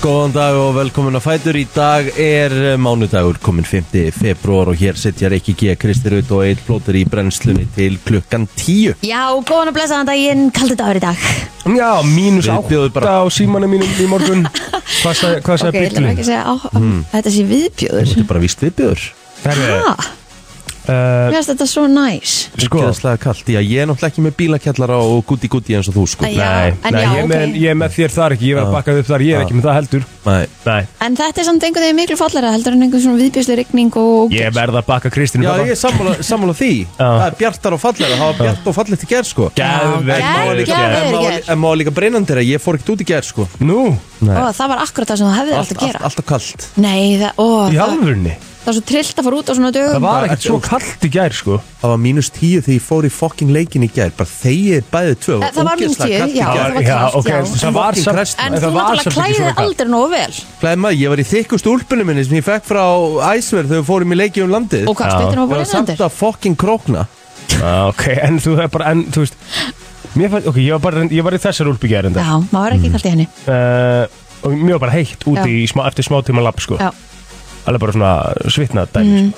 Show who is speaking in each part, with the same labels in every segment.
Speaker 1: Góðan dag og velkomin að Fætur. Í dag er eh, mánudagur, komin 5. februar og hér setja Rikki G. Kristirut og Eil Plóter í brennslunni til klukkan 10.
Speaker 2: Já, góðan og blessaðan daginn, kaldi dagur í dag
Speaker 3: Já, mínus
Speaker 1: Við bjóðum bara-
Speaker 3: átta á símanum mínum í morgun Hvað sagði, Mhm. hvað
Speaker 2: Ok,
Speaker 3: sagði
Speaker 2: ég ætla nú
Speaker 3: okay,
Speaker 2: ekki að segja á, mm. þetta sé viðbjóður
Speaker 1: Þetta er bara víst viðbjöður.
Speaker 3: bíllinn?
Speaker 2: Ha,
Speaker 3: Eh,
Speaker 2: mér finnst þetta svo næs
Speaker 3: Sko,
Speaker 1: Gjöðslega kallt. Já, ég er náttúrulega ekki með bílakjallara og guti guti eins og þú, sko.
Speaker 2: Æ, já.
Speaker 3: nei,
Speaker 2: en
Speaker 3: nei,
Speaker 2: já,
Speaker 3: ég, er með,
Speaker 2: ok.
Speaker 3: ég er með þér þar ekki, ég verð að bakka upp þar, ég er ekki með það heldur
Speaker 1: Nei.
Speaker 3: Nei,
Speaker 2: En þetta er samt einhvern veginn miklu fallara heldur en einhvern svona viðbjóðslu rigning og
Speaker 3: ég verð að bakka Kristínu
Speaker 1: Já,
Speaker 3: pappa.
Speaker 1: ég er sammála, sammála því. Það er bjartar og fallega. Það var bjart og fallegt í gerð, sko.
Speaker 3: Geðveikt,
Speaker 2: Já,
Speaker 1: En má
Speaker 3: maður,
Speaker 1: líka-
Speaker 2: geðveikt.
Speaker 3: geðveikt.
Speaker 1: en má- En má líka breynandir að ég fór ekkert út í gerð, sko.
Speaker 3: Nú,
Speaker 2: ó, það var akkurat það sem þú hefðir allt að gera
Speaker 1: Alltaf kallt.
Speaker 2: Nei, það, ó,
Speaker 3: í
Speaker 2: það,
Speaker 3: alvörni
Speaker 2: það var svo trillt að fara út á svona
Speaker 3: Það
Speaker 2: dögum
Speaker 3: var ekkert
Speaker 1: ertu
Speaker 3: svo
Speaker 1: út?
Speaker 3: kallt í gær, sko
Speaker 1: Það var mínus tíu þegar ég fór í fokking leikin í gær Bara þegið bæðið tvö
Speaker 2: Eh, það var mínus
Speaker 1: ógeðslega
Speaker 2: 10,
Speaker 1: kalt í
Speaker 2: já,
Speaker 1: gær.
Speaker 2: það var kalt,
Speaker 3: ok,
Speaker 2: já.
Speaker 3: en það var
Speaker 1: Fucking
Speaker 3: samt
Speaker 1: Christ,
Speaker 2: En þú
Speaker 3: það var
Speaker 2: náttúrulega
Speaker 3: samt ekki svona
Speaker 2: klæðið
Speaker 3: kalt.
Speaker 2: aldrei nógu vel
Speaker 1: Gleði maður, ég var í þykku stúlpunum minni sem ég fekk frá Æsverð þegar við fórum í leiki um landið
Speaker 2: Og hvað,
Speaker 3: Já.
Speaker 2: spytur nú
Speaker 1: Það
Speaker 2: bara
Speaker 1: var samt
Speaker 2: innandir?
Speaker 1: að fokking krókna
Speaker 3: Já, Ah, Ok, en þú er bara, en þú veist Mér fann, ok, ég var bara, ég var í þessar úlp í gær enda
Speaker 2: Já, maður er
Speaker 3: Mm.
Speaker 2: ekki kallt í henni
Speaker 3: uh, og mjög bara heitt úti í smá, eftir smá tíma lapp sko.
Speaker 2: Já,
Speaker 3: alveg bara svona svitna dæmi
Speaker 2: Mhm.
Speaker 3: sko.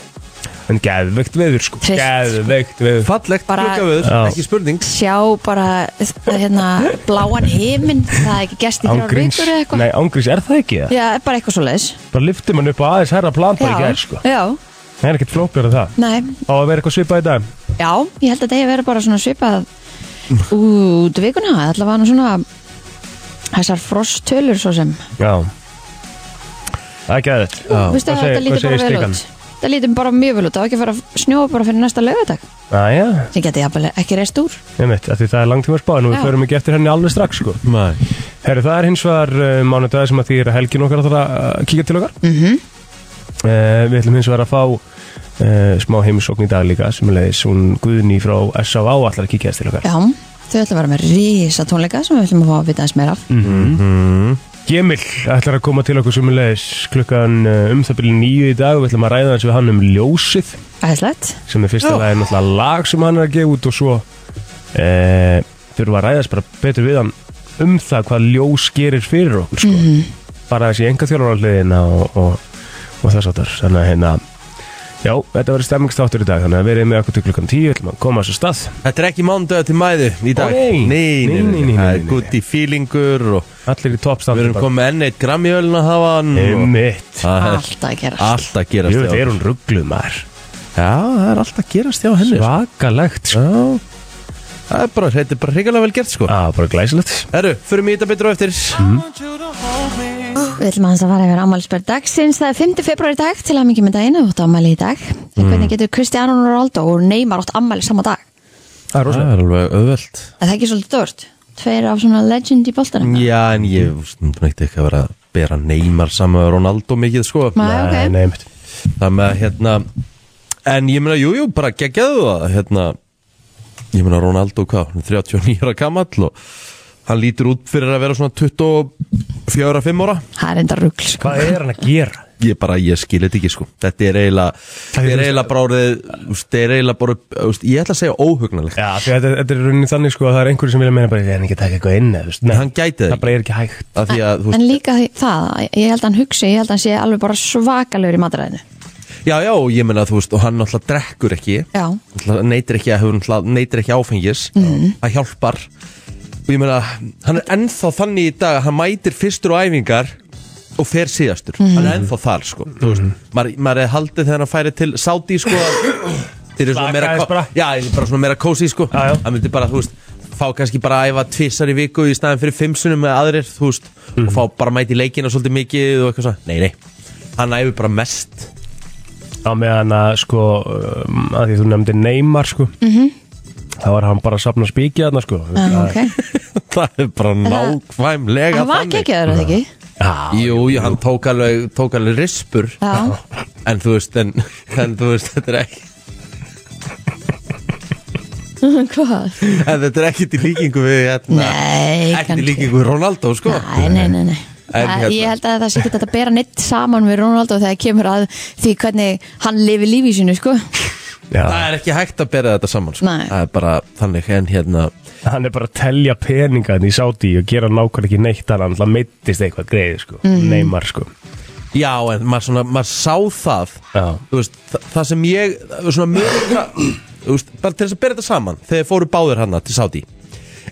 Speaker 3: en geðveikt veður sko.
Speaker 2: Trist.
Speaker 3: geðveikt veður
Speaker 1: Fallegt,
Speaker 2: Bara-
Speaker 1: gluggaveður,
Speaker 3: Já.
Speaker 1: ekki spurning
Speaker 2: sjá bara eh, hérna, bláan himinn Það er ekki gest í þrjár
Speaker 3: Ángríns,
Speaker 2: vikur eða eitthvað
Speaker 3: nei ángríns er það ekki það?
Speaker 2: Já, bara eitthvað svo leis
Speaker 3: Bara lyfti mann upp á aðeins herra plan bara í gær sko
Speaker 2: já,
Speaker 3: Það er ekkert flókjör en það
Speaker 2: nei,
Speaker 3: Á að vera eitthvað svipað í dag
Speaker 2: já, ég held að degi verið bara svona svipað út vikuna, alltaf var nú svona þessar frosttölur svo sem
Speaker 3: Já Það er geðveikt
Speaker 2: veistu að
Speaker 3: Hvað
Speaker 2: þetta
Speaker 3: segir-
Speaker 2: lítur
Speaker 3: hvað
Speaker 2: bara
Speaker 3: segir
Speaker 2: vel
Speaker 3: Stikkan?
Speaker 2: út það lítur bara mjög vel út, það á ekki að fara að snjóa bara fyrir næsta laugardag,
Speaker 3: Æja,
Speaker 2: sem geti jafnvel ekki reist úr
Speaker 3: einmitt, af því það er langtíma spáð og við
Speaker 2: Já.
Speaker 3: förum ekki eftir henni alveg strax sko
Speaker 1: Nei.
Speaker 3: Herri, það er hins vegar uh, mánudag sem að því er að helgin okkar að uh, kíkja til okkar mm Við ætlum hins vegar að fá uh, smá heimsókn í dag líka sem er leiðis hún Guðni frá S.A.V. allar að kíkja þess til okkar
Speaker 2: já, þau ætla að vera með rísa tónleika sem við ætlum að fá að vita aðeins meira af
Speaker 3: Mm. Gemil ætlar að koma til okkur sem er leiðis klukkan uh, um það byrju nýju í dag og við ætlum að ræða hans við hann um ljósið
Speaker 2: æðislegt,
Speaker 3: sem er fyrsta
Speaker 1: Já.
Speaker 3: lagi náttúrulega lag sem hann er að gefa út og svo uh, þurfum að ræðast bara betur við hann um það hvað ljós gerir fyrir okkur sko. bara þessi enga þjálfarliðina og, og, og þess að þar þannig að hérna Já, þetta verður stemmingstáttur í dag, þannig að verið með okkur til klukkan 10, ætlum að koma þessu stað.
Speaker 1: Þetta er ekki mánudagur til mæðu í dag
Speaker 3: Ó, nei.
Speaker 1: nei, nei, nei, nei,
Speaker 3: nei,
Speaker 1: nei.
Speaker 3: nei.
Speaker 1: Gutt í fílingur og
Speaker 3: Allir í
Speaker 1: við
Speaker 3: toppstandi
Speaker 1: erum komið enn eitt gramm í ölna hafan
Speaker 3: Emmitt.
Speaker 2: allt að gera
Speaker 1: Allt að gerast
Speaker 3: Jú, þetta
Speaker 1: hjá-
Speaker 3: er hún ruggluð maður.
Speaker 1: Já, það er allt að gerast hjá henni sko.
Speaker 3: Svakalegt, sko.
Speaker 1: Já Það er bara, þetta er bara hrigalega vel gert sko
Speaker 3: Á, Ah, bara glæsilegt.
Speaker 1: Herru, förum í þetta betur á eftir
Speaker 2: Við ætlum aðeins að fara yfir ámælisbörn dagsins. Það er 5. februar í dag til að mikið með daginn og þetta ámæli í dag.
Speaker 3: Mm.
Speaker 2: En hvernig getur Cristiano Ronaldo og Neymar átt ámæli sama dag?
Speaker 3: Það er rosalega.
Speaker 1: er alveg auðvelt
Speaker 2: Er það ekki svolítið dörrt? Tveir af svona legend í boltanum?
Speaker 1: Já, en ég veit ekki að vera að bera Neymar saman með Ronaldo mikið sko
Speaker 2: Nei, Ah, ok.
Speaker 3: Nei, nei, einmitt.
Speaker 1: Það með að hérna En ég meina, jú, jú, bara geggjaðu það hérna Ég meina Ronaldo hvað, hann er 39 ára gamall og hann lítur út fyrir að vera svona 24-5 ára
Speaker 2: Það er enda ruggl, sko.
Speaker 3: Hvað er hann að gera?
Speaker 1: Ég bara, ég skil þetta ekki sko Þetta er eiginlega, þetta er eiginlega bara orðið þú veist, Þetta er eiginlega bara, þú veist, ég ætla að segja óhugnalegt
Speaker 3: Já, því að þetta, þetta er rauninni þannig sko að það er einhverju sem vilja meina bara, ég er ekki að taka eitthvað inn eða, þú veist, nei,
Speaker 1: Hann gæti það
Speaker 3: það bara er ekki hægt.
Speaker 1: Af því að, þú
Speaker 2: En
Speaker 1: veist,
Speaker 2: líka því- það, ég held að hann hugsi, ég held að hann sé alveg bara svakalegur í mataræðinu.
Speaker 1: já, já, og ég meina, þú veist, og hann náttúrulega drekkur ekki
Speaker 2: Já.
Speaker 1: Náttúrulega neytir ekki, hefur náttúrulega- neytir ekki áfengis það hjálpar og ég meina, hann er ennþá þannig í dag að hann mætir fyrstur og æfingar og fer síðastur, hann er ennþá þar sko, þú veist, maður, maður er haldið þegar hann færi til Saudi sko að- þeir eru svona
Speaker 3: Slaka
Speaker 1: meira
Speaker 3: aðeins bara.
Speaker 1: já, þeir eru bara svona meira kósi sko
Speaker 3: Já, já.
Speaker 1: hann myndi bara, þú veist, fá kannski bara að æfa tvissar í viku í staðin fyrir fimmsunum með aðrir, þú veist,
Speaker 3: Mhm.
Speaker 1: og fá bara að mæta í leikina svolítið mikið og eitthvað svona, nei, nei hann æfur bara mest
Speaker 3: á meðan að sko um, að því þú nefndir Neymar sko þá var hann bara að sapna spíkja þarna sko
Speaker 2: Já, Ah, ok.
Speaker 1: það er bara nákvæmlega
Speaker 2: Hann var
Speaker 1: þannig.
Speaker 2: ekki eða það ekki?
Speaker 3: Já,
Speaker 1: Jú, jú, hann tók alveg, tók alveg rispur
Speaker 2: Já.
Speaker 1: En þú veist, en, en þú veist, þetta er ekki
Speaker 2: Hvað?
Speaker 1: En þetta er ekkit í líkingu við hérna Ekkit
Speaker 2: Nei,
Speaker 1: í
Speaker 2: kannski.
Speaker 1: líkingu við Ronaldo, sko
Speaker 2: Nei, nei, nei, nei.
Speaker 1: En
Speaker 2: Það-
Speaker 1: hérna-
Speaker 2: Ég held að það sé ekki þetta að bera neitt saman við Ronaldo þegar kemur að því hvernig hann lifi lífi sínu, sko.
Speaker 1: það er ekki hægt að bera þetta saman sko.
Speaker 2: Nei.
Speaker 1: það er bara þannig en hérna
Speaker 3: hann er bara að telja peningarni í sáti og gera nákvæmlega ekki neitt þannig að hann alltaf meittist eitthvað greið sko. neymar sko.
Speaker 1: já en maður, svona, maður sá það
Speaker 3: Já.
Speaker 1: þú veist, það, það sem ég svona mögulega þú veist, bara til þess að bera þetta saman þegar fóru báður hana til Saudi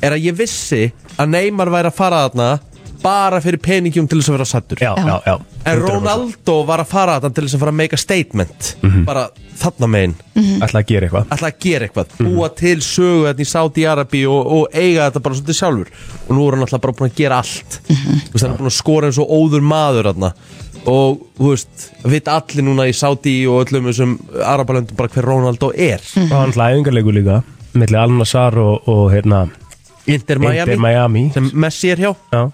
Speaker 1: er að ég vissi að Neymar væri að fara þarna bara fyrir peningjum til þess að vera sattur
Speaker 3: já, já, já
Speaker 1: en Ronaldo var að fara þarna til þess að fara að make a statement
Speaker 3: Mhm.
Speaker 1: bara þarna megin
Speaker 3: alltaf að gera eitthvað
Speaker 1: ætla að gera eitthvað, búa
Speaker 3: Mhm.
Speaker 1: til sögu þetta í Saudi-Arabi og, og eiga þetta bara svolítið sjálfur og nú er hann alltaf bara búin að gera allt mm -hmm. veist, hann er búin að skora eins og óður maður þarna. og þú veist veit allir núna í Saudi og öllum þessum Arabalöndum bara hver Ronaldo er
Speaker 3: og hann alltaf æfingarlegu líka millir Al-Nassar og, og hérna
Speaker 1: Inter Miami,
Speaker 3: Inter Miami
Speaker 1: sem Messi er hjá
Speaker 3: já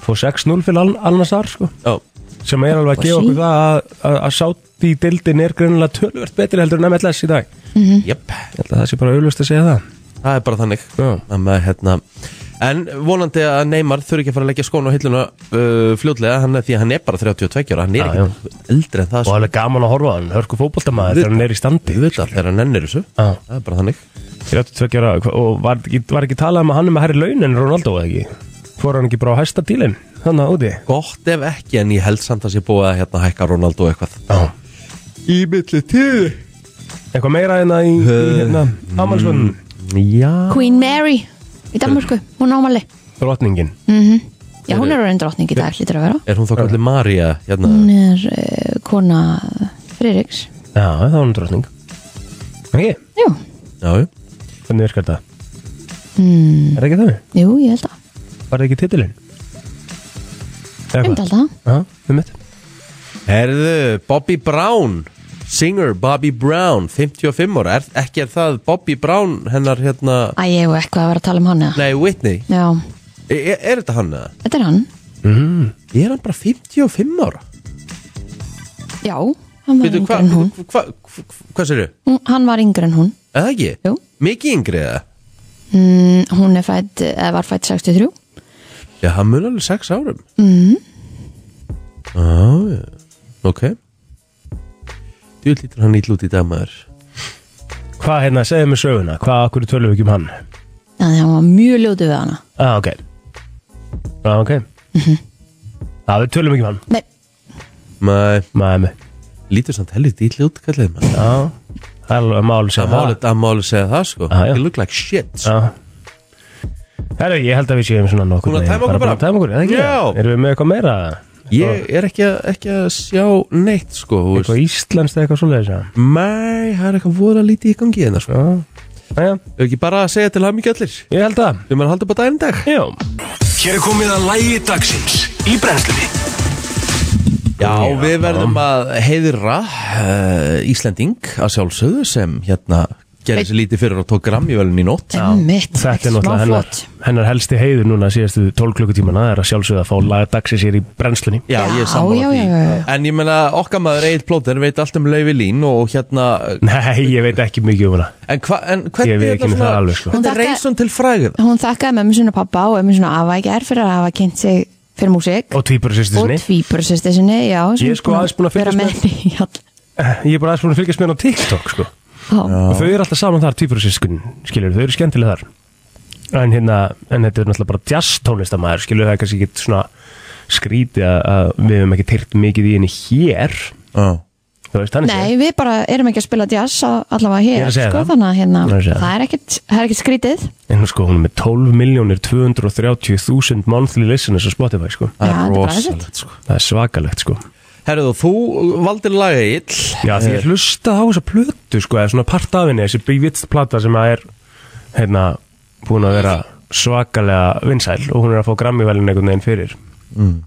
Speaker 3: fór 6-0 fyrir Al- Al-Nassar sko
Speaker 1: Já.
Speaker 3: sem er alveg að gefa okkur það að, að, að sátt í dildin er greinilega tölvört betri heldur en MLS í dag ég
Speaker 1: Jöp,
Speaker 3: held að það sé bara auðlust að segja það
Speaker 1: það er bara þannig
Speaker 3: Já.
Speaker 1: Amma, hérna. en vonandi að Neymar þurfi ekki að fara að leggja skónu á hilluna uh, fljótlega hann, því að hann er bara 32 ára hann er
Speaker 3: Já,
Speaker 1: ekki eldri en það
Speaker 3: og
Speaker 1: sko.
Speaker 3: alveg gaman að horfa á hann, hörku fótboltamaður þegar hann er í standi
Speaker 1: Auðvitað, þegar hann ennir þessu
Speaker 3: Já.
Speaker 1: það er bara þannig
Speaker 3: 32 ára hva- og var ekki, var ekki talað um að hann er með herri laun en Ronaldo eða ekki fór hann ekki bara á hæsta dílinn þannig að úti
Speaker 1: Gott ef ekki en ég held samt að sé búið að hérna hækka Ronaldo eitthvað
Speaker 3: Já.
Speaker 1: Í milli tíð
Speaker 3: eitthvað meira en að í, í hérna ámælsvöldin,
Speaker 1: Já
Speaker 2: Queen Mary í Danmarku, hún ámali
Speaker 3: drotningin
Speaker 2: Já, hún er orðin drottning í dag, hlýtur að vera
Speaker 1: Er hún þá kallið María hérna?
Speaker 2: Hún er uh, kona Friðriks
Speaker 3: já, það var hann drotning ekki,
Speaker 2: Jú,
Speaker 1: Já,
Speaker 3: hvernig virkar þetta mm. er ekki þannig,
Speaker 2: jú, ég held að
Speaker 3: var það ekki titilinn
Speaker 2: Ég myndi alltaf það
Speaker 3: já, við mitt
Speaker 1: Herðu, Bobby Brown Singer Bobby Brown 55 ára, er, ekki er það Bobby Brown hennar hérna
Speaker 2: Æ, ég hef eitthvað að vera að tala um hann eða
Speaker 1: Nei, Whitney,
Speaker 2: Já,
Speaker 1: er, er þetta hann eða?
Speaker 2: þetta er hann
Speaker 1: Er hann bara 55 ára?
Speaker 2: Já, hann var
Speaker 1: Veitu,
Speaker 2: yngri
Speaker 1: hva,
Speaker 2: en hún
Speaker 1: hva, hva, hva, hvað sérðu?
Speaker 2: Hún- Hann var yngri en hún
Speaker 1: Eða ekki?
Speaker 2: Jú.
Speaker 1: Mikið yngri eða?
Speaker 2: mm, Hún er fætt, eða var fætt 63
Speaker 1: Já, hann mun alveg sex árum mm. Já, já Ok Þú lítur hann ítl út í dag maður
Speaker 3: hvað hérna, segðu mig söguna, hvað akkur tölum við ekki um hann
Speaker 2: Þannig að hann var mjög ljótu við hana
Speaker 3: ah, ok ah, ok ah, við tölum ekki um hann
Speaker 2: Nei,
Speaker 1: Maður
Speaker 3: maður með
Speaker 1: lítur samt helviti ítl út kallið maður
Speaker 3: já, það er alveg máli sem
Speaker 1: Það má alveg- það má alveg segja það sko
Speaker 3: Já, já.
Speaker 1: You look like shit sko.
Speaker 3: Já Herru, ég held að við séum svona nokkur
Speaker 1: Búin að tæma okkur bara?
Speaker 3: Tæma okkur, eða ekki?
Speaker 1: Já.
Speaker 3: Erum við með eitthvað meira?
Speaker 1: Ég er ekki, að- ekki að sjá neitt sko þú veist.
Speaker 3: Eitthvað íslenskt eða eitthvað svoleiðis já.
Speaker 1: Mæ, það er eitthvað voða lítið í gangi hérna sko
Speaker 3: Já, Jæja,
Speaker 1: Ef ekki bara að segja til hann mikið allir
Speaker 3: ég held að
Speaker 1: Við maður halda upp á daginn í dag
Speaker 3: Já,
Speaker 4: Hér er komið að lægi dagsins í brennslunni
Speaker 1: Já, við verðum að heiðra uh, Íslending að sjálfsögðu sem hérna gerði sér lítið fyrir og tók grammjövelin í nótt
Speaker 2: mitt,
Speaker 3: þetta er náttúrulega hennar, hennar helsti heiður núna síðastu 12 klukkutímana er að sjálfsögða að fá laga dagsins hér í brennslunni
Speaker 1: Já, ég
Speaker 2: Já,
Speaker 1: er sammála
Speaker 2: já,
Speaker 1: því
Speaker 2: já, já, já.
Speaker 1: En ég meina, okkar maður Egil Plóter veit allt um Leifi Lín og hérna
Speaker 3: Nei, ég veit ekki mikið um hana
Speaker 1: En, hva, en
Speaker 3: Ég
Speaker 1: hvernig
Speaker 3: veit ekki um það alveg,
Speaker 1: Hvernig
Speaker 3: sko.
Speaker 2: Hún
Speaker 1: er
Speaker 2: þakkaði-
Speaker 1: reysun til fræðið?
Speaker 2: Hún þakkaði mömmu sinni og pappa og ömmu sinni og afa í gær fyrir að hafa kynnt sig fyrir músík
Speaker 3: Og tvíbara
Speaker 2: og
Speaker 3: sýstu sinni
Speaker 2: tvíburasýsti sinni, já sem
Speaker 3: Ég er sko aðeins búin að
Speaker 2: vera
Speaker 3: fylgjast
Speaker 2: með henni í all-
Speaker 3: Eh, Ég er bara aðeins búin að fylgjast með hana á TikTok sko.
Speaker 2: Já,
Speaker 3: og þau eru alltaf saman þar tvíbara sýskun skilur, þau eru skemmtilega þar en hérna, en þetta er náttúrulega bara jazz tónlistamæður skilur, það er kannski ekki svona skrítið að, að við hefum ekki teirt mikið í henni hér
Speaker 1: Já
Speaker 3: þú veist, þannig
Speaker 2: Nei, við bara erum ekki að spila jazz á- allavega
Speaker 3: Ég er
Speaker 2: hér,
Speaker 3: að segja
Speaker 2: sko,
Speaker 3: það.
Speaker 2: þannig að hérna,
Speaker 3: Ég er að segja
Speaker 2: það er ekkit, það er ekkit skrítið
Speaker 3: séð en hún sko, hún er með 12.230.000 monthly listeners á Spotify sko,
Speaker 2: Já, þetta er bara
Speaker 1: rosalegt,
Speaker 2: rétt.
Speaker 1: sko.
Speaker 3: það er svakalegt sko
Speaker 1: Herðu, þú valdir laga ill
Speaker 3: já, því
Speaker 1: Eh.
Speaker 3: ég hlusta á þessa plötu sko, eða svona part af henni, þessi Bivits plata sem að er, hérna, búin að vera svakalega vinsæl og hún er að fá grammivælin einhvern veginn fyrir
Speaker 1: Mm.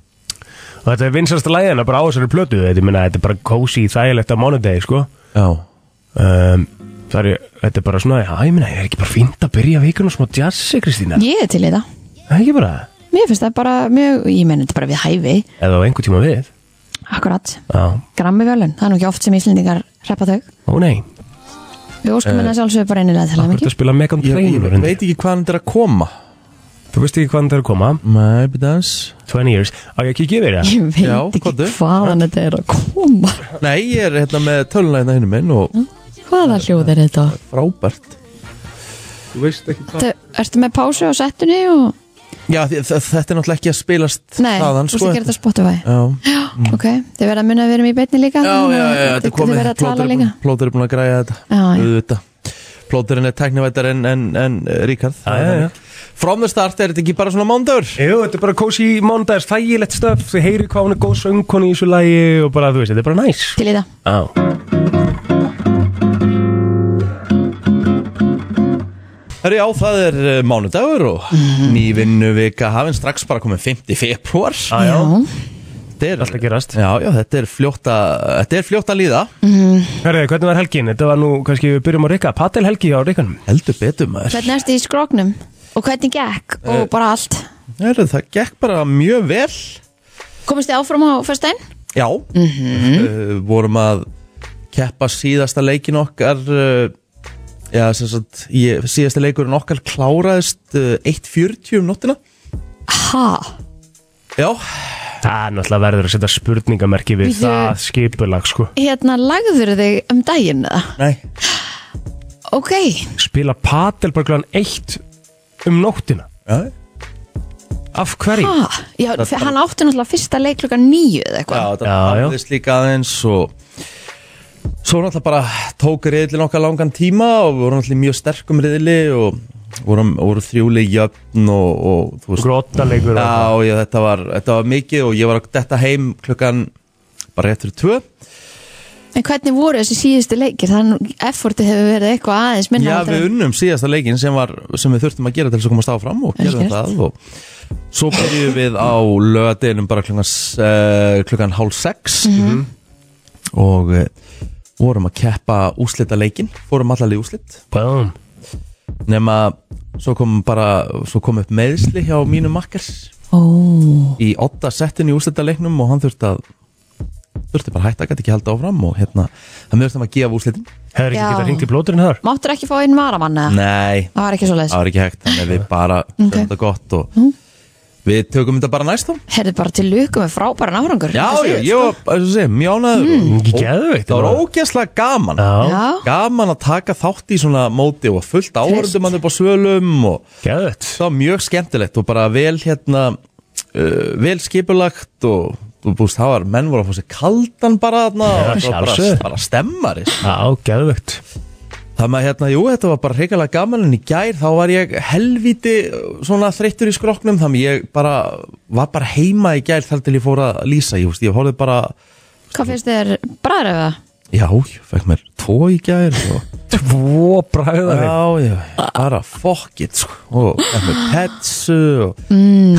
Speaker 3: og þetta er vinsælsta lægina bara á þessari plötu, þetta, ég meina, þetta er bara kósi þægilegt á mánudegi, sko
Speaker 1: Já
Speaker 3: um, það er, þetta er bara svona já, ég meina, er ekki bara fínt að byrja vikuna smá jazzi, Kristína,
Speaker 2: Ég er til í það
Speaker 3: það er ekki bara
Speaker 2: Mér finnst það bara mjög, ég meni þetta er bara við hæfi
Speaker 3: eða á einhver tíma við
Speaker 2: Akkurat,
Speaker 3: já,
Speaker 2: grammi völun, það er nú ekki oft sem Íslendingar reppa þau
Speaker 3: ó nei,
Speaker 2: Við óskum henni að sjálfsögðu bara einilega til
Speaker 3: hvað er
Speaker 2: það
Speaker 3: þetta að spila Megan
Speaker 1: Ég, ég
Speaker 3: Trainor
Speaker 1: veit ekki hvað hann er að koma
Speaker 3: þú veist ekki hvaðan það er að koma
Speaker 1: Nei, betans
Speaker 3: 20 years, á ég að kíkja yfir það
Speaker 2: Ég
Speaker 1: Já,
Speaker 2: veit
Speaker 1: komdu.
Speaker 2: ekki hvaðan þetta er að koma Mm.
Speaker 1: Nei, ég er hérna með tölulegna hinnum minn og
Speaker 2: Hvaða hljóð er þetta?
Speaker 1: Frábært
Speaker 5: Þú veist ekki hvað
Speaker 2: Þetta- Ertu með pásu á settunni og...
Speaker 1: Já, þi- þ- þetta er náttúrulega ekki að spilast
Speaker 2: Nei,
Speaker 1: þaðan, sko.
Speaker 2: þú veist að gera þetta á Spotify
Speaker 1: Já,
Speaker 2: Já, ok, þið verða að munna að við erum í beinni líka
Speaker 1: já, já, já, þetta er
Speaker 2: Þið
Speaker 1: komið
Speaker 2: verða að
Speaker 1: Plóter
Speaker 2: tala
Speaker 1: er
Speaker 2: líka
Speaker 1: búinn- Plóter er búin að græja þetta
Speaker 2: Já, já.
Speaker 1: Auðvitað. Plóterinn er teknivættar en, en, en eh, Ríkard
Speaker 3: Já, já, já.
Speaker 1: From the start er þetta ekki bara svona mándagur
Speaker 3: Jú, þetta er bara kósi mándags, þægilegt stöf Þið heyri hvað hún er góð söngkonni í þessu lagi og bara, þú veist, þetta er bara næs
Speaker 2: Til í það
Speaker 3: Já
Speaker 1: Herru já, það er uh, mánudagur og ný vinnuvika hafinn strax bara komið 50 februar
Speaker 3: Já, já,
Speaker 1: Þetta er
Speaker 3: allt að gerast
Speaker 1: Já, já, þetta er fljótt að, þetta er fljótt að líða
Speaker 3: Herðu, hvernig var helgin? Þetta var nú, kannski við byrjum á Rikka Patel helgi á Rikkanum
Speaker 1: Heldur betur maður
Speaker 2: Hvernig ertu í skróknum? Og hvernig gekk?
Speaker 1: Eh.
Speaker 2: Og bara allt
Speaker 1: Herru, það gekk bara mjög vel
Speaker 2: Komist þið áfram á fyrstæn?
Speaker 1: Já uh, Vorum að keppa síðasta leikin okkar uh, Já, sem sagt ég, Síðasta leikurinn okkar kláraðist uh, 1.40 um nóttina
Speaker 2: Ha?
Speaker 1: Já,
Speaker 3: Það er náttúrulega verður að setja spurningamerki við
Speaker 2: Bíddu.
Speaker 3: það skipulag, sko
Speaker 2: Hérna lagður þig um daginn eða?
Speaker 1: nei
Speaker 2: Ok,
Speaker 3: Spila Patel bara glan eitt um nóttina
Speaker 1: Já,
Speaker 3: Af hverju?
Speaker 2: ha? Já, hann átti náttúrulega fyrsta leik klukkan nýju eða eitthvað
Speaker 1: já
Speaker 3: Já,
Speaker 1: þetta
Speaker 3: já.
Speaker 1: hafðist líka aðeins og Svo náttúrulega bara tók riðlin okkar langan tíma og við vorum náttúrulega í mjög sterkum riðli og vorum, voru þrjúli jöfn og, og þú veist
Speaker 3: Grottalegur og-
Speaker 1: Já, já þetta, var, þetta var mikið og ég var að detta heim klukkan bara rétt fyrir tvö
Speaker 2: En hvernig voru þessi síðustu leikir? Þannig effortið hefur verið eitthvað aðeins minna
Speaker 1: Já,
Speaker 2: heldur
Speaker 1: við
Speaker 2: en-
Speaker 1: unnum síðasta leikin sem, var, sem við þurftum að gera til þess að komast áfram og
Speaker 2: Vel
Speaker 1: gerðum
Speaker 2: gert.
Speaker 1: það og svo byrjuðum við á lögadeginum bara klukkan, uh, klukkan hálf sex
Speaker 2: Mhm.
Speaker 1: og uh, vorum að keppa úslita leikin, fórum allalegi úslit
Speaker 3: Bum.
Speaker 1: nema svo kom bara svo kom upp meðsli hjá mínum makkers
Speaker 2: Ó,
Speaker 1: í 8 settin í úslita leiknum og hann þurfti að þurfti bara að hætta, gæti ekki halda áfram og hérna, það mjögst að gefa úslitin
Speaker 3: Hefur ekki
Speaker 2: Já.
Speaker 3: getað hringt í blóturinn þar?
Speaker 2: máttur ekki fá einn varamann eða?
Speaker 1: Nei,
Speaker 2: Það var ekki svo leiðis
Speaker 1: það var ekki hægt þannig að við bara okay. þetta gott og við tökum þetta bara næst þá
Speaker 2: Herðið bara til luku með frábæran árangur
Speaker 1: já,
Speaker 2: Þetta
Speaker 1: já,
Speaker 2: síðast,
Speaker 1: ég var, eins og sé, mjónaður mm.
Speaker 3: Ekki geðveikt
Speaker 1: það var ógeðslega gaman
Speaker 2: sko.
Speaker 3: Já,
Speaker 2: Já,
Speaker 1: gaman að taka þátt í svona móti og fullt áhörðum hann upp á svölum og
Speaker 3: geðveikt
Speaker 1: það var mjög skemmtilegt og bara vel hérna uh, vel skipulagt og þú búist það var, menn voru að fá sér kaldan bara þarna og
Speaker 3: Já,
Speaker 1: það var bara,
Speaker 3: sjálfsögðu.
Speaker 1: bara stemmari
Speaker 3: Já, geðveikt
Speaker 1: Það með hérna, jú, þetta var bara hrikalega gaman en í gær þá var ég helviti uh, svona þreyttur í skroknum þannig ég bara, var bara heima í gær þar til ég fór að lýsa, ég, veist, ég horfði bara
Speaker 2: hvað finnst þér bræðröða?
Speaker 1: já, ég fekk mér tvo í gær og,
Speaker 3: Tvo bræðari
Speaker 1: já, ég, bara fuck it sko, og fekk mér petsu og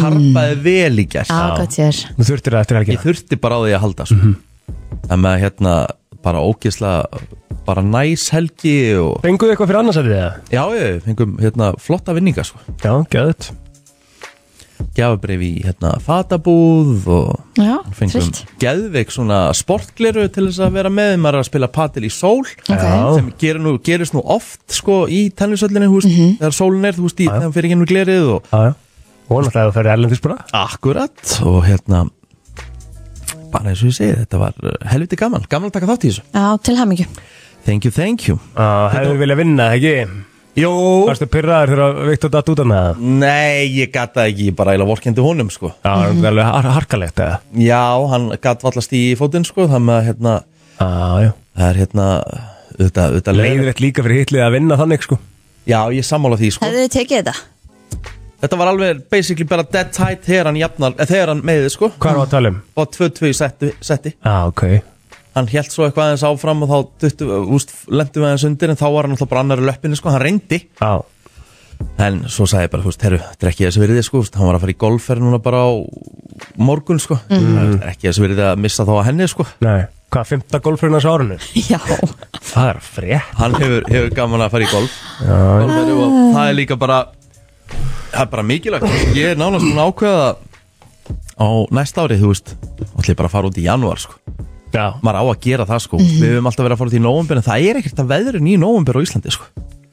Speaker 1: karpaði vel í gær
Speaker 2: Já, gott sér
Speaker 3: Þú þurftir það eftir helgina
Speaker 1: ég þurfti bara á því að halda sko. það með hérna bara ógislega, bara næs helgi og
Speaker 3: Fenguðu eitthvað fyrir annars að þið það?
Speaker 1: já, ég fengum hérna flotta vinninga sko
Speaker 3: Já, geðveikt
Speaker 1: gjafabrif í hérna fatabúð og
Speaker 2: Já,
Speaker 1: fengum
Speaker 2: trillt
Speaker 1: geðveik svona sportgleru til þess að vera með maður er að spila patil í sól
Speaker 2: Ok.
Speaker 1: sem gerir nú, gerist nú oft sko í tennisöllinni, húst, mm -hmm. þegar sólin er þú veist, í þegar fyrir gennum glerið og
Speaker 3: Já, já Og náttúrulega að það er erlendis bara
Speaker 1: akkurat og hérna bara eins og ég segi, þetta var uh, helviti gaman gaman að taka þátt í þessu,
Speaker 2: Já, til hamingju
Speaker 1: thank you, thank you
Speaker 3: Já, hefur viljað vinna, ekki?
Speaker 1: Jó,
Speaker 3: Varstu pyrraður þegar Viktor datt út af með það?
Speaker 1: nei, ég gat það ekki, ég bara eila vorkendi honum sko
Speaker 3: Já, það er alveg har harkalegt eða?
Speaker 1: já, hann gat vallast í fótinn sko, þannig að hérna,
Speaker 3: Já, já
Speaker 1: það er hérna auðvitað, auðvitað leiðilegt.
Speaker 3: Leiðrætt líka fyrir hitlið að vinna þannig sko
Speaker 1: Já, ég er sammála því sko
Speaker 2: Hefðu þið tekið þetta?
Speaker 1: Þetta var alveg basically bara dead tight þegar hann jafnar, eh, þegar hann meðið sko
Speaker 3: Hvað er það að tala um?
Speaker 1: og 2-2 í setti, setti
Speaker 3: Já, ok
Speaker 1: hann held svo eitthvað aðeins áfram og þá duttu, eh, úst, lendum við aðeins undir en þá var hann alltaf bara annar í löppinni sko, hann reyndi
Speaker 3: Já,
Speaker 1: en svo sagði ég bara, þú veist, herru, þetta er ekki þessi virði sko, þú veist, hann var að fara í golfferð núna bara á morgun sko, það er ekki þessi virði að missa þá að henni sko
Speaker 3: nei Hvað, fymta golfruna á árinu?
Speaker 2: Já
Speaker 3: Það er frétt
Speaker 1: hann hefur, hefur gaman að fara í golf Golfveru og það er líka bara það er bara mikilvægt ég er nánast búin að ákveða á næsta ári, þú veist allir bara að fara út í janúar, sko
Speaker 3: Já
Speaker 1: maður á að gera það, sko
Speaker 2: Mhm.
Speaker 1: við höfum alltaf verið að fara út í nóvumbir en það er ekkert að veðrun í nóvumbir á Íslandi, sko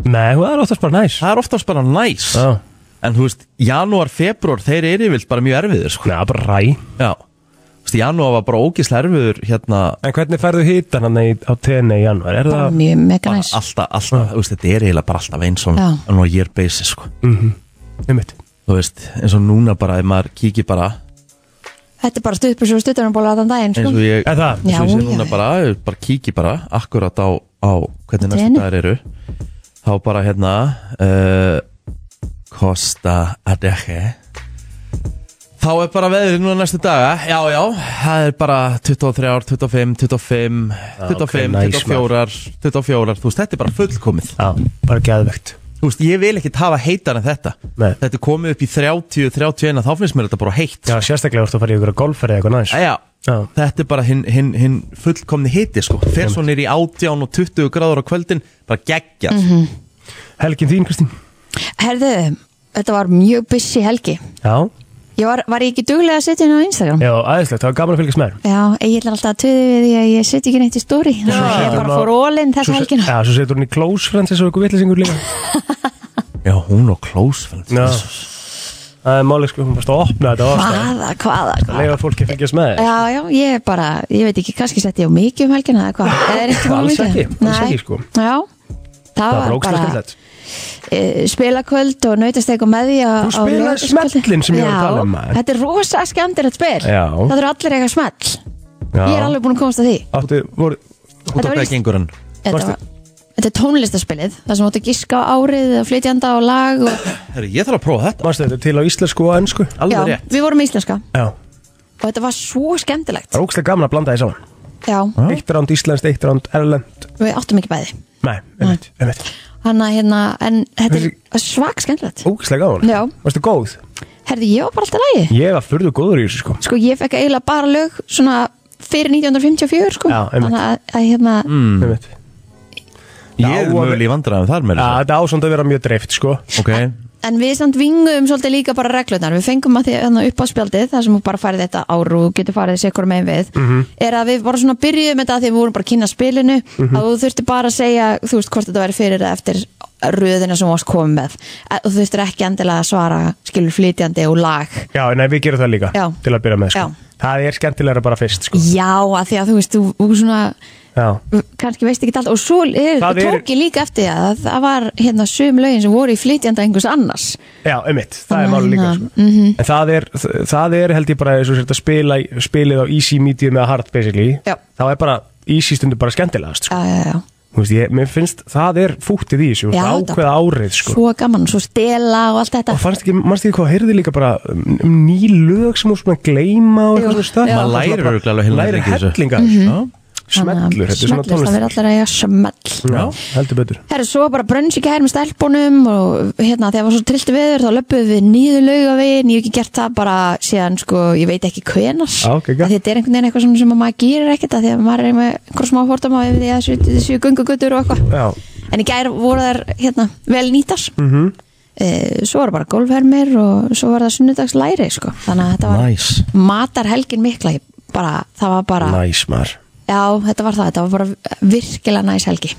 Speaker 3: Nei, það er oftast bara næs
Speaker 1: það er oftast bara næs
Speaker 3: Já
Speaker 1: en þú veist, janúar, februar, þeir eru yfirvilt bara mjög erfiðir, sko
Speaker 3: Nei, það er bara ræ
Speaker 1: já, Þú veist, veist, janúar var bara ógislega erfiður hérna
Speaker 3: En hvernig færðu hýtan hann í- á tenni í januar? Er
Speaker 2: bara
Speaker 3: það
Speaker 2: mjög mega næs
Speaker 1: alltaf, alltaf, þú veist, þetta er eiginlega bara alltaf eins og
Speaker 2: Já.
Speaker 1: on a year basis, sko
Speaker 3: einmitt?
Speaker 1: þú veist, eins og núna bara ef maður kíkir bara,
Speaker 2: Þetta er bara stupur svo stuttunum bóla þann daginn
Speaker 1: eins
Speaker 2: sko.
Speaker 1: og ég
Speaker 3: Er það?
Speaker 1: eins og ég
Speaker 2: Já,
Speaker 1: sé
Speaker 2: já,
Speaker 1: núna
Speaker 2: já.
Speaker 1: bara, ef bara kíkir bara akkurat á, á hvernig næstu
Speaker 2: Trenu.
Speaker 1: dagar eru þá bara hérna uh, Costa Adeje þá er bara veðrið núna næstu daga já, já, það er bara 23 ár, 25, 25 25,
Speaker 3: ok, nice,
Speaker 1: 24, 24 þú veist, þetta er bara fullkomið
Speaker 3: Já, bara geðvegt
Speaker 1: þú veist, ég vil ekki hafa heitar en þetta
Speaker 3: Nei.
Speaker 1: þetta er komið upp í 30, 31 þá finnst mér þetta bara heitt
Speaker 3: Já, sérstaklega vorstu að fara í ykkur að golfferði eitthvað næs
Speaker 1: Æja,
Speaker 3: Já.
Speaker 1: þetta er bara hinn hin, hin fullkomni hiti sko Fer svo nýr í 18 og 20 gráður á kvöldin Bara geggjað
Speaker 2: Mhm.
Speaker 3: Helgin þín, Kristín?
Speaker 2: Herðu, þetta var mjög busy helgi
Speaker 3: Já,
Speaker 2: Ég var, var ég ekki duglega að setja henni á Instagram?
Speaker 3: já, aðeinslegt, það var gaman að fylgjast með þér
Speaker 2: Já, ég er alltaf að töði við því að ég setja ekki neitt í stóri Þannig að ég
Speaker 3: setur
Speaker 2: bara
Speaker 3: hún á-
Speaker 2: fór ólinn
Speaker 3: Svo
Speaker 2: þessa
Speaker 3: se-
Speaker 2: helgina
Speaker 3: Já, svo setur hún í close friends eins og ykkur vitlisingur líka
Speaker 1: Já, hún og Close friends
Speaker 3: Já Það er málið sko, hún varst að opna þetta ástæð
Speaker 2: Hvaða, hvaða,
Speaker 3: Að
Speaker 2: hvaða
Speaker 3: leifa fólki að fylgjast með þér
Speaker 2: Já, já, ég er bara, ég veit ekki, kannski sett ég á mikið um helgina eða hvað Eða er eitthvað
Speaker 3: Alls
Speaker 2: mikið?
Speaker 3: ekki, alls
Speaker 2: Nei.
Speaker 3: ekki, sko.
Speaker 2: Já, það
Speaker 3: Það var
Speaker 2: var
Speaker 3: ógstlega
Speaker 2: bara
Speaker 3: skemmtilegt
Speaker 2: e, spilakvöld og nautasteg og með því á-
Speaker 3: Þú
Speaker 2: á
Speaker 3: spilaðir
Speaker 2: laugardagskvöld.
Speaker 3: smellinn sem ég var að
Speaker 2: Já,
Speaker 3: tala um, maður.
Speaker 2: Þetta er rosa skemmtilegt spil
Speaker 3: Já.
Speaker 2: Það eru allir eitthvað smell Ég er alveg búin að komast að því
Speaker 3: Áttu, voru,
Speaker 1: Út af
Speaker 2: var
Speaker 1: hvað
Speaker 2: víst-
Speaker 1: gengur hann
Speaker 2: Þetta,
Speaker 3: Varstu-
Speaker 2: var, þetta er tónlistaspilið Það sem áttu að giska á árið og flytjanda á lag og,
Speaker 1: Herri, ég þarf að prófa þetta
Speaker 3: mannstu þetta til á íslensku og ennsku?
Speaker 1: Alveg
Speaker 2: Já,
Speaker 1: rétt
Speaker 2: við vorum íslenska
Speaker 3: Já
Speaker 2: og þetta var svo skemmtilegt
Speaker 3: Það er ógstlega gaman að blanda því saman
Speaker 2: Já,
Speaker 3: Eitt ránd íslenskt, eitt ránd erlend
Speaker 2: við áttum ekki bæði
Speaker 3: Nei, einmitt, einmitt
Speaker 2: Hanna, hérna, En þetta
Speaker 3: Þessi-
Speaker 2: er svak skemmtilegt
Speaker 3: Ógstlega gaman
Speaker 2: Já.
Speaker 3: Varstu góð?
Speaker 2: Herði, ég var bara alltaf lægi
Speaker 3: Ég var furðu góður í þessu sko
Speaker 2: Sko, ég fekk eiginlega bara lög svona fyrir 1954 sko.
Speaker 3: Já, einmitt. Mm.
Speaker 2: Þannig að, að hérna
Speaker 3: Einmitt
Speaker 1: Ég er
Speaker 3: Já, og-
Speaker 1: mögulega í vandræðum þar með
Speaker 3: Já,
Speaker 1: þessu
Speaker 3: þetta ásand að vera mjög dreift sko
Speaker 1: Ok,
Speaker 2: En við samt vingum svolítið líka bara reglunar Við fengum að því að upp á spjaldið þar sem þú bara farið þetta ár og þú getur farið sér hvort megin við
Speaker 3: Mhm.
Speaker 2: Er að við bara svona byrjuðum þetta af því að við vorum bara að kynna spilinu
Speaker 3: Mhm.
Speaker 2: Að þú þurfti bara að segja, þú veist, hvort þetta væri fyrir eða eftir röðina sem þú varst komið með Að- Þú þurftir ekki endilega að svara skilur flytjandi og lag
Speaker 3: Já, nei, við gerum það líka
Speaker 2: Já.
Speaker 3: Til að byrja með sko
Speaker 2: Já.
Speaker 3: Það er skemmtilegra bara fyrst sko
Speaker 2: Já, að því að þú veist, þú, þú svona
Speaker 3: Já
Speaker 2: kannski veist ekki allt og svo er,
Speaker 3: Það er-
Speaker 2: tók ég líka eftir því að það var hérna sum lögin sem voru í flytjanda einhvers annars
Speaker 3: Já, einmitt, það er
Speaker 2: Þannig að
Speaker 3: máli líka
Speaker 2: hérna,
Speaker 3: sko. En það er, það er held ég bara eins og sér að spila, í- spilið á easy, medium eða hard basically
Speaker 2: Já.
Speaker 3: Þá er bara easy stundu bara skemmtilegast sko.
Speaker 2: Já, já, já
Speaker 3: Þú veist, ég, mér finnst það er fúttið í þessu þú
Speaker 2: Já,
Speaker 3: veist,
Speaker 2: þetta-
Speaker 3: Ákveða árið sko.
Speaker 2: Svo gaman, svo stela og allt þetta
Speaker 3: Og fannst ekki, mannst ekki hvað, heyrði líka bara um, um ný lög sem hún svona gleyma og
Speaker 2: Jú,
Speaker 3: eitthvað svona stöð
Speaker 2: já.
Speaker 1: Maður lærir örugglega alveg heilmikið í
Speaker 3: Lærir
Speaker 1: þessu.
Speaker 3: hellingar Smellur, þetta er svona
Speaker 2: tónlist Það verður
Speaker 3: tónlist
Speaker 2: allar að eiga smell
Speaker 3: Já, heldur betur
Speaker 2: Herru, svo bara brönns í gær með stelpunum og hérna þegar var svo trillt veður þá löpum við niður laugavegin, ég hef ekki gert það bara síðan sko, ég veit ekki hvenar
Speaker 3: Já, ok, gott.
Speaker 2: þetta er einhvern veginn eitthvað svona sem að maður gerir ekkert að því að maður er með einhver smá hórtum á yfir því að þessu- þessu gunguguttur og eitthvað
Speaker 3: Já,
Speaker 2: en í gær voru þær hérna vel nýtar mm
Speaker 3: Mhm.
Speaker 2: -hmm. svo var bara golfhermir og svo var það sunnudagslæri sko, þannig að þetta var
Speaker 1: Nice.
Speaker 2: matar helgin mikla ég bara, það var bara
Speaker 3: næs maður
Speaker 2: Já, þetta var það, þetta var bara virkilega næs helgi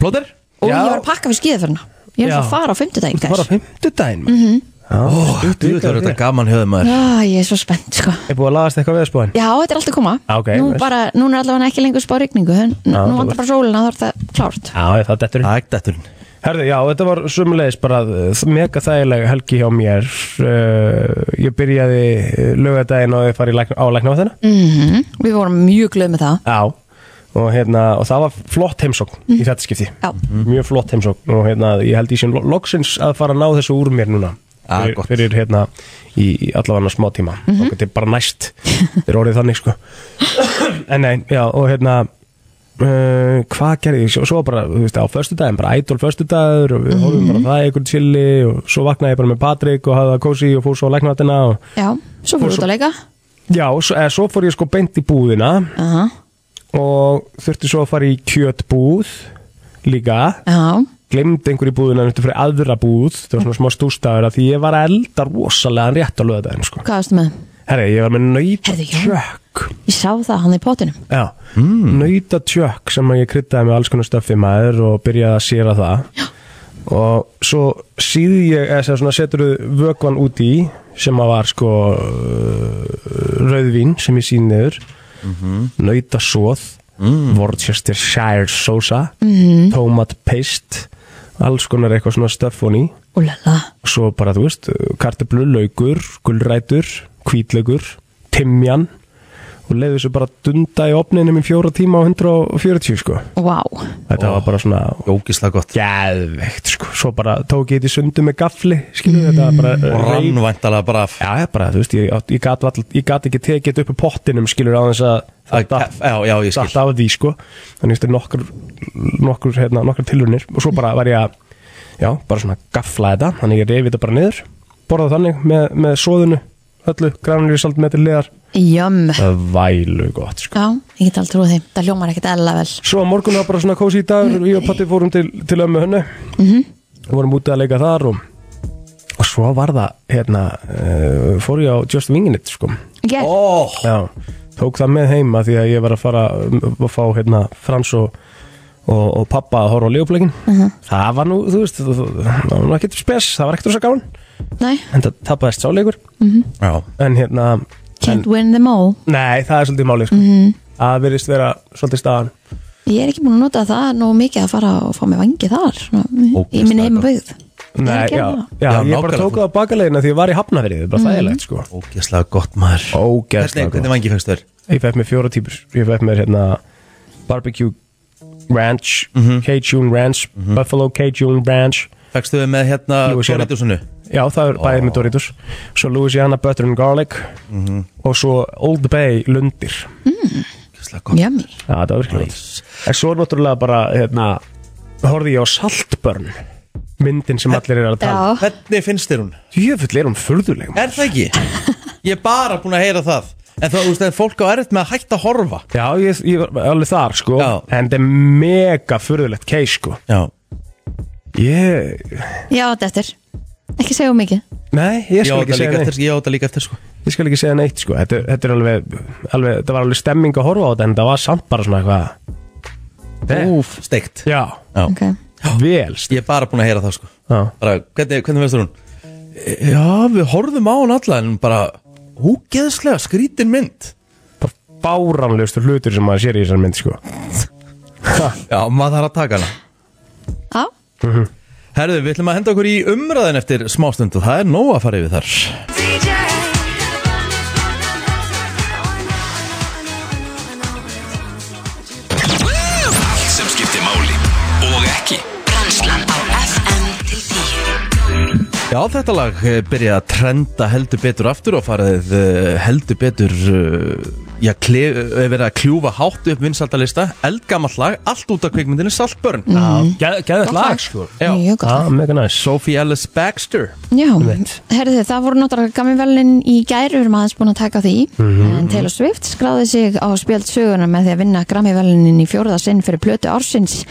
Speaker 1: plóter
Speaker 2: Og
Speaker 3: Já.
Speaker 2: ég var að pakka fyrir skíðaförna Ég er
Speaker 3: Já.
Speaker 2: að fara á fimmtudaginn,
Speaker 3: Það var
Speaker 2: guys
Speaker 3: á fimmtudaginn
Speaker 2: Mhm.
Speaker 1: Ó,
Speaker 3: maður
Speaker 1: Þú veit að þetta er gaman höfum maður
Speaker 2: Já, ég er svo spennt, sko
Speaker 3: Er búið að lagast eitthvað við spóin?
Speaker 2: Já, þetta er allt að koma
Speaker 3: Já, Ah, ok,
Speaker 2: nú,
Speaker 3: veist.
Speaker 2: bara, Núna er allavega ekki lengur spá rigningu en
Speaker 3: Já,
Speaker 2: Nú
Speaker 3: þú
Speaker 2: vantar
Speaker 3: veist.
Speaker 2: bara sólina, þá er það klárt
Speaker 3: Já, ég- það dettur inn.
Speaker 1: Það er ekki dætturinn
Speaker 3: Herðu, já, þetta var sumulegis bara uh, mega þægilega helgi hjá mér uh, Ég byrjaði uh, lögadaginn og ég farið lækna, á lækna á þennan
Speaker 2: Mm, Við vorum mjög glöð með það
Speaker 3: Já og, hérna, og það var flott heimsókn í þetta skipti
Speaker 2: Já.
Speaker 3: Mjög flott heimsókn og hérna, ég held ég sem lo- loksins að fara að ná þessu úr mér núna
Speaker 1: Ah,
Speaker 3: fyrir,
Speaker 1: gott.
Speaker 3: fyrir hérna í, í allavega smá tíma mm -hmm. og þetta er bara næst þetta er orðið þannig sko en nei, já, og hérna Uh, hvað gerði ég, svo, svo bara þú veist, á föstudaginn, bara idol föstudagur og við horfum bara á það í einhvern chili og svo vaknaði ég bara með Patrik og hafði það kósi og fór svo á læknavatnina og
Speaker 2: Já, svo
Speaker 3: Og
Speaker 2: fór út
Speaker 3: svo-
Speaker 2: að leika
Speaker 3: já, og svo, eða, svo fór ég sko beint í búðina
Speaker 2: Aha.
Speaker 3: og þurfti svo að fara í kjötbúð líka
Speaker 2: Já,
Speaker 3: glemd einhver í búðuna en þurfti að fara í aðra búð það var svona smá stústaður að því ég var að elda rosalega rétt á löðaðin sko.
Speaker 2: hvað varstu með?
Speaker 3: herri, ég var með
Speaker 2: Heyrðu, já.
Speaker 3: nautatjökk
Speaker 2: Ég sá það hann í pottinum
Speaker 3: já, mm. nautatjökk sem ég kryddaði með alls konar stöffi maður og byrjaði að sýra það já. og svo síði ég eða sem svona setur vökvan út í sem að var sko uh, rauðvín sem ég sín niður nautasóð Worcestershire sósa
Speaker 2: Mhm.
Speaker 3: tomat paste alls konar eitthvað svona stöff og ný
Speaker 2: Úlala
Speaker 3: svo bara þú veist kartablu, laukur, gullrætur kvítlaukur, timjan og leiði þessu bara dunda í opninum í fjóra tíma á 140 sko
Speaker 2: Vá
Speaker 3: þetta var bara svona
Speaker 1: Ógislega gott
Speaker 3: geðveikt sko, svo bara tók ég þetta í sundu með gafli, skilu, þetta var bara
Speaker 1: Og
Speaker 3: reif-
Speaker 1: rannvæntalega bara af
Speaker 3: Já, ég bara, þú veist, ég, átt- ég, gat, vall, ég gat ekki tekið þetta upp úr pottinum, skilur, á þess að
Speaker 1: Að-
Speaker 3: þetta
Speaker 1: Já, já, ég skil
Speaker 3: datt af því, sko. Þannig þetta er nokkur, nokkur, hérna, nokkur tilhurnir og svo bara var ég að, já, bara svona gafla þetta, þannig ég reyfi þetta bara niður, borða þannig með, með sóðinu, öllu, grænulíu salt með til liðar,
Speaker 2: Jömm
Speaker 3: það er vælu gott, sko.
Speaker 2: Já, ég get alveg trúið því Það hljómar ekkert eðla vel
Speaker 3: Svo að morgun var bara svona kósi í dag, ég og Patti fórum til, til ömmu hönnu, vorum úti að leika þar og, og svo var það, hérna, uh, fór ég á Just Wingin' It, sko.
Speaker 2: Gert
Speaker 1: Ó,
Speaker 3: Já, tók það með heim að því að ég var að fara um, að fá hérna Frans og, og, og pappa að horfa á leifupleikin Það var nú, þú veist, það það var nú ekkert spes, það var ekkert rosa gáðan
Speaker 2: Nei
Speaker 3: En það tapaðist sáleikur
Speaker 1: já
Speaker 3: En hérna,
Speaker 2: Can't win them all
Speaker 3: nei, það er svolítið málið sko. mm -hmm. Það virðist vera svolítið staðan
Speaker 2: Ég er ekki búin að nota það Nú mikið að fara og fá mig vangi þar svona, Í
Speaker 1: Ógeðslega
Speaker 2: minni heima byggð
Speaker 3: Nei,
Speaker 2: ekki
Speaker 3: já,
Speaker 2: alveg.
Speaker 3: já,
Speaker 1: Já,
Speaker 3: ég bara
Speaker 1: nákvæmlega. sko.
Speaker 3: tók það á bakalegina því ég var í hafnaverið, það er bara þægilegt sko
Speaker 1: Ógislega gott maður
Speaker 3: Ógæðslega
Speaker 1: Hvernig, hvernig vangi fækst þér?
Speaker 3: Ég fekk mér fjóra típur Ég fekk mér hérna Barbecue Ranch
Speaker 1: Mhm.
Speaker 3: Cajun Ranch Buffalo Cajun Ranch
Speaker 1: Fækst þau með hérna
Speaker 3: Jú, sér að-
Speaker 1: Doritusinu?
Speaker 3: Já, það er bæðið með Doritos Svo Louisiana Butter and Garlic Og svo Old Bay Lundir
Speaker 1: Ógislega gott
Speaker 2: Jömmi
Speaker 3: Já, það var virkilega nice. En svo náttúrulega bara hérna Horfði ég á Saltburn Myndin sem allir eru að tala um.
Speaker 2: Já
Speaker 1: Hvernig finnst þér hún?
Speaker 3: Jöfull er hún furðuleg maður.
Speaker 1: Er það ekki? Ég er bara búin að heyra það En það, þú veist, en fólk á erfitt með að hætta að horfa
Speaker 3: Já, ég, ég var alveg þar sko
Speaker 1: Já.
Speaker 3: En þetta er mega furðulegt case sko
Speaker 1: Já
Speaker 3: Ég,
Speaker 2: Já, þetta eftir Ekki segja of mikið
Speaker 3: nei,
Speaker 1: Ég
Speaker 3: ég
Speaker 1: á
Speaker 3: skal
Speaker 1: þetta
Speaker 3: ekki segja
Speaker 1: líka
Speaker 3: neitt
Speaker 1: eftir, ég á þetta líka eftir sko
Speaker 3: ég skal ekki segja neitt sko þetta, þetta er alveg, alveg, þetta var alveg stemming að horfa á þetta en það var samt bara svona eitthvað Nei.
Speaker 1: Úf, steikt
Speaker 3: já,
Speaker 2: Ok
Speaker 3: vel st-
Speaker 1: Ég er bara búin að heyra það sko
Speaker 3: já.
Speaker 1: bara, Hvernig, hvernig finnst þér hún? E- Já, við horfðum á hún alla En bara, ógeðslega skrítin mynd
Speaker 3: bara báranlegustu hlutur sem maður sér í þessar mynd sko
Speaker 1: Já, maður þarf að taka hana
Speaker 2: Já
Speaker 1: Herðu, við ætlum að henda okkur í umræðin eftir smástund og það er nóg að fara yfir þar
Speaker 4: Allt sem skiptir máli og ekki
Speaker 6: Brennslan á FM til 10
Speaker 1: Já, þetta lag eh, byrjaði að trenda heldur betur aftur og farið eh, heldur betur eh, já, kle- eh, verið að kljúfa hátt upp vinsaldalista, eldgamall lag allt út af kvikmyndinu Saltburn
Speaker 2: Mhm.
Speaker 1: mm.
Speaker 3: geðvægt lag sko
Speaker 1: Já.
Speaker 2: Mjög gott
Speaker 3: já, mega næs
Speaker 1: Sophie Ellis Baxter
Speaker 2: Já, herðu það voru náttúrulega gaminvelin í gær, við erum aðeins búin að taka á því
Speaker 3: Mhm.
Speaker 2: en Taylor Swift skráði sig á spjöld söguna með því að vinna gaminvelinin í fjóruða sinn fyrir plötu ársins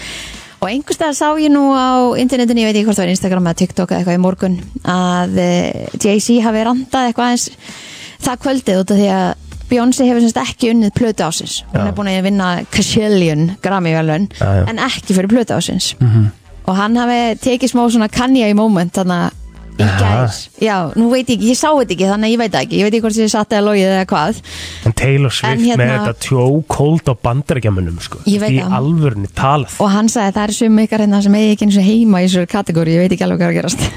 Speaker 2: og einhverstað sá ég nú á internetinu, ég veit ekki hvort það var Instagram eða TikTok eða eitthvað í morgun að eh, Jay-Z hafi randað eitthvað aðeins það kvöldið út af því að Beyoncé hefur semst ekki unnið plötu ásins hún er búin að vinna Kajillion Grammy-velun
Speaker 3: Já, já. Mhm.
Speaker 2: en ekki fyrir plötu ásins og hann hafi tekið smá svona Kanye moment þannig í gær já, nú veit ég ekki, ég sá þetta ekki þannig að ég veit það ekki, ég veit ekki hvort ég satt eða logið eða hvað
Speaker 3: en Taylor Swift
Speaker 2: En hérna-
Speaker 3: með þetta tjókóld á bandarækjamunum sko
Speaker 2: Ég veit
Speaker 3: í
Speaker 2: það.
Speaker 3: alvörni talað
Speaker 2: og hann sagði það er sum ykkar hérna sem eigi ekki eins og heima í þessu kategóri, ég veit ekki alveg hvað er að gerast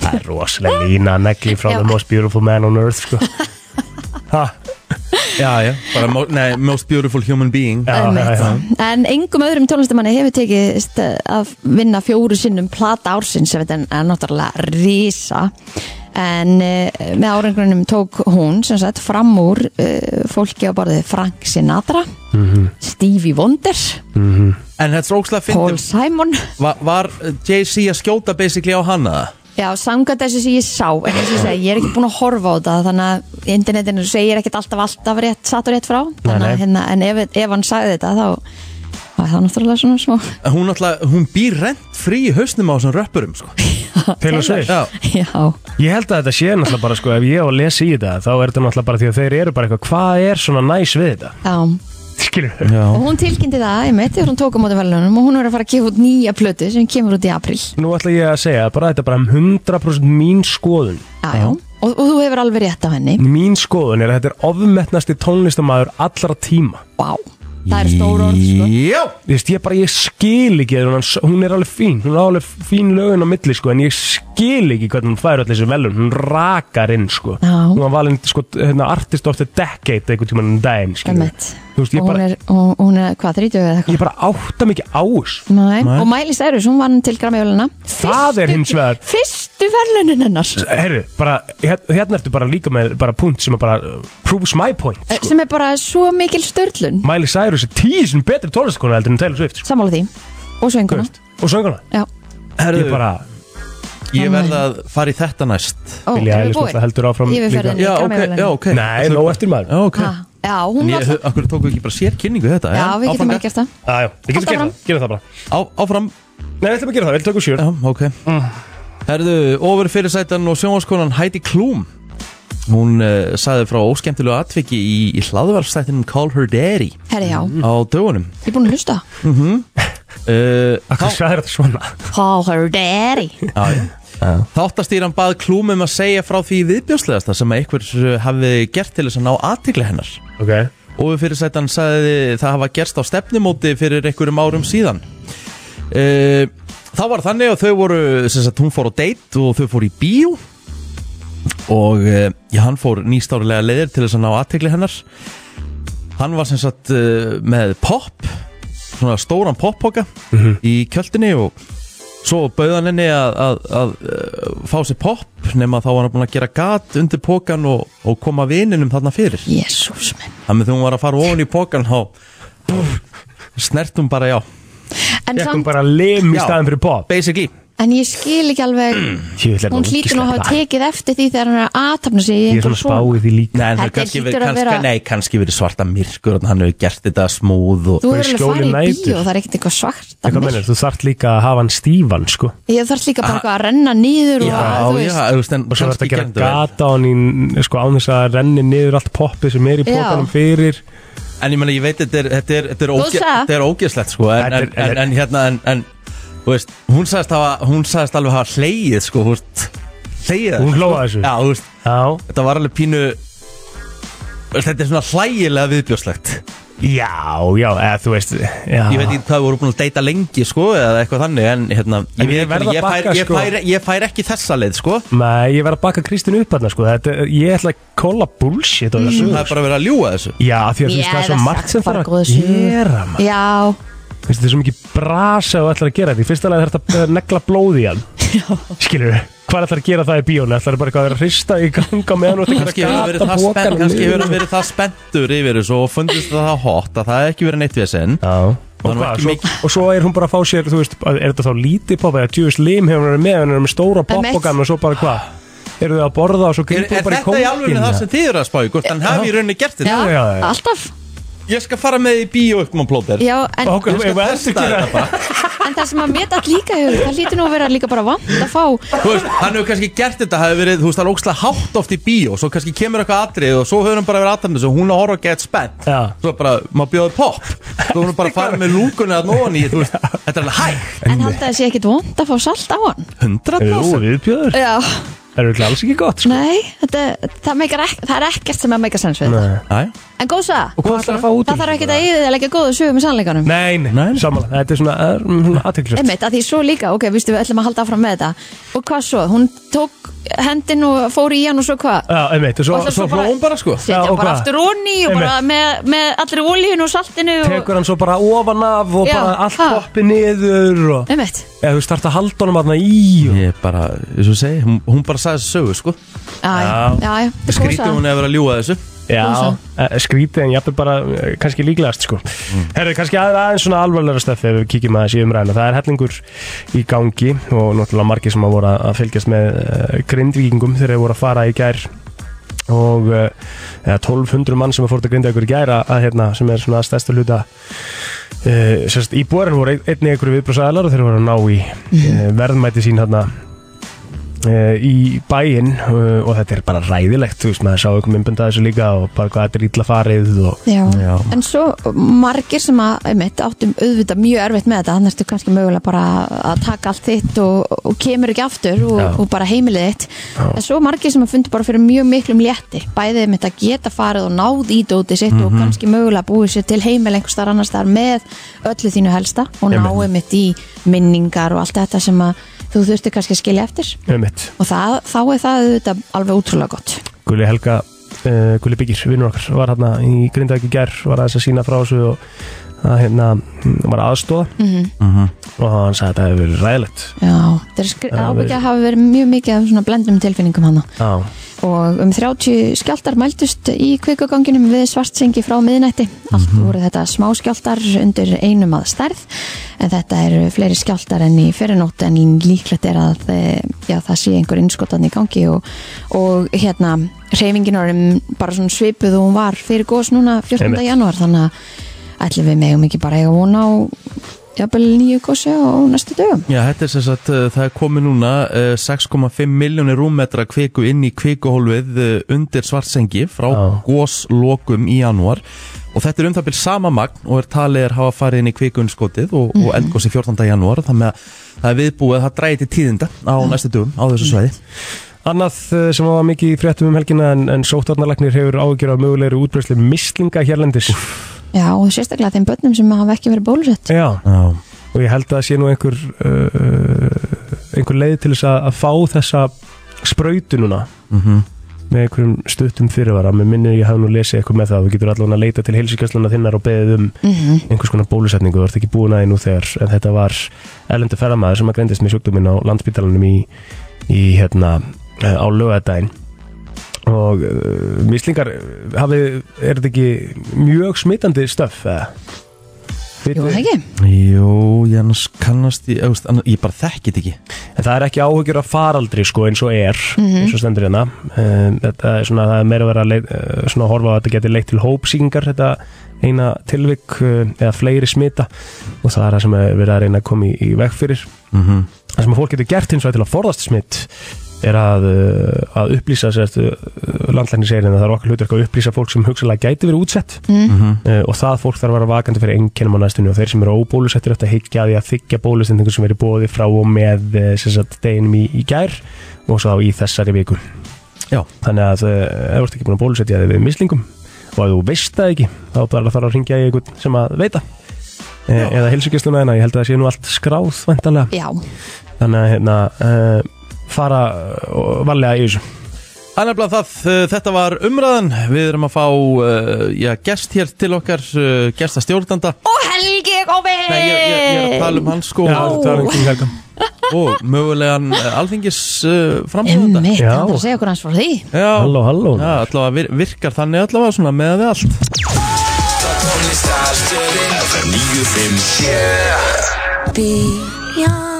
Speaker 3: það er rosalega lína að negli frá
Speaker 2: Já.
Speaker 3: the most beautiful man on earth sko ha,
Speaker 1: Já, já, bara mo nei, Most Beautiful Human Being
Speaker 3: já, já, já.
Speaker 2: Einmitt. en engum öðrum tónlistamanni hefur tekist eh, að vinna fjóru sinnum plata ársins sem þetta er náttúrulega risa en uh, með árangrunum tók hún sem sagt fram úr uh, fólki á borðið Frank Sinatra
Speaker 3: Mhm.
Speaker 2: Stevie Wonder
Speaker 1: En þetta er ókslega
Speaker 2: Paul
Speaker 1: fyndum
Speaker 2: Simon
Speaker 1: Va Var Jay-Z að skjóta basically á hana?
Speaker 2: Já, samkvæmt þessu sem ég sá en eins og ég segi, ég er ekki búin að horfa á þetta þannig að internetinu segir ekkert alltaf alltaf rétt, satt og rétt frá þannig,
Speaker 3: nei.
Speaker 2: að Hérna, en ef, ef hann sagði þetta þá var það náttúrulega svona smá
Speaker 1: Hún, alltaf, hún býr rent frí í hausnum á þessum röppurum sko.
Speaker 3: Taylor Swift
Speaker 1: Já,
Speaker 2: Já,
Speaker 3: Ég held að þetta sé náttúrulega bara sko ef ég á að lesa í þetta þá er þetta náttúrulega bara því að þeir eru bara eitthvað hvað er svona næs við þetta
Speaker 2: já
Speaker 3: skilur
Speaker 2: og hún tilkynnti það, ég mitt, þegar hún tók á móti velunum og hún er að fara að gefa út nýja plötu sem kemur út í april
Speaker 3: Nú ætla ég að segja bara þetta er bara 100% mín skoðun
Speaker 2: Já, já, og, og þú hefur alveg rétt á henni
Speaker 3: Mín skoðun er að þetta er ofmetnasti tónlistamæður allra tíma
Speaker 2: Vá, það er stór orð sko.
Speaker 1: Já
Speaker 3: Þú veist, ég bara, ég skil ekki að hún, hún er alveg fín, hún er alveg fín lögin á milli, sko, en ég skil ekki hvernig hún fær öll þessi velun, hún rakar inn, sko,
Speaker 2: Já.
Speaker 3: hún var valin, sko, hérna, artist of the decade einhvern tímann um daginn, sko,
Speaker 2: Einmitt.
Speaker 3: þú veist,
Speaker 2: og
Speaker 3: ég
Speaker 2: hún
Speaker 3: bara,
Speaker 2: er, hún, hún er hvað, 30 eða eitthvað
Speaker 3: ég bara átta mikið á þessu,
Speaker 2: Nei. og Miley Cyrus, hún vann til Grammy-jóluna
Speaker 3: það er hins vegar,
Speaker 2: fyrstu verðlunin hennar
Speaker 3: herru, bara, hér- hérna ertu bara líka með, bara punkt sem er bara, uh, proves my point,
Speaker 2: eh,
Speaker 3: sko,
Speaker 2: sem er bara svo mikil störlun
Speaker 3: Miley Cyrus er tíu sem betri tónlistakonu heldur en Taylor Swift, sko,
Speaker 2: sammála því, og
Speaker 3: þú
Speaker 2: sönguna
Speaker 3: veist, og sönguna,
Speaker 2: já,
Speaker 1: Herðu,
Speaker 3: ég bara,
Speaker 1: ég verð að fara í þetta næst
Speaker 2: ó,
Speaker 3: Billie
Speaker 2: erum við
Speaker 3: Eilish
Speaker 2: búin?
Speaker 3: náttúrulega heldur áfram
Speaker 2: Yfirferðin
Speaker 1: Já,
Speaker 2: í
Speaker 1: ok,
Speaker 2: Grammy-verðlaunin.
Speaker 1: já, ok
Speaker 3: nei, nóg eftir maður,
Speaker 1: Já, ok
Speaker 2: Ha, já, hún
Speaker 1: En
Speaker 2: var
Speaker 1: ég,
Speaker 2: það
Speaker 1: akkur tóku ekki bara sér kynningu þetta
Speaker 2: já,
Speaker 1: en
Speaker 2: við getum
Speaker 1: áfram-
Speaker 2: ekki eftir það
Speaker 3: aðjó, við
Speaker 2: Haltu
Speaker 3: getum gert
Speaker 2: áfram.
Speaker 3: það, gerum það bara.
Speaker 1: Á- Áfram
Speaker 3: Nei, við ætlum að gera það, við tökum sjör
Speaker 1: Já, ok Herðu, ofur fyrirsætan og sjónvarskonan Heidi Klum Hún uh, sagði frá óskemmtilegu atviki í, í hlaðvarfstættinum Call Her Daddy
Speaker 2: herri já,
Speaker 1: á dögunum
Speaker 2: ég er búin að hlusta
Speaker 1: uh,
Speaker 3: Akkur sæðir þetta svona
Speaker 2: call her daddy
Speaker 1: Þáttastýran bað Klum um að segja frá því viðbjóðslegasta sem að einhver eh, hafi gert til þess að ná aðtikli hennar
Speaker 3: Ok
Speaker 1: Óður fyrirsætan sagði það hafa gerst á stefnumóti fyrir einhverjum árum síðan uh, Þá var þannig að þau voru sem sagt hún fór á date og þau fór í bíó og uh, já, hann fór nýstárlega leiðir til þess að ná aðtekli hennar Hann var sem sagt uh, með pop svona stóran poppoka í kjöldinni og svo bauð hann henni að, að, að uh, fá sér pop nema þá var hann búin að gera gat undir pokan og, og koma vininum þarna fyrir
Speaker 2: jésús minn
Speaker 1: Þannig þegar hún var að fara ofan í pókan þá snert hún bara já
Speaker 2: en,
Speaker 3: Ég
Speaker 2: samt,
Speaker 3: kom bara lim í
Speaker 1: Já.
Speaker 3: staðin fyrir pop
Speaker 1: Basically
Speaker 2: en ég skil ekki alveg hún hlýtur nú að hafa tekið eftir því þegar hún er að aðtapna sig í
Speaker 3: Ég er
Speaker 2: einhver
Speaker 3: svona spáið því líka
Speaker 1: Nei, en það
Speaker 2: Þetta
Speaker 1: er kannski,
Speaker 2: hlýtur
Speaker 1: verið,
Speaker 2: að
Speaker 1: kannski,
Speaker 2: vera-
Speaker 1: nei, kannski verið svarta myrkur og hann hefur gert þetta smúð og
Speaker 2: þú
Speaker 3: bara
Speaker 2: er
Speaker 3: í
Speaker 2: alveg
Speaker 3: skjóli
Speaker 2: farið í
Speaker 3: nætur.
Speaker 2: bíó, það er ekkert eitthvað svarta
Speaker 3: Hvað mennir, þú þarft líka að hafa hann stífan sko
Speaker 2: ég þarf líka bara eitthvað að renna nýður og þú
Speaker 1: já,
Speaker 2: veist,
Speaker 1: þú veist, en
Speaker 3: Og svo þarft
Speaker 1: kannski
Speaker 3: að gera
Speaker 1: gerðu vel.
Speaker 3: gata á hann í sko án þess að renni niður allt poppið sem er í
Speaker 2: Já.
Speaker 3: pokanum fyrir
Speaker 1: En ég meina, ég veit, þetta er, þetta er, þetta er,
Speaker 2: Þú
Speaker 1: óge,
Speaker 2: sagði.
Speaker 1: þetta er ógeðslegt sko, en, en,
Speaker 3: Þetta er-
Speaker 1: en, en hérna, en, en þú veist, hún sagðist, hafa, hún sagðist alveg hafa hleyið sko, þú veist, hleyið
Speaker 3: Hún
Speaker 1: sko.
Speaker 3: hló að þessu?
Speaker 1: Já, þú veist,
Speaker 3: Já
Speaker 1: þetta var alveg pínu Þetta er svona hlægilega viðbjóðslegt
Speaker 3: Já, já, eða þú veist já.
Speaker 1: ég veit ekki hvað við vorum búin að deyta lengi sko, eða eitthvað þannig en hérna, ég,
Speaker 3: Ah. En
Speaker 1: veit
Speaker 3: ég
Speaker 1: ekki,
Speaker 3: verð að
Speaker 1: ég, fær,
Speaker 3: bakka,
Speaker 1: ég,
Speaker 3: sko.
Speaker 1: fær, ég fær ekki þessa leið sko.
Speaker 3: Nei, ég verð að baka Kristín upp hérna sko Þetta, er- Ég ætla að kolla bullshit á þessu
Speaker 1: það er bara að vera að ljúa þessu
Speaker 3: Já, því að þú
Speaker 2: Mm. Ég
Speaker 3: veist það er svo
Speaker 2: hefði
Speaker 3: margt
Speaker 2: sagt
Speaker 3: sem
Speaker 2: bara
Speaker 3: þarf
Speaker 2: góða
Speaker 3: að
Speaker 2: sögu.
Speaker 3: gera maður
Speaker 2: já,
Speaker 3: Þú veist, Þetta er svo mikið brasa og ætlar að gera þetta Í fyrsta lega þarf að negla blóð í hann skilur við, hvað ætlar að gera það í bíónu ætlar bara eitthvað að vera að hrista í ganga meðan og
Speaker 1: kannski hefur verið það spennt kannski hefur hann verið það spenntur yfir þessu og fundist það hot að það er ekki verið neitt við sinn
Speaker 3: Já, og,
Speaker 1: Það er nú
Speaker 3: hvað,
Speaker 1: ekki
Speaker 3: svo,
Speaker 1: mikið-
Speaker 3: og svo er hún bara að fá sér, þú veist, að- er þetta þá lítið pop eða djúvis lim hefur hann verið með, hann er með stóra
Speaker 2: Einmitt.
Speaker 3: poppokan og svo bara hvað, eru þau að borða og svo
Speaker 1: er,
Speaker 3: grýpum
Speaker 1: er
Speaker 3: bara í
Speaker 1: þetta í alveg það
Speaker 3: kóngina
Speaker 1: sem þið eru að spá í hvort hann hafi í rauninni gert
Speaker 2: já,
Speaker 1: þetta
Speaker 3: já, já.
Speaker 2: alltaf
Speaker 1: ég skal fara með í bíó upp með plóter
Speaker 2: já, en,
Speaker 3: og
Speaker 1: Ég skal
Speaker 3: ef
Speaker 1: testa
Speaker 3: eftir gera
Speaker 1: þetta bara.
Speaker 2: en það sem að mér dætt líka í hug, það hlýtur nú að vera líka bara vant að fá
Speaker 1: Þú veist, hann hefur kannski gert þetta hafi verið, þú veist, það er ógslag hátt oft í bíó svo kannski kemur eitthvað atrið og svo hefur hann bara verið aðtæmd þessu og hún að horfa að get spennt
Speaker 3: Já.
Speaker 1: svo bara, maður bjóði pop svo hún er bara að fara með lúkunni að nóðan í þú veist, þetta er alveg hægt
Speaker 2: en haldið að sé ekkert vond að fá salt á hann
Speaker 1: 100
Speaker 3: Jú, viðbjöður,
Speaker 2: já,
Speaker 3: það eru alls ekki gott sko.
Speaker 2: nei þetta, það, meikar ek, það er ekkert sem að meika sens við þetta
Speaker 3: Nei.
Speaker 1: Æ,
Speaker 2: en góð
Speaker 3: og
Speaker 2: saga,
Speaker 3: hvað ætlar að fá út úr
Speaker 2: það þarf
Speaker 3: þessu
Speaker 2: ekkert
Speaker 3: bara?
Speaker 2: að yfir að leggja góðu sögum með sannleikanum
Speaker 3: Nei, nei, samanlega, þetta er svona, það er svona aðtilsvægt
Speaker 2: Einmitt, að því svo líka, ok, vístu við ætlum að halda áfram með þetta og hvað svo, hún tók hendin og fór í hann og svo hvað
Speaker 3: Já, einmitt, og svo,
Speaker 2: Og það
Speaker 3: svo
Speaker 2: svo
Speaker 1: hló
Speaker 2: bara-
Speaker 1: hún bara sko
Speaker 2: setja
Speaker 3: Já, og
Speaker 2: bara
Speaker 3: hvað?
Speaker 2: aftur onni og bara með, með allri ólíun og saltinu og,
Speaker 3: tekur hann svo bara ofan af og
Speaker 2: Já,
Speaker 3: bara allt
Speaker 2: ha.
Speaker 3: poppi niður og
Speaker 2: einmitt,
Speaker 3: eða þú starta að halda honum aðna í og...
Speaker 1: Ég bara, eins og ég segi, hún, hún bara sagði þessu sögu sko
Speaker 2: já, já, já, já þetta er góð
Speaker 1: skrítið
Speaker 2: saga.
Speaker 1: hún hefur verið að ljúa þessu
Speaker 3: Já,
Speaker 2: Rosa.
Speaker 3: eh, skrítið en jafnveg bara eh, kannski líklegast sko. Herru, kannski að- aðeins svona alvarlega stöfi ef við kíkjum aðeins í umræðina. Það er hellingur í gangi og náttúrulega margir sem að voru að fylgjast með uh, grindvíkingum þegar þeir voru að fara í gær og uh, 1200 mann sem að fórt að grinda ykkur í gær að, að, hérna, sem er svona stærsta hluta uh, sérst eh, íbúar en voru ein- einnig ykkur viðbrúsaðalar og þeir voru að ná í uh, verðmæti sín hérna uh, í bæinn uh, og þetta er bara ræðilegt, þú veist, maður sá ykkur myndbönd að þessu líka og bara hvað þetta er illa farið og
Speaker 2: Já.
Speaker 3: Já.
Speaker 2: en svo margir sem að einmitt, áttum auðvitað mjög erfitt með þetta annars ertu kannski mögulega bara að taka allt þitt og, og kemur ekki aftur og,
Speaker 3: Já.
Speaker 2: og bara heimilið þitt en svo margir sem að fundi bara fyrir mjög miklum létti bæðið mitt að geta farið og náð í dótið sitt
Speaker 3: Mhm.
Speaker 2: og kannski mögulega búið sér til heimil einhvers þar annars þar með öllu þínu helsta og náið mitt í minningar og allt þetta sem að þú þurfti kannski að skilja eftir
Speaker 3: ömmitt.
Speaker 2: og það, þá er það auðvitað alveg útrúlega gott
Speaker 3: Gulli Helga uh, Gulli Byggir, vinnur okkar, var hérna í Grindavík í gær, var aðeins að sína frá þessu og að hérna mm, var aðstóða -hmm. og hann sagði að þetta hefur verið ræðilegt
Speaker 2: Já, það er
Speaker 3: Já,
Speaker 2: ábyggja
Speaker 3: við-
Speaker 2: að hafa verið mjög mikið af svona blendum tilfinningum hana
Speaker 3: Já,
Speaker 2: og um 30 skjáltar mæltust í kvikuganginum við svartsengi frá miðnætti allt
Speaker 3: Mhm.
Speaker 2: voru þetta smá skjáltar undir einum að stærð en þetta eru fleiri skjáltar enn í fyrirnótt en líklegt er að eh, já, það sé einhver innskotan í gangi og, og hérna reyfingin orðum bara svona svipuð og hún var fyrir gós núna 14.
Speaker 3: Einmitt.
Speaker 2: janúar þannig að ætlum við megum ekki bara eiga vona á jafnvel nýju gósi á næstu dögum
Speaker 1: Já, þetta er sem sagt, uh, það er komið núna uh, 6,5 miljónir rúmmetra kviku inn í kvikuhólfið uh, undir svartsengi frá
Speaker 3: Já.
Speaker 1: góslokum í janúar og þetta er um það byrð sama magn og er talið er hafa farið inn í kvikunskotið og, og eldgósi 14. janúar þannig að það er viðbúið að það dræti tíðinda á næstu dögum á þessu svæði
Speaker 3: Annað eh, sem var mikið í fréttum um helgina en, en sóttvarnarlagnir hefur ágjör af mögulegri útbreysli mislinga hérlendis
Speaker 2: Já, og sérstaklega þeim börnum sem hafa ekki verið bólusett
Speaker 3: Já,
Speaker 1: Já,
Speaker 3: og ég held að það sé nú einhver uh, einhver leið til þess að, að fá þessa sprautu núna
Speaker 1: Mhm.
Speaker 3: -hmm. með einhverjum stuttum fyrirvara með minni ég hafði nú lesið eitthvað með það þú getur allavega að leita til heilsugjaslana þinnar og beðið um
Speaker 1: Mhm.
Speaker 3: einhvers konar bólusetningu þú ert ekki búin aðeins nú þegar en þetta var erlendu ferðamaður sem að greindist með sjúkdóminn á landsbítalanum í, í hérna eh, á lögadaginn og uh, mislingar eh, hafið, er þetta ekki mjög smitandi stöf eða?
Speaker 2: Jú, það ekki?
Speaker 1: Jú, Jens kannast í, ég, ég bara þekkit ekki
Speaker 3: En það er ekki áhugjur af faraldri sko eins og er,
Speaker 2: Mhm.
Speaker 1: Mhm.
Speaker 3: eins og stendur hérna. Um, þetta er svona, það er meira verið að leit, eh, svona að horfa á að þetta geti leitt til hópsýkingar, þetta eina tilvik eh, eða fleiri smita og það er það sem er verið að reyna að koma í, í veg fyrir.
Speaker 1: mm -hmm.
Speaker 3: Það sem að fólk getur gert hins vegar til að forðast smitt er að, eh, að upplýsa sérst, landlækni segir en það er okkar hlutverk að upplýsa fólk sem hugsalega gæti verið útsett
Speaker 1: Mhm.
Speaker 3: Eh, og það fólk þarf að vera vakandi fyrir einkennum á næstunni og þeir sem eru óbólusettir eftir að higgja að því að þykja bólusetningu sem verið bóði frá og með eh, sem sagt, deginum í, í gær og svo þá í þessari viku
Speaker 1: Já.
Speaker 3: þannig að eh, ef þú ert ekki búin að bólusetja þig við mislingum og ef þú veist það ekki þá bara þarf að ringja í einhvern sem að veita Já. eða helsugjastluna en ég held að það sé nú allt skráð væntanlega.
Speaker 2: Já,
Speaker 3: þannig að hérna, uh, fara uh, varlega í þessu
Speaker 1: Annafla það, uh, þetta var umræðan Við erum að fá uh, já, gest hér til okkar uh, gesta stjórnanda
Speaker 2: og Helgi er komið
Speaker 1: Nei, ég, ég, ég er að tala um hans sko
Speaker 3: Já, það er einhvern helga
Speaker 1: og mögulegan eh, alþingis uh, framhjóðanda
Speaker 2: Einmitt,
Speaker 3: Já.
Speaker 2: hann þarf að segja okkur hans frá því
Speaker 1: Já,
Speaker 3: Halló, halló
Speaker 1: Já, allavega vir, virkar þannig allavega svona með við allt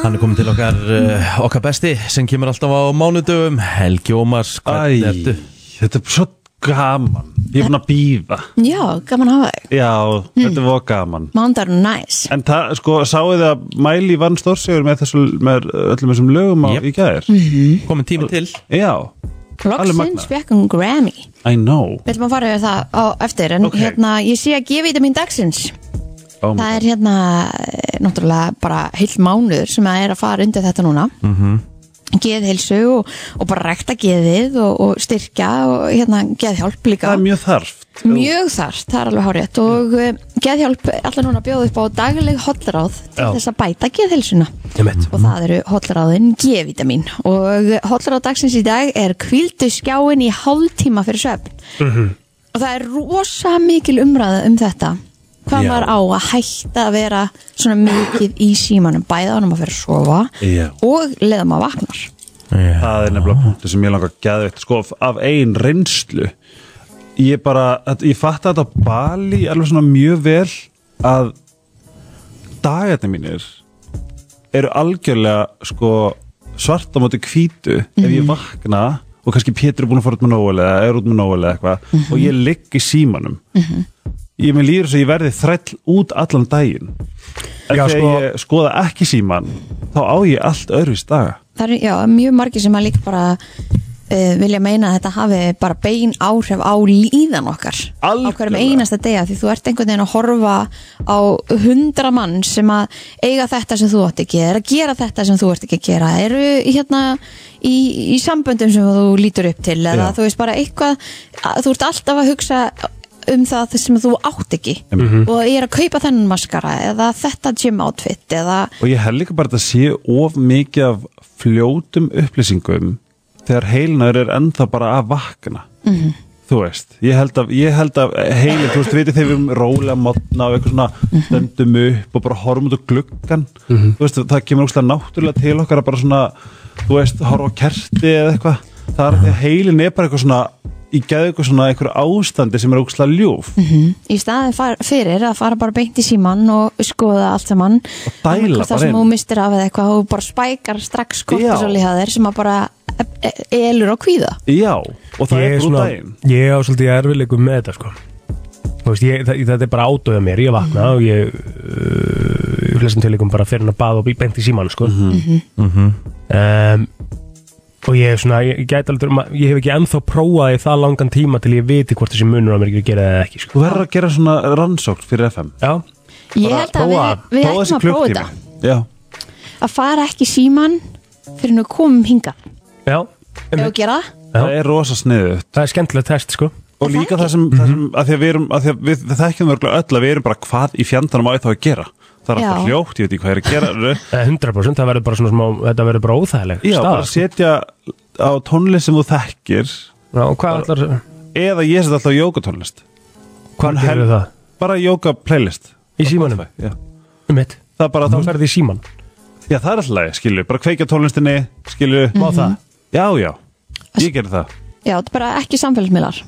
Speaker 1: Hann er komin til okkar, uh, okkar besti sem kemur alltaf á mánudöfum Helgi Ómars, hvernig ertu?
Speaker 5: Æ, þetta er svo gaman Ég er búin að Hmm. býfa
Speaker 2: Já, gaman að hafa þig
Speaker 5: Já, þetta var gaman
Speaker 2: Mándar er næs
Speaker 5: En það, sko, sáu þið að Mæli vann stórsigur með, þessu, með öllum þessum lögum á,
Speaker 1: Jep.
Speaker 5: í gæðir
Speaker 1: Komin tími til
Speaker 5: Já, magnað.
Speaker 1: um
Speaker 2: Loksins fekk hún Grammy
Speaker 5: I know
Speaker 2: Við ætlum að fara yfir það á eftir En
Speaker 5: Ok.
Speaker 2: hérna, ég sé að gefa í þetta mín dagsins
Speaker 5: oh
Speaker 2: Það
Speaker 5: my God.
Speaker 2: er hérna, eh, náttúrulega bara heill mánuður sem að er að fara undir þetta núna mm
Speaker 1: Mhm.
Speaker 2: -hmm. Geðhilsu og, og bara rekta geðið og, og styrkja og hérna geðhjálp líka
Speaker 5: það er mjög þarft
Speaker 2: Mjög þarft, það er alveg hárið og
Speaker 3: Mm.
Speaker 2: uh, geðhjálp er allar núna að bjóða upp á dagleg hollráð til
Speaker 3: Já.
Speaker 2: þess að bæta geðhilsuna
Speaker 3: Einmitt.
Speaker 2: og það eru hollráðin G-vitamin og hollráð dagsins í dag er kvíldu skjáin í hálftíma fyrir svefn
Speaker 3: Mhm.
Speaker 2: og það er rosa mikil umræða um þetta hvað maður á að hætta að vera svona mikið í símanum bæða ánum að fyrir að sofa
Speaker 5: Já.
Speaker 2: og leða maður vaknar
Speaker 5: Það er nefnilega punktu sem ég langar að geða veitt Sko, af ein reynslu Ég bara, að- ég fatt að þetta á Bali alveg svona mjög vel að dagarnir mínir eru algjörlega sko svart á móti hvítu ef
Speaker 3: Mhm.
Speaker 5: ég vakna
Speaker 3: Mhm.
Speaker 5: og kannski Pétur er búin að fara út með nógulega eða er út með nógulega eitthvað og ég ligg í símanum ég með líður svo ég verði þræll út allan daginn en
Speaker 3: Já,
Speaker 5: þegar
Speaker 3: sko-
Speaker 5: ég skoða ekki síman þá á ég allt öðruvis daga
Speaker 2: það er já, mjög margir sem að líka bara uh, vilja meina að þetta hafi bara bein áhrif á líðan okkar
Speaker 5: Algjörlega.
Speaker 2: á hverjum einasta degja því þú ert einhvern veginn að horfa á hundra mann sem að eiga þetta sem þú átt ekki er að gera þetta sem þú ert ekki að gera eru hérna í, í samböndum sem þú lítur upp til eða
Speaker 5: Já.
Speaker 2: þú veist bara eitthvað að, þú ert alltaf að hugsa um það sem þú átt ekki og ég er að kaupa þennan maskara eða þetta gym outfit eða
Speaker 5: og ég held líka bara að þetta sé of mikið af fljótum upplýsingum þegar heilnaður er ennþá bara að vakna -hmm. þú veist, ég held að, ég held að heilin, þú veist, veitir þegar við erum rólega modna og eitthvað svona stöndum upp og bara horfum út á gluggan
Speaker 3: Mhm.
Speaker 5: þú veist, það kemur óslega náttúrulega til okkar að bara svona, þú veist, horfa á kerti eða eitthvað, það er þegar heilin er bara eitthvað svona, í geðu eitthvað svona einhver ástandi sem er óslega ljúf
Speaker 2: Mhm. í staðin far, fyrir að fara bara beint í síman og skoða allt saman og
Speaker 5: dæla bara
Speaker 2: það sem
Speaker 5: inn.
Speaker 2: þú mistir af eða eitthvað og bara spækar strax kortisol í það þér sem að bara e- e- elur og kvíða
Speaker 5: já, og það
Speaker 3: ég
Speaker 5: er
Speaker 3: er
Speaker 5: brú
Speaker 3: svona,
Speaker 5: daginn
Speaker 3: ég á svolítið erfileikum með þetta sko Þú veist, ég, það, þetta er bara átöða mér, ég vakna
Speaker 5: Mhm.
Speaker 3: og ég uh, í flestum tilíkum bara fyrir hann að baða og bí- beint í síman sko
Speaker 5: Mhm.
Speaker 3: um, og ég er svona, ég, ég gæti aldrei ma- ég hef ekki ennþá prófað í það langan tíma til ég viti hvort þessi munur á mér ekki gera það eða ekki sko.
Speaker 5: þú verður að gera svona rannsókn fyrir FM
Speaker 3: Já,
Speaker 2: ég held að
Speaker 3: prófa-
Speaker 2: við, við ættum að prófa þetta
Speaker 5: Já,
Speaker 2: að fara ekki í síman fyrir nú komum hinga
Speaker 3: já,
Speaker 2: ef
Speaker 3: um,
Speaker 2: við gera það
Speaker 5: það er rosa sniðut
Speaker 3: það er skemmtilega test sko
Speaker 5: Og líka það sem, það
Speaker 3: Mhm.
Speaker 5: sem að því að við erum að því að við, við þekkjum örgulega öll að við erum bara hvað í fjandanum á ég þá að gera Það er alltaf
Speaker 2: Já.
Speaker 5: hljótt, ég veit ekki hvað er að gera
Speaker 3: Eh, 100% það verður bara svona smá, þetta verður bara sko. óþægileg
Speaker 5: Já,
Speaker 3: staða,
Speaker 5: bara setja á tónlist sem þú þekkir
Speaker 3: sko. já, og hvað allar,
Speaker 5: eða ég setja alltaf á jókatónlist
Speaker 3: hvað
Speaker 5: Hún
Speaker 3: gerir
Speaker 5: hel-
Speaker 3: það
Speaker 5: Bara jóka playlist
Speaker 3: í símanum,
Speaker 5: Já.
Speaker 3: um mitt
Speaker 5: Það er bara,
Speaker 3: þá
Speaker 5: þú,
Speaker 3: ferði í síman,
Speaker 5: já það er alltaf lagi, skilju, bara kveikja á tónlistinni, skilju
Speaker 3: má það
Speaker 5: Já, já, ég gerir það
Speaker 2: já, þetta er bara ekki samfélagsmiðlar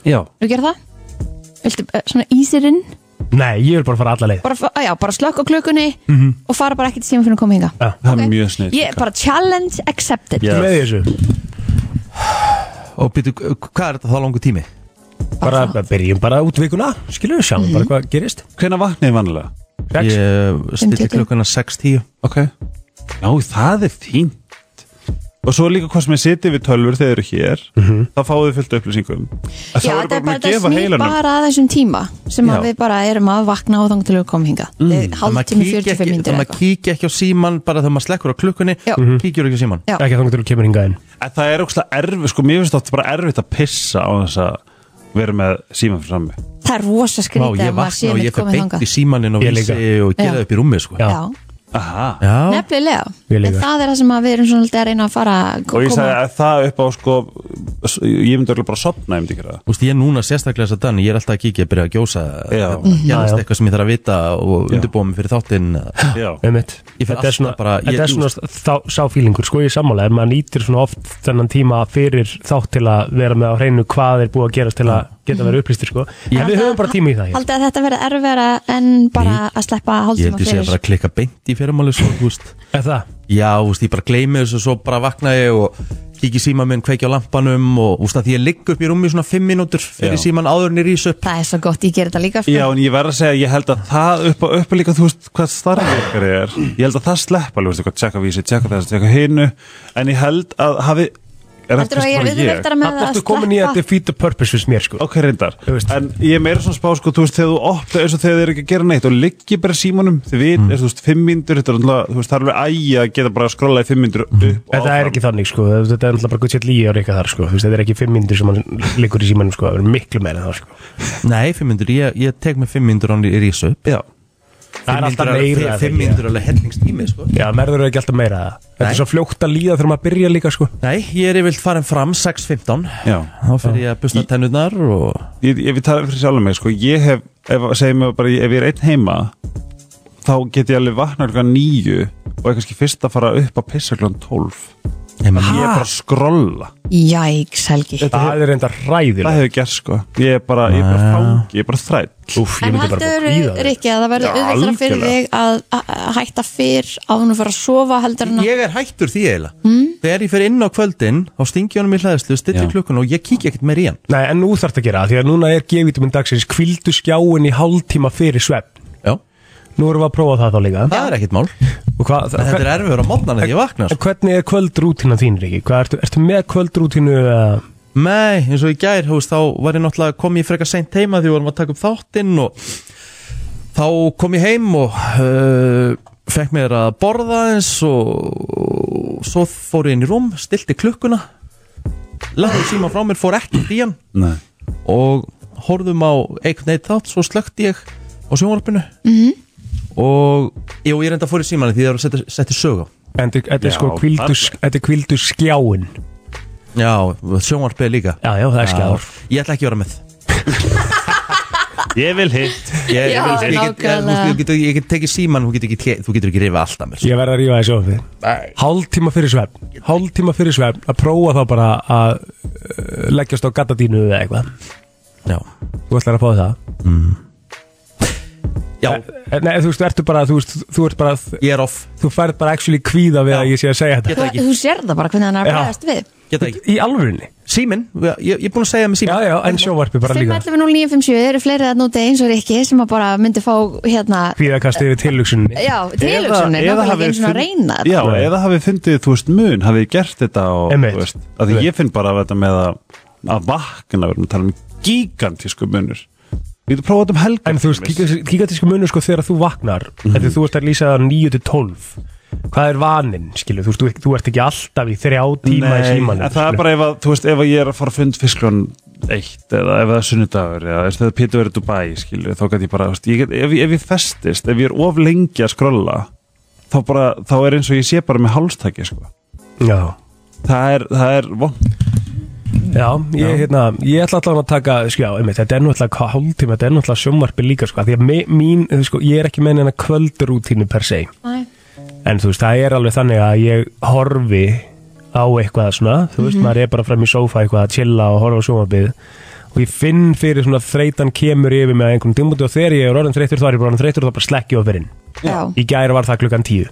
Speaker 5: Já,
Speaker 2: við gera það Viltu, eh, svona ísirinn,
Speaker 3: Nei, ég vil bara fara alla leið
Speaker 2: bara, fa- að já, bara slökk á klukkunni og fara bara ekki til síman fyrir að koma hinga
Speaker 5: það er mjög snið
Speaker 2: ég, bara challenge accepted
Speaker 5: Já.
Speaker 3: Með í þessu,
Speaker 1: Og býtu, hvað er þetta þá langu tími?
Speaker 3: bara bara byrjum bara út vikuna Skilur við sjáum bara hvað gerist
Speaker 5: Hvenær vaknaði vanlega?
Speaker 3: Sex.
Speaker 1: Ég eh, stilli
Speaker 2: 5:20.
Speaker 1: klukkana 6.10
Speaker 5: Ok Já, það er fínt Og svo líka hvað sem ég seti við tölfur þegar þið eru hér þá fáið þið fullt upplýsingum Það
Speaker 2: Já,
Speaker 5: eru
Speaker 2: þetta er
Speaker 5: búin
Speaker 2: bara
Speaker 5: að
Speaker 2: þetta
Speaker 5: gefa
Speaker 2: snýr
Speaker 5: heilanum
Speaker 2: bara að þessum tíma sem
Speaker 5: Já.
Speaker 2: að við bara erum að vakna og þangt til við komum hingað mm.
Speaker 1: Þannig
Speaker 2: Hálftími,
Speaker 1: að kíkja
Speaker 2: 45
Speaker 1: ekki-
Speaker 2: minnir
Speaker 1: Þannig að kíkja ekki á síman bara þegar maður slekkur á klukkunni
Speaker 2: Já.
Speaker 1: Kíkjur ekki á síman
Speaker 2: Já.
Speaker 3: Ekki þangur til að kemur hingað inn
Speaker 5: En Það er ógstlega erfið, sko, mér finnst þetta bara erfitt að pissa á þess að vera með síman fyrir sammi
Speaker 2: Það er rosa
Speaker 1: Vá,
Speaker 2: skrítið
Speaker 1: ég
Speaker 2: að maður
Speaker 1: vakna
Speaker 2: sé
Speaker 1: og
Speaker 2: með
Speaker 1: ég fer
Speaker 2: komið
Speaker 1: beint
Speaker 2: þangað
Speaker 1: í símanin og
Speaker 3: Ég
Speaker 1: vísi
Speaker 3: líka.
Speaker 1: og gera
Speaker 2: Já.
Speaker 1: það upp í rúmi sko.
Speaker 3: Já.
Speaker 2: Já,
Speaker 5: Aha
Speaker 1: Já.
Speaker 2: nefnilega
Speaker 3: Ég
Speaker 2: En
Speaker 3: líka.
Speaker 2: það er það sem að við erum svona alltaf að reyna að fara að
Speaker 5: Og ég sagði
Speaker 2: koma-
Speaker 5: að það upp á, sko, s- ég myndi örugglega bara að sopna, ég myndi ekki það
Speaker 1: Þú veist, ég er núna sérstaklega þess að dan, ég er alltaf að kíkja að byrja að gjósa
Speaker 5: Já.
Speaker 1: Gennast
Speaker 3: Já, já.
Speaker 1: eitthvað sem ég þarf að vita og undirbúa mig fyrir þáttinn
Speaker 5: Já,
Speaker 3: Um mitt
Speaker 1: Ég fer
Speaker 3: Þetta er
Speaker 1: alltaf
Speaker 3: svona,
Speaker 1: bara- ég-
Speaker 3: þetta er svona þá, sá fílingur Sko ég sammála En maður nýtir svona oft þennan tíma fyrir þátt til að vera með á hreinu Hvað er búið að gerast til að geta verið upplýstir sko En við höfum bara tíma í það hér.
Speaker 2: Haldið að þetta verði erfara en bara að sleppa
Speaker 1: Ég held
Speaker 2: hálftíma
Speaker 1: ég sé að
Speaker 2: fyrir
Speaker 1: bara að klikka beint í fyrirmáli svo, þú veist
Speaker 3: Er það?
Speaker 1: Já, þú veist, ég bara gleymi þessu og svo bara vakna ég og kíkja í síman minn, kveikja á lampanum og þú veist að því ég ligg upp í rúmi svona 5 mínútur fyrir
Speaker 5: Já.
Speaker 1: síman áður en ég rís upp
Speaker 2: Það er svo gott, ég ger þetta líka sko.
Speaker 5: Já, en ég verð að segja, ég held að það upp á upp líka, þú veist, hvað starfið ykkar er ég held að það sleppa, alveg, veistu, hvað tjekka vísi, tjekka þess, tjekka hinu en ég held að hafi er
Speaker 2: Heldurðu að ég er viðurvæktara með
Speaker 3: Það
Speaker 2: að
Speaker 3: ertu komin í að
Speaker 2: sleppa
Speaker 3: defeat the purpose fyrst mér sko
Speaker 5: Ok, reyndar,
Speaker 3: Þú veist.
Speaker 5: en ég er meira svona spá sko, þú veist, þegar þú opna eins og þegar þið er ekki að gera neitt og liggi bara í símanum, þið vit, mm. þú veist, fimm myndur þetta er alltaf, þú veist, það er alveg ægi að geta bara að skrolla í fimm myndur upp og
Speaker 3: Þetta er
Speaker 5: áfram.
Speaker 3: ekki þannig sko, þetta er náttúrulega bara gutt sér líi á reyka þar sko, Þú veist, þetta er ekki fimm myndir sem mann liggur í símanum sko, það er miklu meira en það sko.
Speaker 1: Nei, 5 mínútur, ég, ég tek mig 5 mínútur án í rís upp
Speaker 5: Já,
Speaker 3: Það er alltaf meira
Speaker 1: 5 mínútur er alveg hellingstími, sko
Speaker 3: Já, merður ekki alltaf meira það Þetta
Speaker 1: Nei.
Speaker 3: er svo fljótt að líða þegar maður byrja líka sko
Speaker 1: Nei, ég er yfirlt farin fram 6.15
Speaker 5: já
Speaker 1: Þá fyrir ég að busta tennurnar og
Speaker 5: Ég, ég við tala fyrir sjálfum mig, sko, ég hef ef, segjum mig bara, ef ég er einn heima þá get ég alveg vakna klukkan nýju og er kannski fyrst að fara upp að pissa klukkan tólf Ég er bara að skrolla
Speaker 2: Jæks, Helgi
Speaker 3: Það er enda
Speaker 5: Það
Speaker 3: hræðilega
Speaker 5: hefur gert sko Ég er bara, ég er
Speaker 3: Ah.
Speaker 5: bara fang, ég er bara þrætt
Speaker 3: Úf, ég
Speaker 2: En
Speaker 3: myndi bara
Speaker 2: heldur,
Speaker 3: búið í það
Speaker 2: Rikki, að það verður
Speaker 5: Já,
Speaker 2: auðvitað fyrir
Speaker 5: algjörlega.
Speaker 2: þig að að hætta fyrr áður en þú fyrir að sofa heldur en að
Speaker 1: Ég er Hmm? hættur því eiginlega Þegar ég fer inn á kvöldin Þá stingi ég honum í hlæðslu, stilli
Speaker 5: Já.
Speaker 1: klukkun og ég kíkja ekkert meir í hann
Speaker 3: Nei, en nú þarf þetta að gera það, Því að núna er G-vitamin dagsins Kvildu skjáin í hálftíma fyrir svefn
Speaker 1: Já,
Speaker 3: Nú erum við að prófa það þá líka
Speaker 1: það er ekkert mál
Speaker 3: Og hvað,
Speaker 1: En Þetta er erfiður á mótnan þegar ég vakna
Speaker 3: En
Speaker 1: sko.
Speaker 3: hvernig er kvöldrútina þín, Riki? Hvað ertu, ertu með kvöldrútinu uh,
Speaker 1: Nei, eins og í gær, þú veist, þá var ég náttúrulega kom ég frekar seint heima því við vorum að taka upp þáttinn og þá kom ég heim og uh, fekk mér að borða eins og, og svo fór ég inn í rúm, stilti klukkuna lagði síma frá mér, fór ekkert í hann
Speaker 5: Nei
Speaker 1: og horfðum á einhvern veit þátt, svo slökti ég á sjónvarpinu mm -hmm. og jú, ég reynda að fór í símanu því það var að setja, setja sög á
Speaker 3: En þetta þetta er
Speaker 5: Já,
Speaker 3: sko kvildu,
Speaker 5: þarna.
Speaker 3: þetta er kvildu skjáin
Speaker 1: Já, sjónvarpið líka
Speaker 3: Já, já, það er skjáður
Speaker 1: Ég ætla ekki að vera með
Speaker 5: Ég vil hitt
Speaker 1: Ég,
Speaker 2: Já,
Speaker 1: ég, ég, get, ég,
Speaker 2: nákvæmlega.
Speaker 1: ég, get, ég get tekið síman, þú getur ekki, tle- þú getur ekki rifið alltaf mér
Speaker 3: Ég verð að rífa þessu ofið Hálftíma fyrir svefn Hálftíma fyrir svefn Að prófa þá bara að uh, leggjast á gattadínu eða eitthvað
Speaker 1: Já,
Speaker 3: Þú ætlar að fá það
Speaker 1: já
Speaker 3: En- Nei, þú veist, ertu bara, þú veist, þú ert bara
Speaker 1: ég er off,
Speaker 3: Þú færð bara actually kvíða við
Speaker 1: Já.
Speaker 3: að ég sé að segja þetta
Speaker 1: geta
Speaker 2: þú,
Speaker 1: ekki,
Speaker 2: þú sér það bara hvernig hann er
Speaker 3: Já.
Speaker 2: að bregðast við
Speaker 1: geta ekki
Speaker 3: Í alvörinni
Speaker 1: Símin, ég, ég er búin að segja með
Speaker 3: Já,
Speaker 1: símin
Speaker 3: já, en sjóvarpi bara líka
Speaker 2: 5110957 eru fleiri að núti eins og Rikki sem að bara myndi fá hérna
Speaker 3: Kvíðakast yfir tilugsunni
Speaker 2: já, tilhugsunni,
Speaker 5: Eða- eða
Speaker 2: náttúrulega ekki
Speaker 5: hafið
Speaker 2: eins og að
Speaker 5: fund-
Speaker 2: reyna þetta.
Speaker 5: Já,
Speaker 3: Nei.
Speaker 5: eða hafið fundið, þú veist, mun Hafið þið gert þetta og,
Speaker 3: Einmitt.
Speaker 5: þú veist, að því
Speaker 3: Einmitt.
Speaker 5: ég finn bara að þetta með að, að vakna, við erum að tala um gigantísku munur Við getum prófað þetta um helga
Speaker 3: En þú veist, gigas- gigantísku munur sko þegar þú vaknar
Speaker 5: Mhm.
Speaker 3: mm Þegar þú ert að lýsa 9 til 12 Hvað er vaninn, skilur, þú veist, þú, þú ert ekki alltaf í þrjá tíma í símanum
Speaker 5: en það er
Speaker 3: skilur.
Speaker 5: bara ef að, þú veist, ef að ég er að fara að fund fisklun eitt eða ef það er sunnudagur eða ef það er Pétur verið Dubai, skilju, þá gæti ég bara, þú veist, ég get, ef, ég- ef ég festist, ef ég er of lengi að skrolla, þá bara, þá er eins og ég sé bara með hálstæki, sko.
Speaker 3: Já,
Speaker 5: Það er, það er, vond.
Speaker 3: já, ég, hérna, ég ætla allavega að taka, sko, já, einmitt, þetta er náttúrulega hálftíma, þetta er náttúrulega sjónvarpi líka, sko, af því að mi- mín, þú sko, ég er ekki með neina kvöldrútínu per se,
Speaker 2: Nei.
Speaker 3: en þú veist, það er alveg þannig að ég horfi á eitthvað svona, þú veist, maður er bara fram í sófa eitthvað að chilla og horfa á sjónvarpið og ég finn fyrir svona að þreytan kemur yfir með einhvern tímúti og þegar ég er orðin þreytur þá er ég bara orðin þreytur og þá bara slekki ég á fyrir
Speaker 2: Já.
Speaker 3: í gæri var það klukkan tíu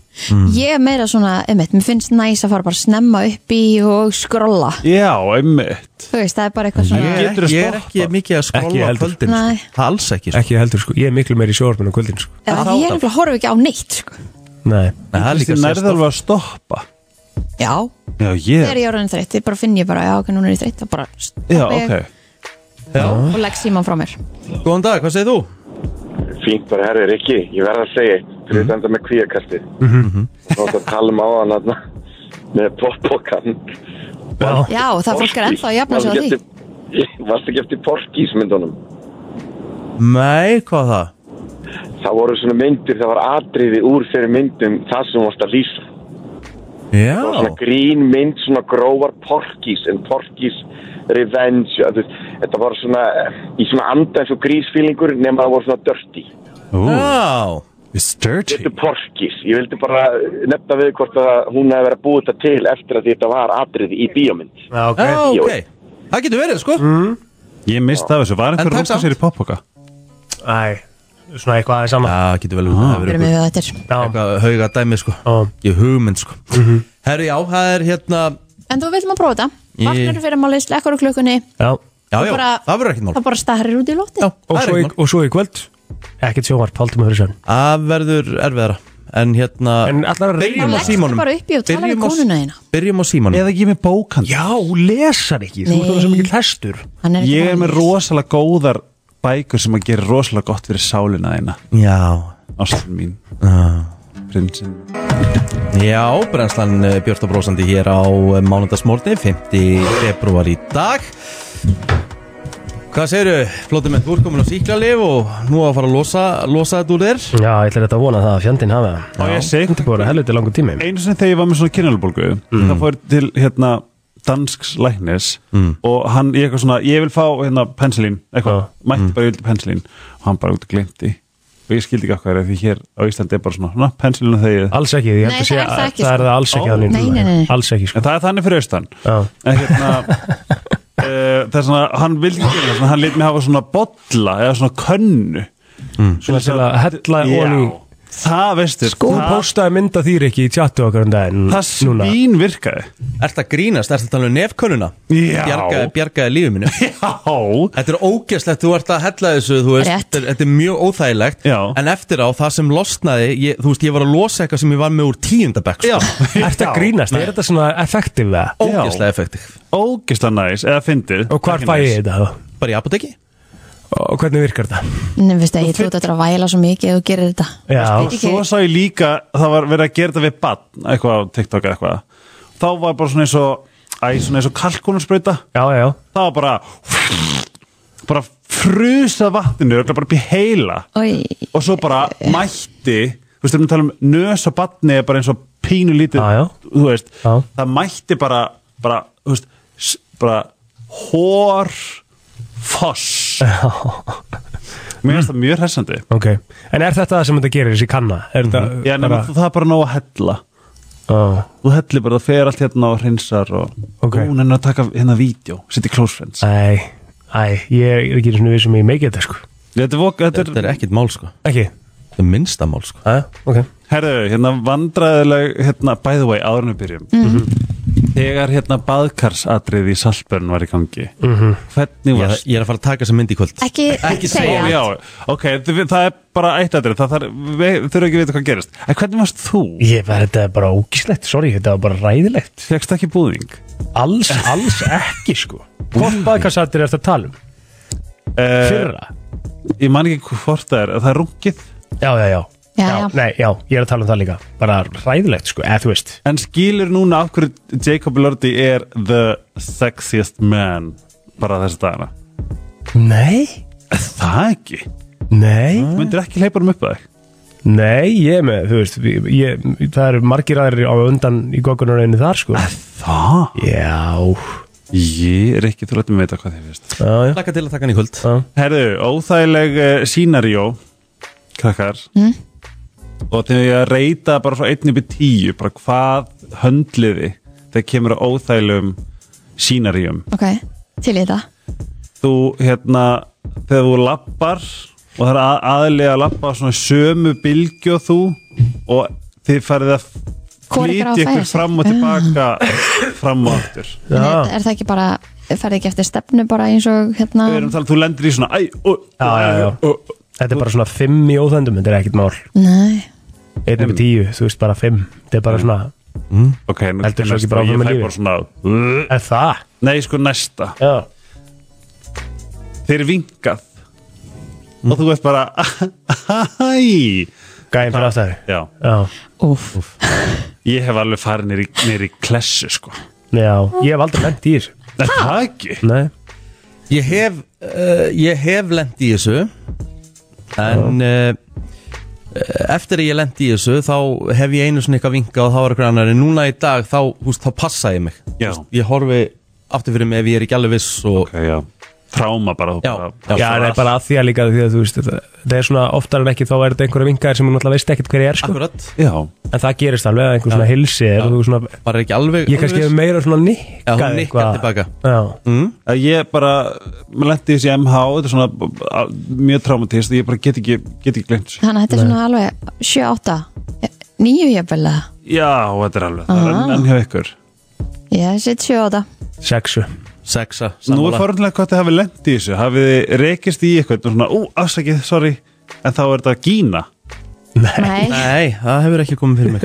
Speaker 2: ég er meira svona, einmitt, mér finnst næs að fara bara snemma upp í og skrolla
Speaker 5: Já, einmitt.
Speaker 2: þú veist, það er bara eitthvað svona
Speaker 1: Ég, er-
Speaker 5: Geturðu
Speaker 1: ég er ekki
Speaker 5: stoppað?
Speaker 1: mikið að
Speaker 3: Ekki
Speaker 1: skrolla á
Speaker 3: heldur.
Speaker 1: kvöldin
Speaker 2: Nei.
Speaker 1: sko. Það Alls ekki, sko.
Speaker 3: ekki heldur sko, ég er miklu meiri sjóarpinu kvöldin sko.
Speaker 2: Já,
Speaker 1: Það
Speaker 2: ég
Speaker 1: átta.
Speaker 2: er nefnilega horf ekki á neitt sko.
Speaker 3: nei,
Speaker 1: Nei, það er líka
Speaker 5: Þú
Speaker 1: sérstakt.
Speaker 5: nærðar alveg að stoppa.
Speaker 2: já,
Speaker 5: Já,
Speaker 2: þegar
Speaker 5: ég,
Speaker 2: ég er orðin þreytt ég bara finn ég bara, já, ok, núna er ég þreytt þá bara stoppa
Speaker 5: já,
Speaker 2: ég
Speaker 5: ok.
Speaker 2: og legg síman frá mér
Speaker 1: Góðan dag, hvað segir þú?
Speaker 7: Fínt bara herrið, Rikki, ég verða að segja eitt fyrir þetta enda með kvíakastið. Þú átt að tala um á hann aðna með poppokan.
Speaker 3: já,
Speaker 2: já, það fólk er ennþá að jafna sig á því
Speaker 7: því. Varst ekki eftir porkísmyndunum.
Speaker 1: Nei, hvað það?
Speaker 7: Það voru svona myndir, það var atriði úr fyrir myndum það sem þú varst að lýsa.
Speaker 1: Já,
Speaker 7: Það var svona grín mynd, svona grófar porkís, en porkís revenge. að þú veist, Þetta var svona eh, í svona anda eins og grísfílingur nema það voru svona dirty.
Speaker 1: já
Speaker 5: It's dirty.
Speaker 7: Þetta er porkis, ég vildi bara nefna við hvort að hún hefði verið að búið þetta til eftir að þetta var atrið í bíómynd.
Speaker 3: já, Ah, ok
Speaker 1: Já,
Speaker 7: Jú.
Speaker 1: ok Það getur verið, sko
Speaker 5: Ég misti af þessu, var
Speaker 1: En
Speaker 5: einhver
Speaker 1: takk
Speaker 5: rústa
Speaker 1: samt.
Speaker 5: sér í poppoka?
Speaker 3: Æ, svona eitthvað aðeins annað
Speaker 1: Já, getur vel verið
Speaker 2: við erum
Speaker 1: eitthvað-
Speaker 2: við þetta
Speaker 3: já,
Speaker 1: Eitthvað hauga dæmi, sko
Speaker 3: já,
Speaker 1: Ég hugmynd, sko Herri, já, það er hérna
Speaker 2: en þú vilt maður prófa
Speaker 1: Í-
Speaker 2: þetta vaknar fyrir máli, slekkur á klukkunni
Speaker 3: já
Speaker 1: Já,
Speaker 2: Og
Speaker 1: já,
Speaker 2: bara-
Speaker 1: það verður ekkert mál
Speaker 2: þá bara starir út í lótti
Speaker 1: Já, það
Speaker 3: og
Speaker 1: er
Speaker 3: svo, í,
Speaker 1: ekkert mál
Speaker 3: og svo í kvöld ekkert sjónvarp, hálftíma fyrir sjön
Speaker 1: Það verður erfiðara En hérna
Speaker 3: En allar að
Speaker 1: Byrjum
Speaker 3: reyna
Speaker 1: á
Speaker 2: Leggstu
Speaker 1: símanum
Speaker 2: bara upp í og tala við
Speaker 1: Byrjum á-
Speaker 2: konuna þína.
Speaker 1: Byrjum á símanum
Speaker 5: Eða ekki með bókand?
Speaker 3: já, lesar ekki, þú ert
Speaker 2: Nei.
Speaker 3: það sem ekki hestur
Speaker 5: Ég er með rosalega góðar bækur sem að gera rosalega gott fyrir sálina þeina.
Speaker 1: Já
Speaker 5: Ástin mín, prinsinn.
Speaker 1: Já, brennslan eh, Björt og Brósandi hér á eh, mánudagsmorgni 5. februar í dag Hvað segirðu, flóttum með úr komin á síklarlif og nú á að fara að losa, losa þetta úr þér
Speaker 3: já, ég ætla þetta að vona það að fjandinn hafa það.
Speaker 5: Á ég að segja
Speaker 3: þetta er bara helviti langur tími
Speaker 5: Einu sem þegar ég var með svona kynalbólgu, mm. það fór til hérna dansks læknis og hann í eitthvað svona, ég vil fá hérna pensilín, eitthvað,
Speaker 3: Mm. Já. Mm.
Speaker 5: mætti bara, ég vildi pensilín og hann bara út og glemti og ég skildi ekki okkar því hér á Íslandi er bara svona na, pensilinu þegið
Speaker 3: Alls ekki, ég held
Speaker 2: Nei,
Speaker 3: að sé
Speaker 2: það er það
Speaker 3: að
Speaker 2: ekki,
Speaker 3: það er
Speaker 2: sko.
Speaker 3: það alls ekki
Speaker 5: Ó.
Speaker 3: að
Speaker 2: Nei, nei, nei.
Speaker 3: Alls ekki, sko
Speaker 5: en það er þannig fyrir austan
Speaker 3: Já.
Speaker 5: en hérna uh, það er svona, hann vildi ekki gera það svona, hann lit mig hafa svona bolla eða svona könnu
Speaker 3: Svona til að hella
Speaker 5: Já,
Speaker 3: ofan í
Speaker 5: það veistu
Speaker 3: Sko, hún
Speaker 5: það,
Speaker 3: postaði mynda þýr ekki í tjattu okkar um daginn
Speaker 5: það
Speaker 3: núna.
Speaker 5: svín virkaði
Speaker 1: Ert að grínast, ert að tala um nefkönnuna
Speaker 5: Já.
Speaker 1: Bjargaði, bjargaði lífið minni
Speaker 5: já,
Speaker 1: Þetta er ógeðslegt, þú ert að hella þessu þú veist,
Speaker 2: Rétt.
Speaker 1: þetta er- þetta er mjög óþægilegt
Speaker 5: Já.
Speaker 1: En eftir á, það sem losnaði ég, Þú veist, ég var að losa eitthvað sem ég var með úr tíundabæk sko.
Speaker 3: Ertu að grínast, er þetta svona effektiv það?
Speaker 1: Ógeðslega effektiv
Speaker 5: ógisla næs eða fyndið
Speaker 3: Og hvar
Speaker 5: Ekki
Speaker 3: fæ
Speaker 5: næs.
Speaker 3: ég þetta þá?
Speaker 1: Bara í apoteki
Speaker 3: Og hvernig virkar þetta?
Speaker 2: Nei, veist það, ég trúið að þetta er að væla svo mikið ef þú gerir þetta
Speaker 3: Já,
Speaker 5: og svo sá ég líka það var verið að gera þetta við bann eitthvað á TikTok eða eitthvað þá var bara svona eins og æ, svona eins og kalkunarsprauta
Speaker 3: já, já,
Speaker 5: það var bara bara frusað vatninu örugglega bara upp í heila
Speaker 2: Oj,
Speaker 5: og svo bara mætti þú veist, við erum að tala um nös og batni er bara eins og pínu lítið
Speaker 3: Já, já.
Speaker 5: þú veist,
Speaker 3: Já.
Speaker 5: það mætti bara bara, þú veist, s- bara hór foss mér finnst það mjög hressandi
Speaker 3: ok En er þetta það sem þetta gerir, þessi kanna? Er þetta
Speaker 5: Mhm. Já, nema,
Speaker 3: bara-
Speaker 5: það er bara nóg að hella
Speaker 3: Ó,
Speaker 5: þú hellir bara, það fer allt hérna og hreinsar og
Speaker 3: Ok.
Speaker 5: hún er að taka hérna vídeo sitt í Close Friends
Speaker 3: Æ, æ, ég er ekki svona við sem ég meikið þetta, sko
Speaker 5: þetta er, vok- þetta
Speaker 1: Þetta
Speaker 5: er
Speaker 1: er ekkit mál, sko
Speaker 3: Ekki?
Speaker 1: Þetta er minnsta mál, sko
Speaker 3: Æ, ok
Speaker 5: herðu, hérna vandræðileg hérna, by the way, áður en við byrjum þegar hérna baðkarsatrið í Saltbörn var í gangi -hmm. hvernig
Speaker 1: ég,
Speaker 5: var
Speaker 1: ég er að fara að taka þessa mynd í kvöld
Speaker 2: ekki, ekki segja
Speaker 5: já, ok, þið- það er bara eitt atrið það þarf við- þurfum ekki að vita hvað gerist en hvernig varst þú?
Speaker 3: Ég var þetta er bara ógislegt, sorry, þetta var bara ræðilegt
Speaker 5: Fegst ekki búðing?
Speaker 3: Alls, alls ekki, sko Hvort baðkarsattir er þetta talum?
Speaker 5: Uh,
Speaker 3: um? Fyrra?
Speaker 5: ég man ekki hvort það er, það er rungið
Speaker 3: Já, já, já
Speaker 2: Já, já.
Speaker 3: Nei, já, ég er að tala um það líka Bara ræðilegt, sko, eða þú veist
Speaker 5: En skilur núna af hverju Jacob Lordi er the sexiest man bara þessi dagana
Speaker 3: Nei,
Speaker 5: Er Það ekki
Speaker 3: nei,
Speaker 5: Myndir ekki hleypa um upp að þig
Speaker 3: nei, ég er með, þú veist ég, ég, Það eru margir aðrir á undan í goggunarauðinu þar, sko
Speaker 5: Það?
Speaker 3: Já,
Speaker 5: Ég er ekki til að vita hvað þið finnst
Speaker 3: já, já
Speaker 1: Laka til að taka hann í kvöld
Speaker 5: Herðu, óþægileg uh, sínarió Krakkar mm? Og þegar ég að reyta bara frá 1 upp í 10 bara hvað höndliði þegar kemur á óþægilegum sínaríum
Speaker 2: Ok, til í þetta
Speaker 5: þú hérna þegar þú lappar og það er að, aðlega að lappa á svona sömu bylgju og þú og þið farið að
Speaker 2: Hvor ykkar á að færa
Speaker 5: flýti
Speaker 2: sig?
Speaker 5: ykkur
Speaker 2: Ah.
Speaker 5: fram og tilbaka fram og aftur
Speaker 2: En er,
Speaker 3: Já.
Speaker 2: er það ekki bara, ferði ekki eftir stefnu bara eins og hérna
Speaker 5: Við erum talað, þú lendir í svona æ, ó,
Speaker 3: Já, já, já.
Speaker 5: ó, ó.
Speaker 3: Þetta er bara svona fimm í óþöndum, þetta er ekkert mál
Speaker 2: Nei,
Speaker 3: Einn upp í tíu, þú veist, bara fimm Þetta er bara svona,
Speaker 5: ok, nú
Speaker 3: Heldur
Speaker 5: kemur
Speaker 3: svo ekki
Speaker 5: næsta.
Speaker 3: bara áfram
Speaker 5: ég
Speaker 3: með
Speaker 5: fæ
Speaker 3: lífið.
Speaker 5: bara svona
Speaker 3: er það?
Speaker 5: nei, sko næsta
Speaker 3: Já
Speaker 5: þeir eru vinkað og þú veist bara æ,
Speaker 3: Gæðin fyrir aftari
Speaker 5: já,
Speaker 3: Já,
Speaker 2: úf
Speaker 5: ég hef alveg farið nýri, nýri klessu sko
Speaker 3: já, ég hef aldrei lent í þessu
Speaker 5: er það ekki?
Speaker 3: Nei,
Speaker 1: Ég hef, uh, ég hef lent í þessu En uh, Eftir að ég lent í þessu Þá hef ég einu svona eitthvað vinka Og þá var eitthvað annar En núna í dag þá, húst, þá passa ég mig Þú
Speaker 5: Já.
Speaker 1: veist, Ég horfi aftur fyrir mig ef ég er ekki alveg viss og,
Speaker 5: ok, já, tráma bara, þú
Speaker 1: Já,
Speaker 5: bara
Speaker 1: já.
Speaker 3: já, það er bara að því að líka því að þú veist þetta- Það er svona oftar en ekki þá er þetta einhverja vingar sem hún náttúrulega veist ekkert hver ég er sko
Speaker 1: Akkurat
Speaker 5: já.
Speaker 3: En það gerist alveg að einhver svona hilsi er og þú svona
Speaker 1: Bara ekki alveg
Speaker 3: Ég kannski
Speaker 1: alveg
Speaker 3: hefur
Speaker 1: viss.
Speaker 3: meira svona nikkað
Speaker 1: Já, hún nikkar
Speaker 3: eitthvað.
Speaker 1: tilbaka. Mm.
Speaker 3: Já,
Speaker 5: að ég bara, maður lendi þessi MH þetta er svona b- a- mjög traumatist ég bara get ekki, get ekki glemt þessu
Speaker 2: Þannig að þetta er svona alveg 7-8 Nýju jafnvel eða?
Speaker 5: já, þetta er alveg, það
Speaker 2: Ah.
Speaker 5: er enn- enn hjá ykkur
Speaker 2: Ég set 7-8
Speaker 3: sexu
Speaker 1: Sexa
Speaker 5: nú
Speaker 1: sammála.
Speaker 5: er forunlega hvað þið hafið lendi þessu hafið þið rekist í eitthvað og svona, ú, afsakið, sorry en þá er þetta gína
Speaker 2: Nei,
Speaker 1: Nei, það hefur ekki komið fyrir mig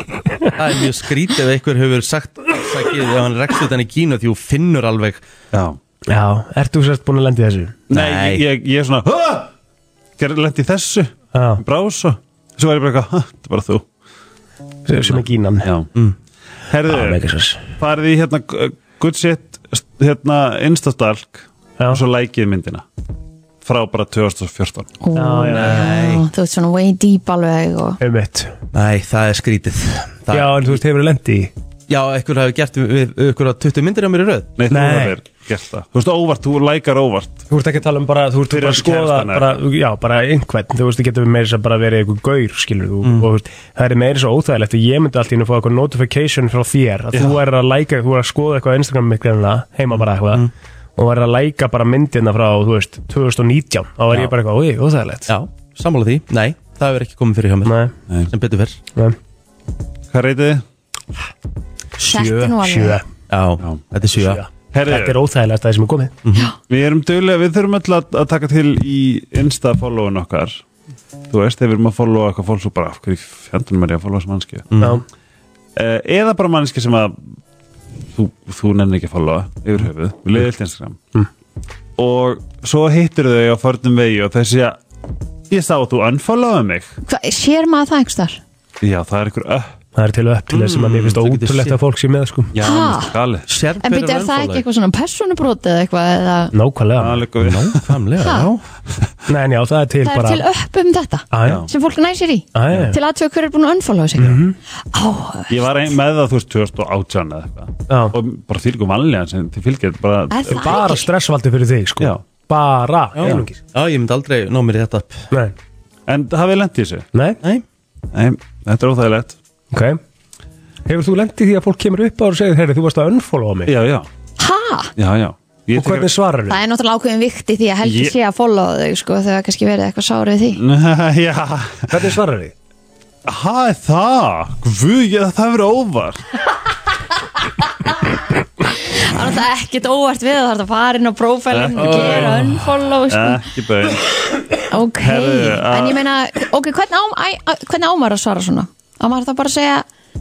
Speaker 1: Það er mjög skrítið ef einhver hefur sagt Sækið ef hann rekst utan í Kína Því þú finnur alveg
Speaker 5: já,
Speaker 3: Já, ert þú sérst búin að lenda í þessu?
Speaker 5: nei,
Speaker 1: Nei.
Speaker 5: Ég, ég, ég er svona "Ah!" gerði lendi þessu
Speaker 3: Já,
Speaker 5: brás og, svo er ég bara eitthvað "Ha, þetta er bara þú
Speaker 3: sem er gínan
Speaker 5: já, herðu
Speaker 3: Já, megasens.
Speaker 5: farið í hérna g- good shit st- hérna instastalk
Speaker 3: Já.
Speaker 5: og svo lækið myndina frá bara 2014
Speaker 2: Ó,
Speaker 3: já,
Speaker 2: já. Þú ert svona way deep alveg og
Speaker 3: Einmitt.
Speaker 1: Nei, það er skrítið það
Speaker 3: Já, en þú veist hefur lent í
Speaker 1: Já, einhver hafi gert við, við ykkur 20 myndir á mér í röð
Speaker 5: Nei, þú
Speaker 3: Nei.
Speaker 5: hefur gert það Þú veist, óvart, þú lækar óvart
Speaker 3: Þú ert ekki að tala um bara, þú ert
Speaker 5: Fyrir
Speaker 3: bara að
Speaker 5: að
Speaker 3: skoða
Speaker 5: kærastan er-
Speaker 3: bara, Já, bara einhvern, þú veist, það getur meira þess að bara verið einhver gaur, skilur þú og, þú veist, Það er meira svo óþægilegt að ég myndi alltaf inn að fá eitthvað notification frá þér að þú er að læka, þú er að skoða eitthvað á Instagram mikilvæmna, heima bara eitthvað og er að læka bara myndina frá, þú veist 2019, þá er ég bara eitthvað, oi, óþægilegt
Speaker 1: Já, sammála því, nei, það hefur ekki komið fyrir hjá mér
Speaker 3: Nei,
Speaker 1: Sem betur fyrr
Speaker 3: nei,
Speaker 5: Hvað reytið þið?
Speaker 2: Þetta er nú alveg-
Speaker 3: sjö
Speaker 1: Já, þetta er sjö
Speaker 3: Sjö.
Speaker 5: Herri.
Speaker 3: Þetta er óþægilegast það sem er komið
Speaker 5: Við erum dögulega, við þurfum öll að, að taka til í insta-followun okkar Þú veist, ef við erum að followa eitthvað fólk svo bara, af hverju fjandunum er ég að followa sem mannski mm.
Speaker 3: Já,
Speaker 5: Eða bara mannski sem að þú, þú nennir ekki að followa yfir höfuð, við leiðið allt Instagram og svo hittir þau á förnum vegi og þessi að ég sá að þú unfollowaði mig
Speaker 2: Hva, sér maður það einhvers þar?
Speaker 5: Já, það er ykkur öpp
Speaker 3: það er til upp til þess sem að mér finnst
Speaker 1: þú getur
Speaker 3: ótrúlegt
Speaker 1: séð.
Speaker 3: að fólk sé með, sko
Speaker 5: Já,
Speaker 2: Ha?
Speaker 5: mér finnst það galið
Speaker 1: Sérð
Speaker 2: En
Speaker 1: hver
Speaker 2: byrja, er það ekki
Speaker 1: unfollow-ið.
Speaker 2: eitthvað svona personubrót eða eitthvað eða...
Speaker 5: Það
Speaker 3: Nákvæmlega,
Speaker 5: er líka við
Speaker 1: Nákvæmlega,
Speaker 2: Ha?
Speaker 1: já
Speaker 3: nei, en já, það er til
Speaker 2: Það er
Speaker 3: bara
Speaker 2: til upp um þetta
Speaker 3: Á, já.
Speaker 2: sem fólk næsir í
Speaker 3: Á, já.
Speaker 2: til aðtöku hver er búin að unfollowa sig Á,
Speaker 5: Ég var ein, með það, þú veist, 2018 eða eitthvað
Speaker 3: Já.
Speaker 5: og bara því líka mannlega sem þið fylgjast bara
Speaker 2: er það
Speaker 3: bara
Speaker 2: ekki?
Speaker 3: stressvaldi fyrir þig sko.
Speaker 5: Já.
Speaker 3: bara,
Speaker 1: Já.
Speaker 3: einungis
Speaker 1: Já, ég myndi aldrei ná mér í þetta upp
Speaker 3: nei.
Speaker 5: En hafið lent í þessu?
Speaker 3: nei,
Speaker 1: Nei,
Speaker 5: Nei, þetta er óþægilegt
Speaker 3: ok hefur þú lendið því að fólk kemur upp á þér og segir herri, þú varst að unfollowa mig
Speaker 5: Já, já,
Speaker 2: Ha?
Speaker 5: já, já Ég
Speaker 3: og hvernig svarar þú?
Speaker 2: Það er náttúrulega ákveðin vikti því að Helgi
Speaker 5: Ég- Mm.
Speaker 2: sé að followa þau sko þegar kannski verið eitthvað sárið því
Speaker 5: Nei, já
Speaker 3: hvernig svarar þú?
Speaker 5: Hæ, það Guð, ég, það verið óvar
Speaker 2: Það er náttúrulega ekkert óvart við að það er að fara inn á prófælum og gera unfollow sko.
Speaker 5: Ekki bauðin
Speaker 2: Ok,
Speaker 5: Herðu, að-
Speaker 2: en ég meina ok, hvernig á- æ, að- hvernig ámar að svara svona? Ámar það bara að segja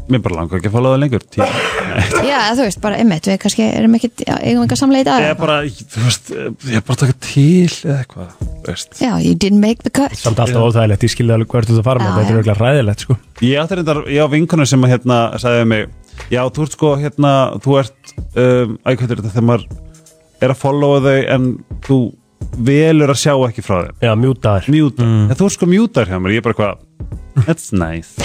Speaker 5: Mér bara langar ekki að fóla það lengur Tí-
Speaker 2: Já, eða þú veist, bara einmitt, við kannski erum ekkit, já, eigum enga samlega í dag
Speaker 5: Ég er
Speaker 2: eða
Speaker 5: bara, þú veist Ég er bara að taka til eða eitthvað þú veist.
Speaker 2: eitthvað. Já, you didn't make the cut
Speaker 3: samt alltaf óþægilegt, ég skilði alveg hvert þú ert að fara
Speaker 2: Já,
Speaker 3: með þetta
Speaker 2: já.
Speaker 3: er auðvitað ræðilegt sko.
Speaker 5: Ég átti reyndar, ég á vinkonu sem að hérna sagði við mig Já, þú ert sko hérna Þú ert, um, æ, hvað er þetta Þegar maður er að followa þau En þú velur að sjá ekki frá þeim
Speaker 3: já, mjútaðar,
Speaker 5: Mjútar, mm. þú ert sko mjútar hjá mér Ég er bara hvað, that's nice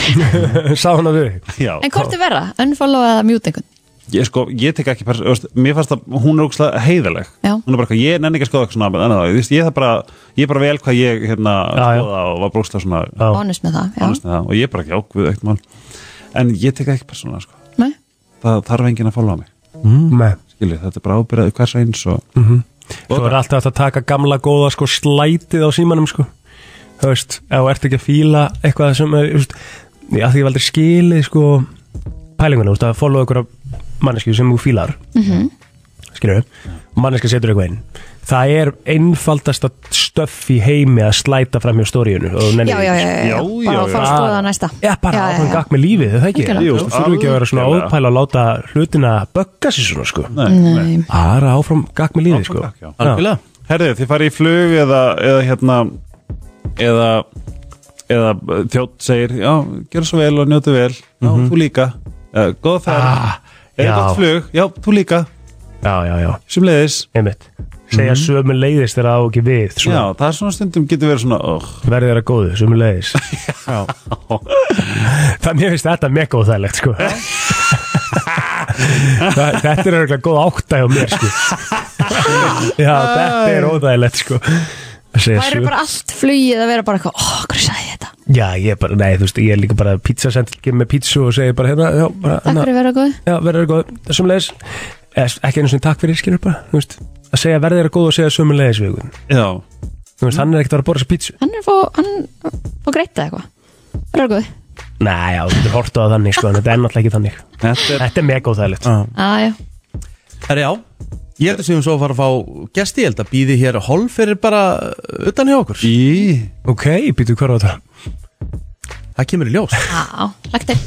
Speaker 3: sá hann að þau
Speaker 5: Já,
Speaker 2: En hvort er verra, unfollow eða mute einhvern?
Speaker 5: ég sko, ég tek ekki pers- þú veist, mér fannst að hún er ógslag heiðaleg
Speaker 2: Já.
Speaker 5: hún er bara eitthvað, ég nenni ekki að skoða eitthvað svona annað, þú veist, ég er bara, ég er bara vel hvað ég hérna
Speaker 3: Já, já.
Speaker 5: skoða og var brókslega svona
Speaker 3: Já.
Speaker 2: Honest með það, já
Speaker 5: honest með það og ég er bara ekki ákveð eitt mál en ég tek ekki persónulega sko
Speaker 2: Nei.
Speaker 5: það þarf enginn að followa mig,
Speaker 3: Mm. Nei.
Speaker 5: skilju, þetta er bara ábyrðað hvers eins og
Speaker 3: Mhm. þú er alltaf hægt að taka gamla góða sko, slætið á símanum sko. þú veist, ef þú ert ekki að fíla eitthvað sem er, þú veist, já, því ég valdur skilið sko, pælingunum, þú veist, að followa ykkur mannesku sem þú fílar mm
Speaker 2: Mhm.
Speaker 3: -hmm. skilur manneska setur eitthvað inn það er einfaldasta stöff í heimi að slæta fram hjá stóriunu
Speaker 2: Já, já, já, já, já,
Speaker 5: Já,
Speaker 2: bara
Speaker 5: já,
Speaker 2: að fara að
Speaker 5: já.
Speaker 2: skoða það næsta
Speaker 3: Ah. Já, bara
Speaker 2: já,
Speaker 3: áfram gakk með lífið, er það ekki?
Speaker 2: Algjörlega.
Speaker 5: Jú,
Speaker 3: Þú þurfum ekki að vera svona
Speaker 5: algjörlega.
Speaker 3: ópæla að láta hlutina bögga sér svona, sko
Speaker 5: nei,
Speaker 2: Nei.
Speaker 3: Bara áfram gakk með lífið, sko
Speaker 5: Áfram gakk, já.
Speaker 3: Já.
Speaker 1: algjörlega
Speaker 5: herðu, þið farið í flug eða, eða hérna eða, eða þjótt segir, já, gera svo vel og njótu vel já, þú líka, uh, góða ferð
Speaker 3: Mhm. Ah,
Speaker 5: eða
Speaker 3: já.
Speaker 5: gott flug, já, þú líka
Speaker 3: Já, já, Mhm. já
Speaker 5: sem leiðis
Speaker 3: einmitt segja sömu leiðis þegar það á ekki við
Speaker 5: Já,
Speaker 3: svona,
Speaker 5: það er svona stundum getur verið svona oh,
Speaker 3: verður þeirra góðu, sömu leiðis það mér finnst þetta mega óþægilegt sko. Það- þetta er örgulega góð átta hjá mér sko. já, þetta er óþægilegt sko. Að segja
Speaker 2: Það eru
Speaker 3: sömu-
Speaker 2: bara allt flugið að vera bara eitthvað, ó, hverju sagði ég þetta?
Speaker 3: já, ég er bara, nei, þú veist, ég er líka bara pizzasendl, gef með pizzu og segja bara hérna, já, bara,
Speaker 2: Takk
Speaker 3: hérna,
Speaker 2: fyrir að vera góð
Speaker 3: já, verður þeirra góðu sömu leiðis, ekki einu svona takk fyrir skilur bara, þú veist, að segja verður þeirra góðu og segja sömu leiðis við einhvern.
Speaker 5: Já,
Speaker 3: þú veist, hann er ekkert að vera að borða sér pizzu
Speaker 2: Hann er fó, hann fó greita eitthvað Vera góð
Speaker 3: Nei, já, þú getur hortað að þannig sko, en þetta er náttúrulega ekki þannig
Speaker 5: þetta er
Speaker 3: Þetta er mega óþægilegt
Speaker 2: Á, já,
Speaker 1: Herra já, ég held að séum svo að fara að fá gesti, ég held að býði hér hálf fyrir bara utan hjá okkur
Speaker 5: Í,
Speaker 3: Ok, býtu hver á þetta
Speaker 1: Það kemur í ljós
Speaker 2: á, lagt til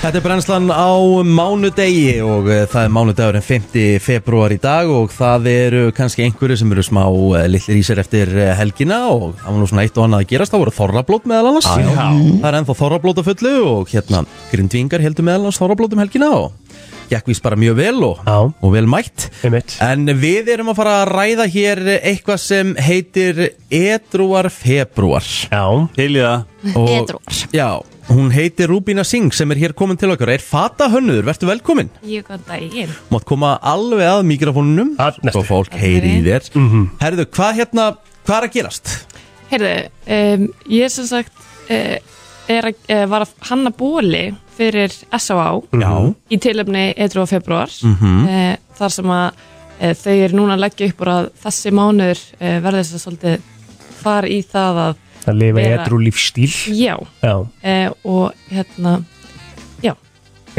Speaker 1: Þetta er brennslan á mánudegi og eh, það er mánudagurinn 5. februar í dag og það eru kannski einhverju sem eru smá eh, litlir í sér eftir eh, helgina og það var nú svona eitt og annað að gerast, það voru þorrablót meðal annars Já. Það er ennþá þorrablóta fullu og hérna grindvingar heldur meðal annars þorrablót um helgina og gekk vist bara mjög vel og,
Speaker 3: Já.
Speaker 1: og vel mætt
Speaker 3: Einmitt.
Speaker 1: En við erum að fara að ræða hér eitthvað sem heitir Edruar Februar
Speaker 3: Já,
Speaker 5: Til í það
Speaker 1: Og-
Speaker 2: Edruar.
Speaker 1: Já, hún heitir Rúbína Singh sem er hér komin til okkar Er fata hönnur, vertu velkomin
Speaker 8: Ég góðan daginn.
Speaker 1: Mátt koma alveg að mikrofónunum
Speaker 3: Að næstu.
Speaker 1: Svo fólk heyri í þér Herðu, hvað hérna, hvað er að gerast?
Speaker 8: Heyrðu, um, ég sem sagt uh, er að, uh, var að hanna bóli fyrir S.A.A.
Speaker 1: Já
Speaker 8: í tilöfni 1. februar eh, þar sem að eh, þau eru núna að leggja upp úr að þessi mánuður eh, verður þess að svolítið fara í það að
Speaker 3: að lifa í
Speaker 8: Vera.
Speaker 3: edru lífstíl
Speaker 8: já
Speaker 3: Já,
Speaker 8: eh, og hérna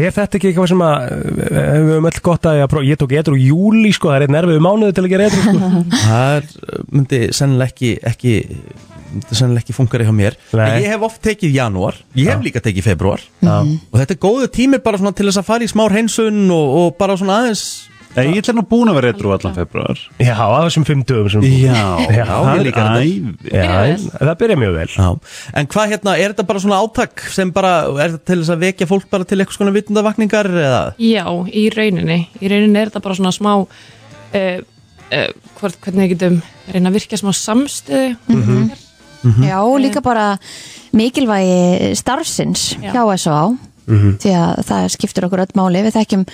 Speaker 3: er þetta ekki eitthvað sem að eh, við höfum öll gott að, að ég tók edru í júli sko, það er einn erfiðu mánuði til að gera edru sko.
Speaker 1: Það er, uh, myndi sennilega ekki, ekki myndi sennilega ekki funkar hjá mér
Speaker 3: Nei.
Speaker 1: En Ég hef oft tekið janúar, ég hef líka tekið februar
Speaker 3: Já,
Speaker 1: Og þetta er góðu tími bara svona til þess að fara í smá hreinsun og, og bara svona aðeins
Speaker 5: Ég ætla nú búin að vera eitthvað allan februar
Speaker 3: já á þessum fimm dögum sem
Speaker 5: Já,
Speaker 3: Já,
Speaker 5: það
Speaker 1: ég
Speaker 5: er
Speaker 1: líka
Speaker 5: æði
Speaker 3: Já,
Speaker 8: Byrjar vel.
Speaker 3: það byrja mjög vel
Speaker 1: Já. En hvað hérna, er þetta bara svona átak sem bara, er þetta til þess að vekja fólk bara til eitthvað svona vitundavakningar eða?
Speaker 8: Já, í rauninni. Í rauninni er þetta bara svona smá, uh, uh, hvort, hvernig við getum reyna að virkja smá samstöðu. Mm -hmm.
Speaker 2: Já, líka bara mikilvægi starfsins
Speaker 8: Já.
Speaker 2: hjá S.A. því að það skiptir okkur öll máli við þekkjum,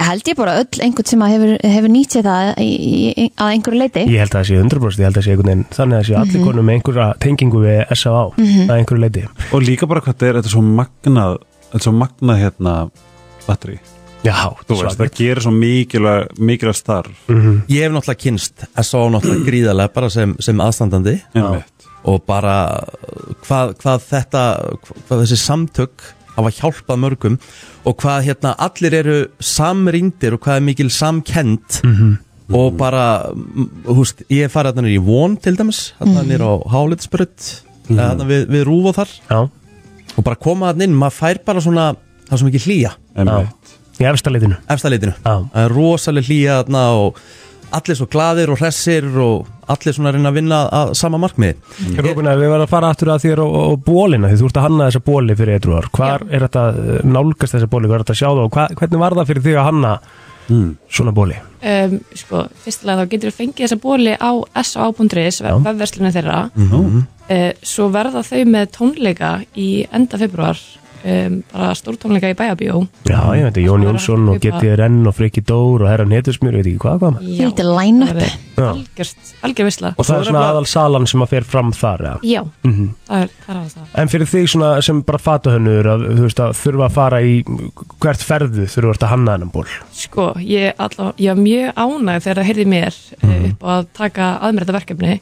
Speaker 2: held ég bara öll einhvern sem að hefur, hefur nýtt sér það í, í, að einhverju leiti
Speaker 3: Ég held að það sé 100% ég held að það sé einhvern veginn þannig að það sé
Speaker 8: Mhm.
Speaker 3: allir konum með einhverja tengingu við S.A.A. að einhverju leiti
Speaker 5: Og líka bara hvað þetta er, þetta er svo magnað Þetta er svo magnað hérna batteri
Speaker 3: Já,
Speaker 5: Þú veist, það gerir svo mikilvæg, mikilvæg starf
Speaker 1: Ég hef náttúrulega kynst S.A. náttúrulega gríðarlega bara sem, sem aðstandandi
Speaker 5: Einmitt.
Speaker 1: og bara uh, hvað, hvað þetta, hvað, hvað þessi samtök hafa hjálpað mörgum og hvað hérna allir eru samrýndir og hvað er mikil samkend og bara, mm, þú veist, ég hef farið hérna í Von til dæmis, hérna mm -hmm. á Hálitsbrödd, mm hérna við, við Rúf og þar
Speaker 3: Já,
Speaker 1: og bara koma hérna inn, maður fær bara svona, það er svo mikið hlýja
Speaker 5: Einmitt.
Speaker 3: í efsta leitinu
Speaker 1: efstaleitinu
Speaker 3: Já.
Speaker 1: það er rosalega hlýja þarna og allir svo gladir og hressir og allir svona að reyna að vinna að sama markmiði
Speaker 3: Rúbina, við varum að fara aftur að þér og, og bólina því þú ert að hanna þessa bóli fyrir edruar Hvar er þetta eh, nálgast þessa bóli, hvað er þetta að sjá það og hva, hvernig var það fyrir því að hanna svona bóli?
Speaker 8: Um, sko, fyrstilega þá getur við fengið þessa bóli á sa.is, vefverslunum þeirra.
Speaker 3: Mhm.
Speaker 8: Eh, svo verða þau með tónleika í enda februar, um, bara stórtónleika í bæjabíó.
Speaker 3: Já, ég veit, Jón Jónsson og GTRN og Freki Dór og herran Hetusmjör, veit ekki hvað hvað maður.
Speaker 8: Já,
Speaker 2: Lítið line-up.
Speaker 8: það verður
Speaker 3: Já.
Speaker 8: Algjört, algjör visla.
Speaker 3: Og það er svona aðal salan sem að fer fram þar, já.
Speaker 8: Já, það er það. Er aðeins það.
Speaker 3: En fyrir þig svona sem bara fatahönnur að þú veist að þurfa að fara í hvert ferðu þurfa að hanna hennan ból
Speaker 8: Sko, ég, allavega, ég var mjög ánægð þegar það heyrði mér mm upp á að taka að mér þetta verkefni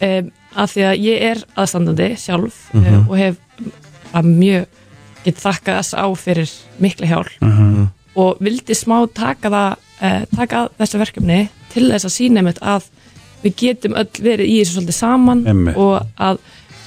Speaker 8: um, af því að ég er aðstandandi sjálf mm og hef að mjög get þakkað þess á fyrir mikla hjálp og vildi smá taka það uh, taka að þessu verkefni til þess að sína mitt að við getum öll verið í þessu svolítið saman
Speaker 5: Einmitt.
Speaker 8: og að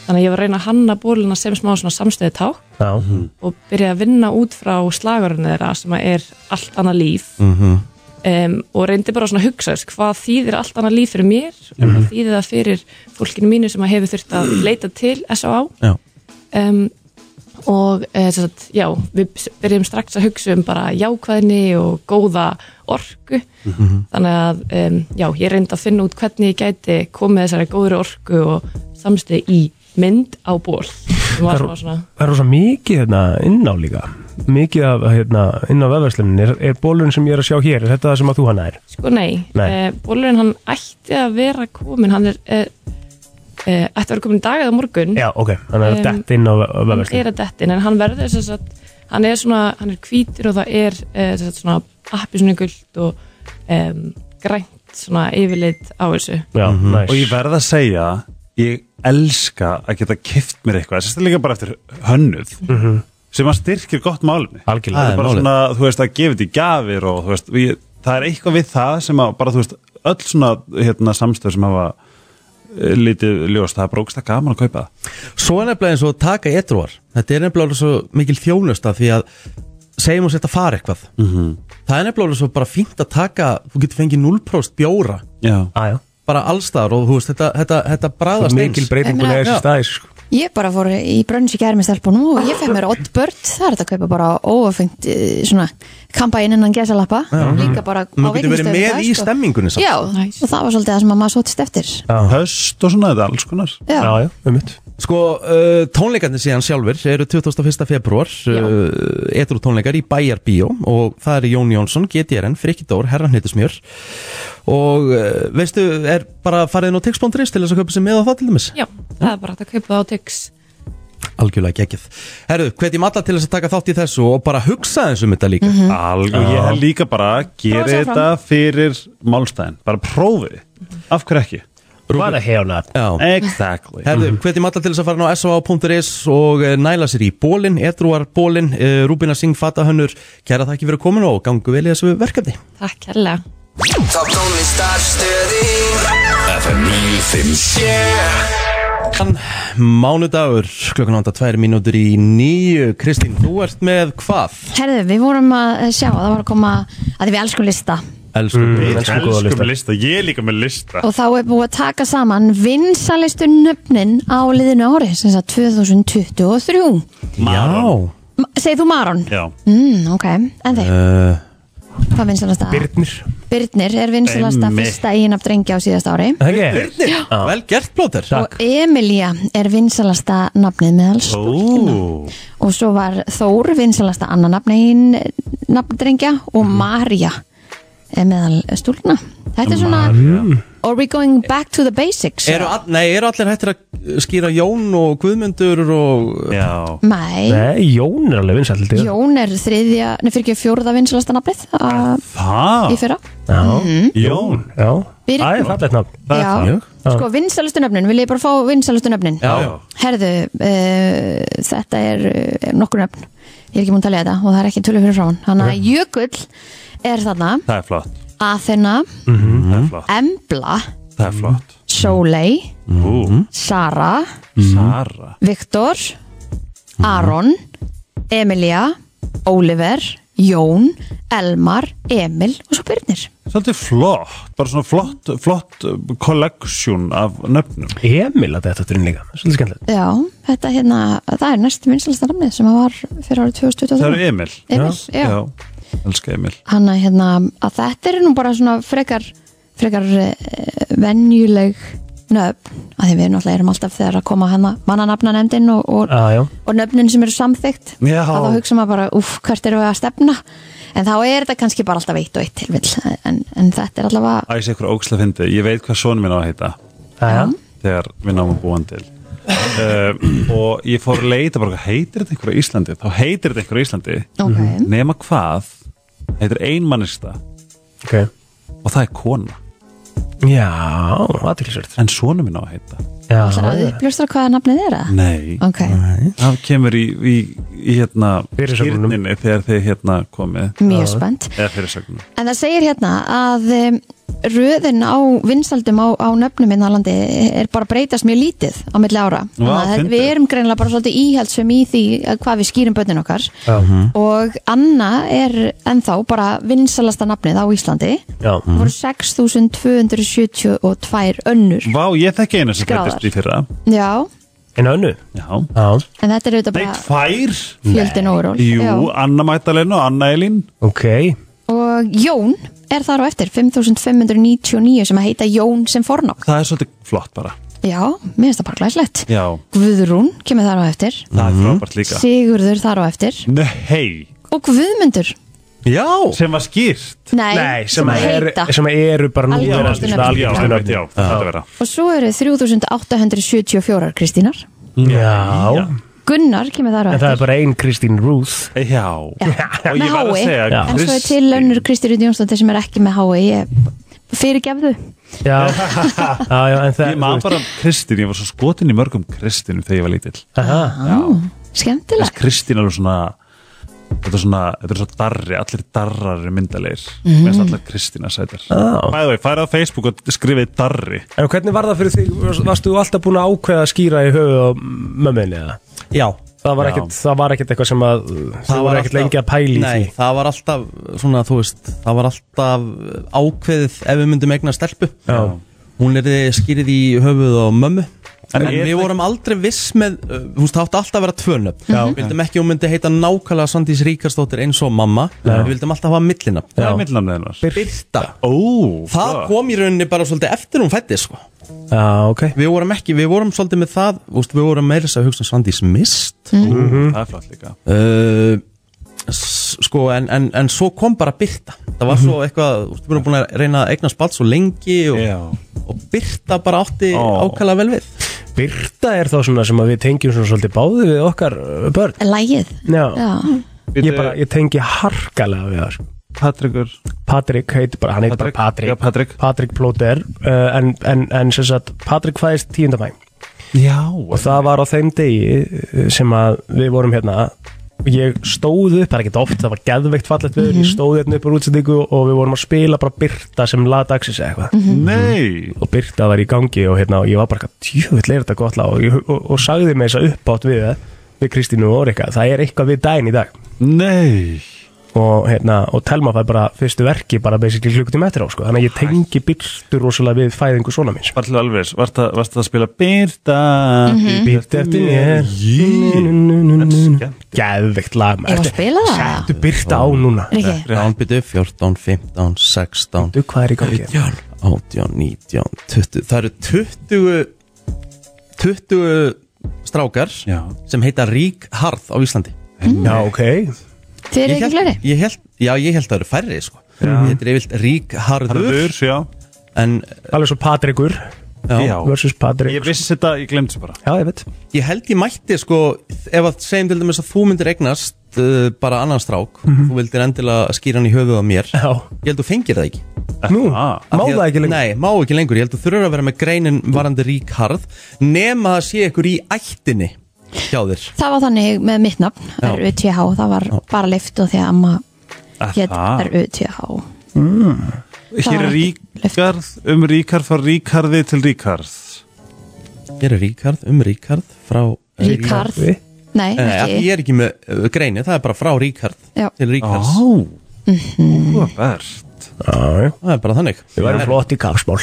Speaker 8: þannig að ég var að reyna að hanna bóluna sem smá svona samstöði ták
Speaker 3: Já,
Speaker 8: og byrja að vinna út frá slagurinn þeirra sem að er allt annað líf -hmm. um, og reyndi bara svona að hugsa þess hvað þýðir allt annað líf fyrir mér og hvað þýðir það fyrir fólkinu mínu sem að hefur þurft að leita til S.A.A.
Speaker 1: Já.
Speaker 8: Um, og e, sagt, já, við byrjum strax að hugsa um bara jákvæðni og góða orku þannig að um, já, ég reyndi að finna út hvernig ég gæti komið þessari góðri orku og samstuði í mynd á ból sem
Speaker 3: Það
Speaker 8: var
Speaker 3: er-
Speaker 8: smá svona
Speaker 3: það er rosa mikið hérna inn á líka Mikið af hérna inn á vefverslunin er, er bólun sem ég er að sjá hér, er þetta það sem að þú hanna er?
Speaker 8: Sko nei,
Speaker 3: Nei.
Speaker 8: nei. bólurinn hann ætti að vera komin, hann er uh, uh, ætti að vera komin í dag eða morgun
Speaker 3: Já, ok, hann er
Speaker 8: Em,
Speaker 3: um, dett inn á
Speaker 8: hann er
Speaker 3: vefverslunin
Speaker 8: að dettin, en hann verður sem sagt, hann er svona, hann er hvítur og það er uh, sagt, svona appi svona guld og um, grænt svona yfirleitt á þessu
Speaker 3: Já, næs
Speaker 5: Og ég verð að segja Ég elska að geta kift mér eitthvað Þetta er líka bara eftir hönnuð Sem að styrkir gott málumni
Speaker 1: Það er
Speaker 3: Algjörlega.
Speaker 5: Það er bara
Speaker 1: málið.
Speaker 5: svona, þú veist, að gefa þetta í gafir Og þú veist, og ég, það er eitthvað við það Sem að bara, þú veist, öll svona hérna, Samstöð sem hafa eh, Lítið ljóst, það er bara ógsta gaman að kaupa það
Speaker 1: Svo er nefnilega eins og að taka etruar Þetta er nefnilega alveg svo mikil þjónusta því að segjum við þetta að fara eitthvað
Speaker 3: Mhm.
Speaker 1: -hmm. Það er nefnilega alveg svo bara fínt að taka þú getur fengið 0% bjóra
Speaker 5: Já,
Speaker 3: Á, já,
Speaker 1: bara allstaðar og þú veist þetta, þetta, þetta
Speaker 3: það er
Speaker 1: bræðast
Speaker 3: mikil breytingun
Speaker 2: Ég meina-
Speaker 3: er þessi
Speaker 1: Já.
Speaker 3: staðis sko.
Speaker 2: Ég bara fór í brönns í gær með stelpunum og ég fekk mér oddbörd, það er þetta að kaupa bara óafengt eh, svona kampainn innan gesalappa, líka bara á
Speaker 1: Nú getur verið
Speaker 2: veitingastöðum
Speaker 1: með
Speaker 2: dag,
Speaker 1: í
Speaker 2: sko.
Speaker 1: stemmingunni samt.
Speaker 2: Já,
Speaker 8: Nice.
Speaker 2: og það var svolítið það sem að maður sótist eftir Já,
Speaker 5: höst og svona, þetta er alls konar
Speaker 3: Já, já, um mitt
Speaker 1: Sko, uh, tónleikarnir síðan sjálfur eru 21. februar uh, etru tónleikar í Bæjar Bíó og það eru Jón Jónsson, GTRN, Frikki Dór, Herran Hnittusmjör og uh, veistu, er bara farið nú tix.ris til þess að köpa sér með á það til dæmis
Speaker 8: Já, það er bara hægt að kaupa það á Tix
Speaker 1: algjörlega gekkið. Herru, hvetjum alla til þess að taka þátt í þessu og bara hugsa eins um þetta líka
Speaker 5: Mhm. Alg, og ég held líka bara að gera
Speaker 8: sig áfram.
Speaker 5: þetta fyrir málstæðin, bara prófið þið. af hverju ekki
Speaker 3: Hvað er um hefna?
Speaker 1: Já.
Speaker 5: exactly
Speaker 1: Herðu, hvetjum um alla til þess að fara ná sva.is og eh, næla sér í bólin, edruar bólin, eh, Rúbina Singh Fatahönnur, kæra þakki fyrir komin og gangu vel í þessu verkefni.
Speaker 8: Takk kærlega
Speaker 9: Top tónlistarstöði FM 957
Speaker 1: Mánudagur, klokkan ánda tvær mínútur í nýju. Kristín, þú ert með hvað?
Speaker 2: Herðu, við vorum að sjá að það var að koma að því við elskum lista
Speaker 1: Elsku, mm.
Speaker 3: elskum góða lista.
Speaker 5: lista, ég er líka með lista
Speaker 2: og þá er búið að taka saman vinsalistu nöfnin á liðinu ári sem sagt 2023
Speaker 1: Já.
Speaker 2: Ma- Segir þú Maron?
Speaker 5: já,
Speaker 2: Mm, ok, en þeir,
Speaker 1: Uh,
Speaker 2: hvað vinsalasta?
Speaker 3: Birnir
Speaker 2: Birnir er vinsalasta
Speaker 5: Einmitt.
Speaker 2: fyrsta eiginab drengja á síðasta ári
Speaker 3: okay.
Speaker 1: vel gert, Plóter.
Speaker 2: og Emilia er vinsalasta nafnið meðals
Speaker 5: Ó,
Speaker 2: og svo var Þór vinsalasta annan nafnin nafndrengja og
Speaker 5: Mm.
Speaker 2: Marja er meðal stúlna þetta er svona Are we going back to the basics?
Speaker 1: Eru, all, nei, eru allir hættir að skýra Jón og Guðmundur og...
Speaker 5: já
Speaker 2: Nei,
Speaker 3: Nei, Jón er alveg vinsæll til
Speaker 2: Jón er þriðja, nefnir fyrir ekki fjórða vinsalasta nafnið uh,
Speaker 5: það,
Speaker 2: í fyrra
Speaker 5: Jón
Speaker 3: Já
Speaker 2: Birnir.
Speaker 3: Það er fallegt nafn
Speaker 5: það er það.
Speaker 2: Já, sko vinsalastu nöfnin, vil ég bara fá vinsalastu nöfnin
Speaker 1: Já.
Speaker 2: Herðu, uh, þetta er uh, nokkur nöfn Ég er ekki múin að talja þetta og það er ekki tölu fyrir frá hann Þannig að Jökull er þarna
Speaker 5: það er flott,
Speaker 2: Athena,
Speaker 5: það er flott
Speaker 2: Embla
Speaker 5: það er flott,
Speaker 2: Sóley,
Speaker 5: ú,
Speaker 2: Sara
Speaker 5: Mhm. Sara
Speaker 2: Viktor Aron, Emilia Oliver, Jón Elmar, Emil og svo Byrnir
Speaker 5: svolítið flott, bara svona flott flott uh, collection af nöfnum
Speaker 3: Emil að þetta er líka Svolítið skemmtilegt
Speaker 2: Já, þetta hérna, það er næst vinsalasta nafnið sem að var fyrir árið 2023
Speaker 5: það eru Emil
Speaker 2: Emil, já.
Speaker 5: já, elska Emil
Speaker 2: hann að hérna að þetta er nú bara svona frekar frekar uh, venjuleg nöfn, að því við náttúrulega erum alltaf þegar að koma hana mannanafnanefndin og, og,
Speaker 3: Já, já
Speaker 2: og nöfnin sem eru samþygt
Speaker 5: Já.
Speaker 2: að þá hugsa maður bara, uff, hvert eru við að stefna en þá er þetta kannski bara alltaf eitt og eitt tilvill, en, en þetta er allavega
Speaker 5: Æ, ég sé eitthvað ógslag fyndi, ég veit hvað sonum minn á að heita
Speaker 3: Já,
Speaker 5: þegar við náum að búa hann til uh, og ég fór að leita bara, heitir þetta einhver á Íslandi þá heitir þetta einhver á Íslandi
Speaker 2: ok,
Speaker 5: nema hvað, heitir einmannista
Speaker 3: ok
Speaker 5: og það er kona,
Speaker 3: Já, aðtilsvörð
Speaker 5: en sonum minn á að heita
Speaker 3: Já,
Speaker 2: það er að
Speaker 3: já.
Speaker 2: uppljóstra hvaða nafnið er það?
Speaker 5: nei,
Speaker 2: Ok,
Speaker 5: það kemur í, í, í hérna
Speaker 3: Fyrirsögnunum.
Speaker 5: skýrninni þegar þið hérna komið
Speaker 2: mjög spennt
Speaker 5: eða fyrirsögnum,
Speaker 2: En það segir hérna að um, röðin á vinsaldum á, á nöfnum innan landi er bara að breytast mjög lítið á milli ára.
Speaker 5: Vá,
Speaker 2: Þannig að
Speaker 5: fyndið.
Speaker 2: við erum greinilega bara svolítið íhaldsum í því að hvað við skýrum bönnin okkar
Speaker 5: Mhm.
Speaker 2: og Anna er ennþá bara vinsalasta nafnið á Íslandi.
Speaker 3: Já. Mm.
Speaker 2: Það voru
Speaker 5: Mhm.
Speaker 2: 6.272 önnur.
Speaker 5: vá, ég þekki einu sem
Speaker 2: Skráðar.
Speaker 5: fættist í fyrra
Speaker 2: Já,
Speaker 3: En önnu
Speaker 5: já,
Speaker 3: Já,
Speaker 2: en þetta er auðvitað
Speaker 5: nei,
Speaker 2: bara
Speaker 5: tvær
Speaker 2: fjöldin óról.
Speaker 5: jú,
Speaker 2: Já.
Speaker 5: Anna Mættalena og Anna Elín
Speaker 3: ok
Speaker 2: Og Jón er þar á eftir, 5.599 sem að heita Jón sem fornafn.
Speaker 5: það er svolítið flott bara,
Speaker 2: Já, mér finnst það bara glæslegt.
Speaker 5: já, Mhm.
Speaker 2: Guðrún kemur þar á eftir
Speaker 5: það er frábært líka
Speaker 2: Sigurður þar á eftir
Speaker 5: nei,
Speaker 2: og Guðmundur
Speaker 1: Já.
Speaker 5: sem var skýrt
Speaker 2: Nei, sem að
Speaker 3: er,
Speaker 2: heita
Speaker 3: sem að eru bara
Speaker 2: Algengust
Speaker 3: núverandi
Speaker 2: nöfn.
Speaker 3: svona algengustu
Speaker 5: Já,
Speaker 3: nöfn.
Speaker 5: já, þetta vera
Speaker 2: og svo eru 3874 Kristínar
Speaker 3: Já,
Speaker 2: Gunnar kemur þar á
Speaker 3: en það er
Speaker 2: eftir
Speaker 3: bara ein Kristín Ruth
Speaker 5: Já, og ég
Speaker 2: með
Speaker 5: var að
Speaker 2: hái
Speaker 5: segja
Speaker 3: Já.
Speaker 2: en svo er til önnur Kristýrjón Jónsdóttir sem er ekki með hái Ég- fyrirgefðu
Speaker 3: Já, já, já, en það
Speaker 5: Ég maður bara Kristín, ég var svo skotin í mörgum Kristín þegar ég var lítill
Speaker 3: bara
Speaker 5: Þess
Speaker 2: skemmtilegt
Speaker 5: Kristín er alveg svona Þetta er svona, þetta er svona darri, allir darrar er myndalegir, mm. minnst allar Kristína sætar Bæðu vei, færið á Facebook og skrifið darri
Speaker 3: En hvernig var það fyrir þig, Var- varstu alltaf búin að ákveða að skýra í höfuð á mömminni eða?
Speaker 1: Já.
Speaker 3: Það var
Speaker 5: Já.
Speaker 3: ekkert, það var ekkert eitthvað sem að þú var ekkert
Speaker 1: alltaf-
Speaker 3: lengi að pæli í
Speaker 1: Nei,
Speaker 3: því
Speaker 1: það var alltaf, svona, þú veist, það var alltaf ákveðið ef við myndum egna stelpu.
Speaker 3: Já,
Speaker 1: Hún er skýrið í höfuð á mömmu En
Speaker 5: Er
Speaker 1: við
Speaker 5: þetta-
Speaker 1: vorum aldrei viss með, uh, þú veist, það átti alltaf að vera tvönöfn Við vildum ekki að hún myndi heita nákvæmlega Sandís Ríkarsdóttir eins og mamma Við vildum alltaf hafa millinafn
Speaker 5: Það er millinamnið hennar
Speaker 1: Birta
Speaker 5: Ó,
Speaker 1: Það
Speaker 5: flott.
Speaker 1: kom í rauninni bara svolítið eftir hún fætti sko.
Speaker 3: Já, ok
Speaker 1: Við vorum ekki, við vorum svolítið með það úst, Við vorum meira þess að hugsa um Sandís mist
Speaker 5: Ú, Það er flott líka
Speaker 1: uh, s- Sko, en, en, en svo kom bara Birta Það var svo eitthvað, úst, við vorum búin að reyna að eigna spalt svo lengi og,
Speaker 5: Mhm. Já.
Speaker 1: og Birta bara átti
Speaker 5: Ó.
Speaker 1: ákala vel við
Speaker 3: Birta er þá svona sem að við tengjum svona svolítið báði við okkar uh, börn
Speaker 2: Lægið
Speaker 3: Já,
Speaker 2: Já,
Speaker 3: ég bara, ég tengi harkalega við það sko.
Speaker 5: Patrikur
Speaker 3: Patrik heitir bara, hann heitir bara Patrik
Speaker 5: Já, Patrik
Speaker 3: Patrik Plóter uh, en, en, en sem sagt, Patrik fæðist 10. mæ
Speaker 5: Já
Speaker 3: og það var á þeim degi uh, sem að við vorum hérna ég stóð upp, það er ekki oft, það var geðveikt fallegt við, ég stóð hérna upp úr útsendingu og við vorum að spila bara Birta sem ladaxis eða eitthvað
Speaker 5: Mhm. Nei
Speaker 3: og Birta var í gangi og hérna og ég var bara djúvill er þetta gott lag og, ég- og, og sagði mig þess að uppátt við það við Kristínu og Rika, það er eitthvað við daginn í dag
Speaker 5: Nei
Speaker 3: og hérna, og Telma fær bara fyrstu verki bara basically klukkutíma eftir á, sko þannig að ég tengi Birtu rosalega við fæðingu svona míns
Speaker 5: Var til alveg Varst það varstu að spila Birta
Speaker 3: Býtt eftir mér
Speaker 5: Jú
Speaker 3: Gæðveikt lag
Speaker 2: Eigum við að
Speaker 3: Ertu-
Speaker 2: spila það?
Speaker 3: Settu Birta á núna
Speaker 2: Riki,
Speaker 1: Ránbyttu 14, 15, 16
Speaker 3: Du, hvað er í gangi?
Speaker 1: 17, 18, 19, 20 Það eru 20 20 strákar
Speaker 5: Já.
Speaker 1: sem heita Rík Harð á Íslandi
Speaker 3: Já, ok
Speaker 2: þið eru ekki fleiri
Speaker 1: ég held, Já, ég held að það eru færri sko. Þetta er yfirlt Rík Harður
Speaker 5: Harður, já
Speaker 1: En
Speaker 3: Alveg svo Patrikur
Speaker 1: já,
Speaker 3: versus
Speaker 5: Ég
Speaker 3: Patrik
Speaker 5: vissi þetta, ég glemt þessu bara
Speaker 3: Já, ég veit
Speaker 1: ég held ég mætti sko, Ef að segjum til dæmis að þú myndir eignast uh, bara annan strák
Speaker 3: Mhm.
Speaker 1: Þú vildir endilega skýra hann í höfuð á mér
Speaker 3: Já
Speaker 1: Ég held þú fengir það ekki
Speaker 3: Nú,
Speaker 5: Ah.
Speaker 3: má
Speaker 1: Af því að-
Speaker 3: það ekki lengur
Speaker 1: Nei, má ekki lengur, ég held þú þurfur að vera með greinin varandi Rík Harð Nema að sé ykkur í ættinni hjá þér
Speaker 2: Það var þannig með mitt nafn, R.U.T.H. Það var bara lift og því að amma hétt
Speaker 5: það?
Speaker 2: R.U.T.H. Það
Speaker 5: Hér
Speaker 2: var
Speaker 5: er
Speaker 2: ekki
Speaker 5: Ríkarð um Ríkarð frá Ríkarði til Ríkarð
Speaker 1: Hér er Ríkard, um Ríkard frá
Speaker 2: Ríkarð
Speaker 3: Við?
Speaker 2: Nei,
Speaker 1: Nei, af því
Speaker 2: ekki
Speaker 1: ég er ekki með uh, greinu, það er bara frá Ríkard
Speaker 2: Já.
Speaker 1: til Ríkards
Speaker 5: Ó
Speaker 10: Mm-hmm.
Speaker 5: Óbært
Speaker 3: Já, já
Speaker 1: Það er bara þannig
Speaker 3: Við værum flott í kapsmál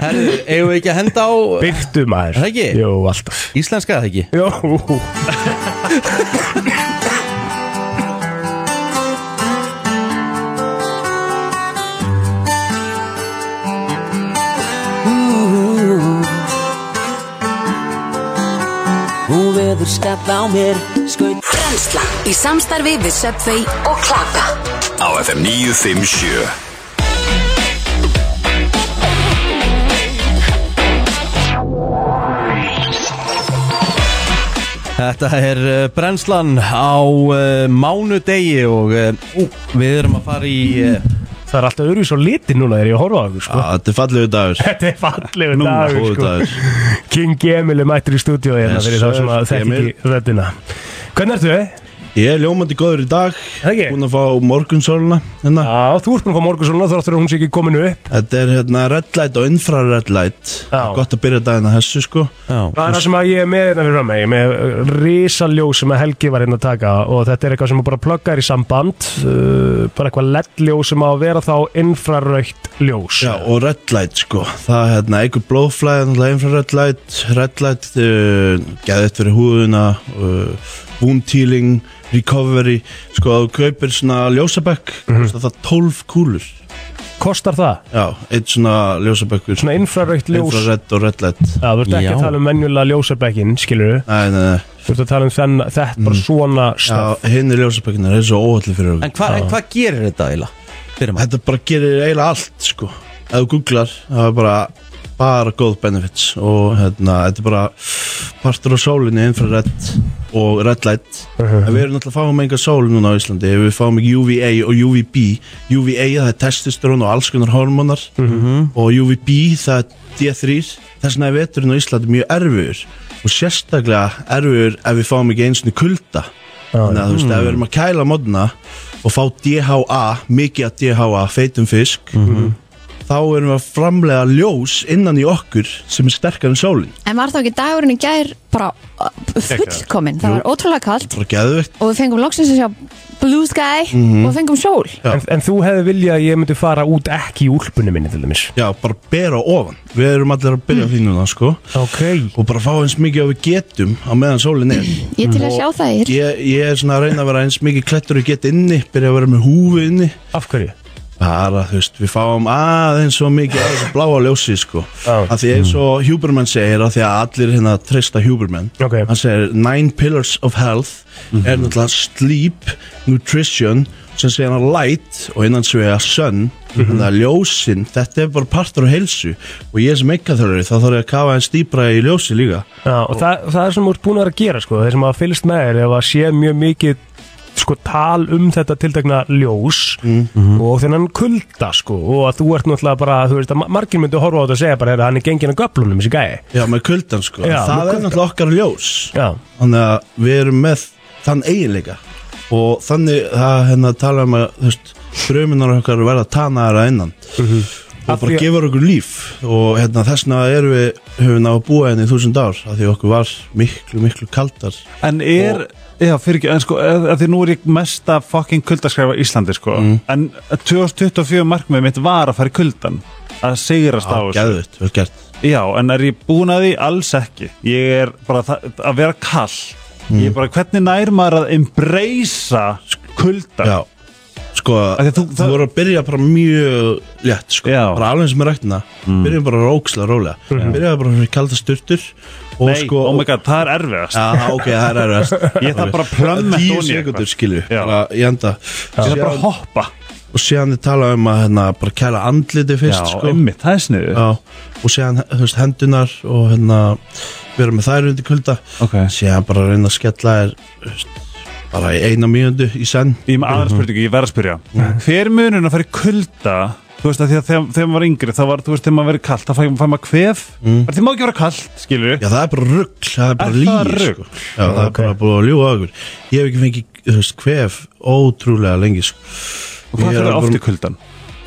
Speaker 1: Herðu, eigum við ekki að henda á
Speaker 3: Byrtu maður
Speaker 1: Er það ekki?
Speaker 3: Jú, alltaf
Speaker 1: íslenska eða ekki?
Speaker 3: Jó
Speaker 11: Hún veður skall á mér Skaut
Speaker 10: Brennslan í samstarfi við Subway og Klaka
Speaker 4: Á FM 957
Speaker 1: Þetta er uh, brennslan á uh, mánudegi og uh, ú, við erum að fara í uh,
Speaker 3: Það er alltaf öðru svo liti núna þegar ég horfa á þau
Speaker 1: Ah.
Speaker 3: sko.
Speaker 7: Þetta er fallegu dagur
Speaker 3: Þetta er fallegu
Speaker 7: Núna,
Speaker 3: dagur
Speaker 7: góður
Speaker 3: sko.
Speaker 7: dagur.
Speaker 3: King Emil er mættur í stúdíu hérna
Speaker 7: Yes,
Speaker 3: fyrir þá sem að
Speaker 7: sir,
Speaker 3: þekki
Speaker 7: Emil.
Speaker 3: ekki röddina Hvernig ertu?
Speaker 7: Ég er ljómandi góður í dag
Speaker 3: Það ekki?
Speaker 7: Búin að fá morgunsóluna hérna.
Speaker 3: Já, þú ert búin að fá morgunsóluna þráttur að hún sé ekki komin upp
Speaker 7: Þetta er hérna red light og infrared light
Speaker 3: Já.
Speaker 7: Gott að byrja daginn að þessu sko
Speaker 3: Það er það sem að ég er með hérna fyrir mig Ég er með uh, risaljós sem að Helgi var hérna að taka og þetta er eitthvað sem að bara pluggar í samband uh, bara eitthvað LED-ljós sem á að vera þá infraraukt ljós
Speaker 7: Já, og red light sko Það er hérna einhver blóðflæði, náttúrulega infrared light Red light,
Speaker 10: eh,
Speaker 7: uh, geðið fyrir húðuna uh, Wound healing, recovery Sko að þú kaupir svona ljósabekk mm -hmm. Það 12 kúlur
Speaker 3: Kostar það?
Speaker 7: Já, eitt svona ljósabekkur
Speaker 3: Svona infraraukt ljós Já,
Speaker 7: Infrared og red light
Speaker 3: þú ert ekki
Speaker 1: Já.
Speaker 3: að tala um menjulega ljósabekkin, skilur þú?
Speaker 7: Nei, nei, nei
Speaker 3: Þú ert að tala um þenn, þetta bara svona
Speaker 7: Já,
Speaker 3: stöf
Speaker 7: hinn er ljósabekkunar, það er svo óhaldið fyrir okkur
Speaker 1: En hvað en hvað gerir þetta eiginlega? Fyrir maður
Speaker 7: Þetta bara gerir eiginlega allt sko Ef þú googlar, það er bara bara góð benefits og hérna, þetta er bara partur á sólinni infrared og red light en við erum náttúrulega að fáum enga sól núna á Íslandi við fáum ekki UVA og UVB UVA það er testosterón og alls konar hormonar og UVB það er D3 þess vegna er veturinn á Íslandi mjög erfiður og sérstaklega erfiður ef við fáum ekki einsinni kulda þannig að þú veist, ef við erum að kæla modna og fá DHA, mikið af DHA feitum fisk
Speaker 10: þá erum við að framlega ljós innan í okkur sem er sterkar en sólin
Speaker 2: En var þá ekki dagurinn í gær bara uh, fullkominn, það var ótrúlega kallt
Speaker 10: bara geðvegt
Speaker 2: og við fengum loksins að sjá blue sky
Speaker 3: Mhm.
Speaker 2: og fengum sól
Speaker 3: en, en þú hefði viljað að ég myndi fara út ekki í úlpunni minni til dæmis
Speaker 10: Já, bara bera ofan Við erum allir að byrja mm. því núna, sko
Speaker 3: okay.
Speaker 10: Og bara fá eins mikið að við getum á meðan sólin er
Speaker 2: Ég til að sjá það, Egill.
Speaker 10: Ég, ég er svona að reyna að vera eins mikið klettur og get inni Byrja að vera með húfu inni
Speaker 3: Af hverju?
Speaker 10: Bara, þú veist, við fáum aðeins svo mikið af þessu bláa ljósi, sko Af því eins
Speaker 3: Mm.
Speaker 10: og Huberman segir, af því að allir hérna treysta Huberman
Speaker 3: okay.
Speaker 10: Hann segir, nine pillars of health
Speaker 3: Mhm.
Speaker 10: er náttúrulega sleep, nutrition sem segir hann light og innan segir að sun þannig að ljósin, þetta er bara partur á heilsu og ég sem eitthvað þörfri, þá þarf ég að kafa eins dýpra í ljósi líka
Speaker 3: Já, og, það, það er sem þú ert búin að vera að gera sko, þeir sem hafa fylgst með þér ef að sé mjög mikið sko tal um þetta tiltekna ljós
Speaker 10: Mhm.
Speaker 3: og þennan kulda sko og að þú ert náttúrulega bara, þú veist að ma- margir myndi horfa á þetta og segja bara "Heyrðu, hann er gengin að göflunum þessi gæi.
Speaker 10: Já, með kuldan sko,
Speaker 3: Já,
Speaker 10: það
Speaker 3: með
Speaker 10: er
Speaker 3: kuldann.
Speaker 10: náttúrulega okkar ljós
Speaker 3: Já.
Speaker 10: Þannig að við erum með þann eiginleika Og þannig að hérna tala um að, þú veist, frumunar okkar verða tanaðara innan Og
Speaker 3: Mhm. Af
Speaker 10: bara
Speaker 3: því að-
Speaker 10: gefur okkur líf Og hérna þessna erum við, höfum við ná að búa
Speaker 7: hérna
Speaker 10: henni í þúsund ár af Því okkur var miklu, miklu kaldar
Speaker 5: En er, já fyrir ekki, en sko, að að því nú er ég mesta fucking kuldaskræfa í Íslandi sko
Speaker 10: Mm.
Speaker 5: En 2024 markmið mitt var að fara í kuldan Að sigrast á
Speaker 10: Já, geðveikt, vel gert
Speaker 5: Já, en er ég búin að því? Alls ekki Ég er bara það, að vera kall
Speaker 10: Mm.
Speaker 5: Ég er bara, hvernig nær maður að embracea kuldan?
Speaker 10: Já Sko, þú, það... voru að byrja bara mjög létt sko,
Speaker 5: Já.
Speaker 10: bara alveg eins og með rættina mm. byrjum bara rókslega rólega mm. byrjum bara fyrir kalda sturtur og
Speaker 5: Nei,
Speaker 10: sko,
Speaker 5: oh my god, það er erfiðast
Speaker 10: Já, ok, það er erfast
Speaker 5: Ég þarf bara að plömmet
Speaker 10: Tíu
Speaker 5: ofan í eitthvað.
Speaker 10: sekundur, skilju bara í enda
Speaker 5: Ég þarf bara að hoppa
Speaker 10: Og síðan þið tala um að hérna, bara kæla andliti fyrst
Speaker 5: Já,
Speaker 10: sko.
Speaker 5: einmitt, það er sniðu
Speaker 10: Já, og síðan þú veist, hendunar og hérna, vera með þær undir kulda
Speaker 5: okay.
Speaker 10: síðan bara reyna að skella þér þú veist, bara í eina mínundu í senn
Speaker 5: Ég er með aðra spurningu, um ég verð að spyrja Hver munurinn að fara í kulda Þú veist að því að þegar, þegar maður var yngri þá var, þú veist, þegar maður verið kallt, þá fæ, fæ maður kvef mm. Því maður ekki vera kallt, skilur
Speaker 10: Já, það er bara rugg, það er bara
Speaker 5: Er það
Speaker 10: lígi
Speaker 5: rugl?
Speaker 10: sko. Já, það er bara búið að ljúga okkur Ég hef ekki fengið, þú veist, hvef ótrúlega lengi sko.
Speaker 5: Og hvað
Speaker 10: Ég er
Speaker 5: fyrir
Speaker 10: alveg-
Speaker 5: oft í kuldan?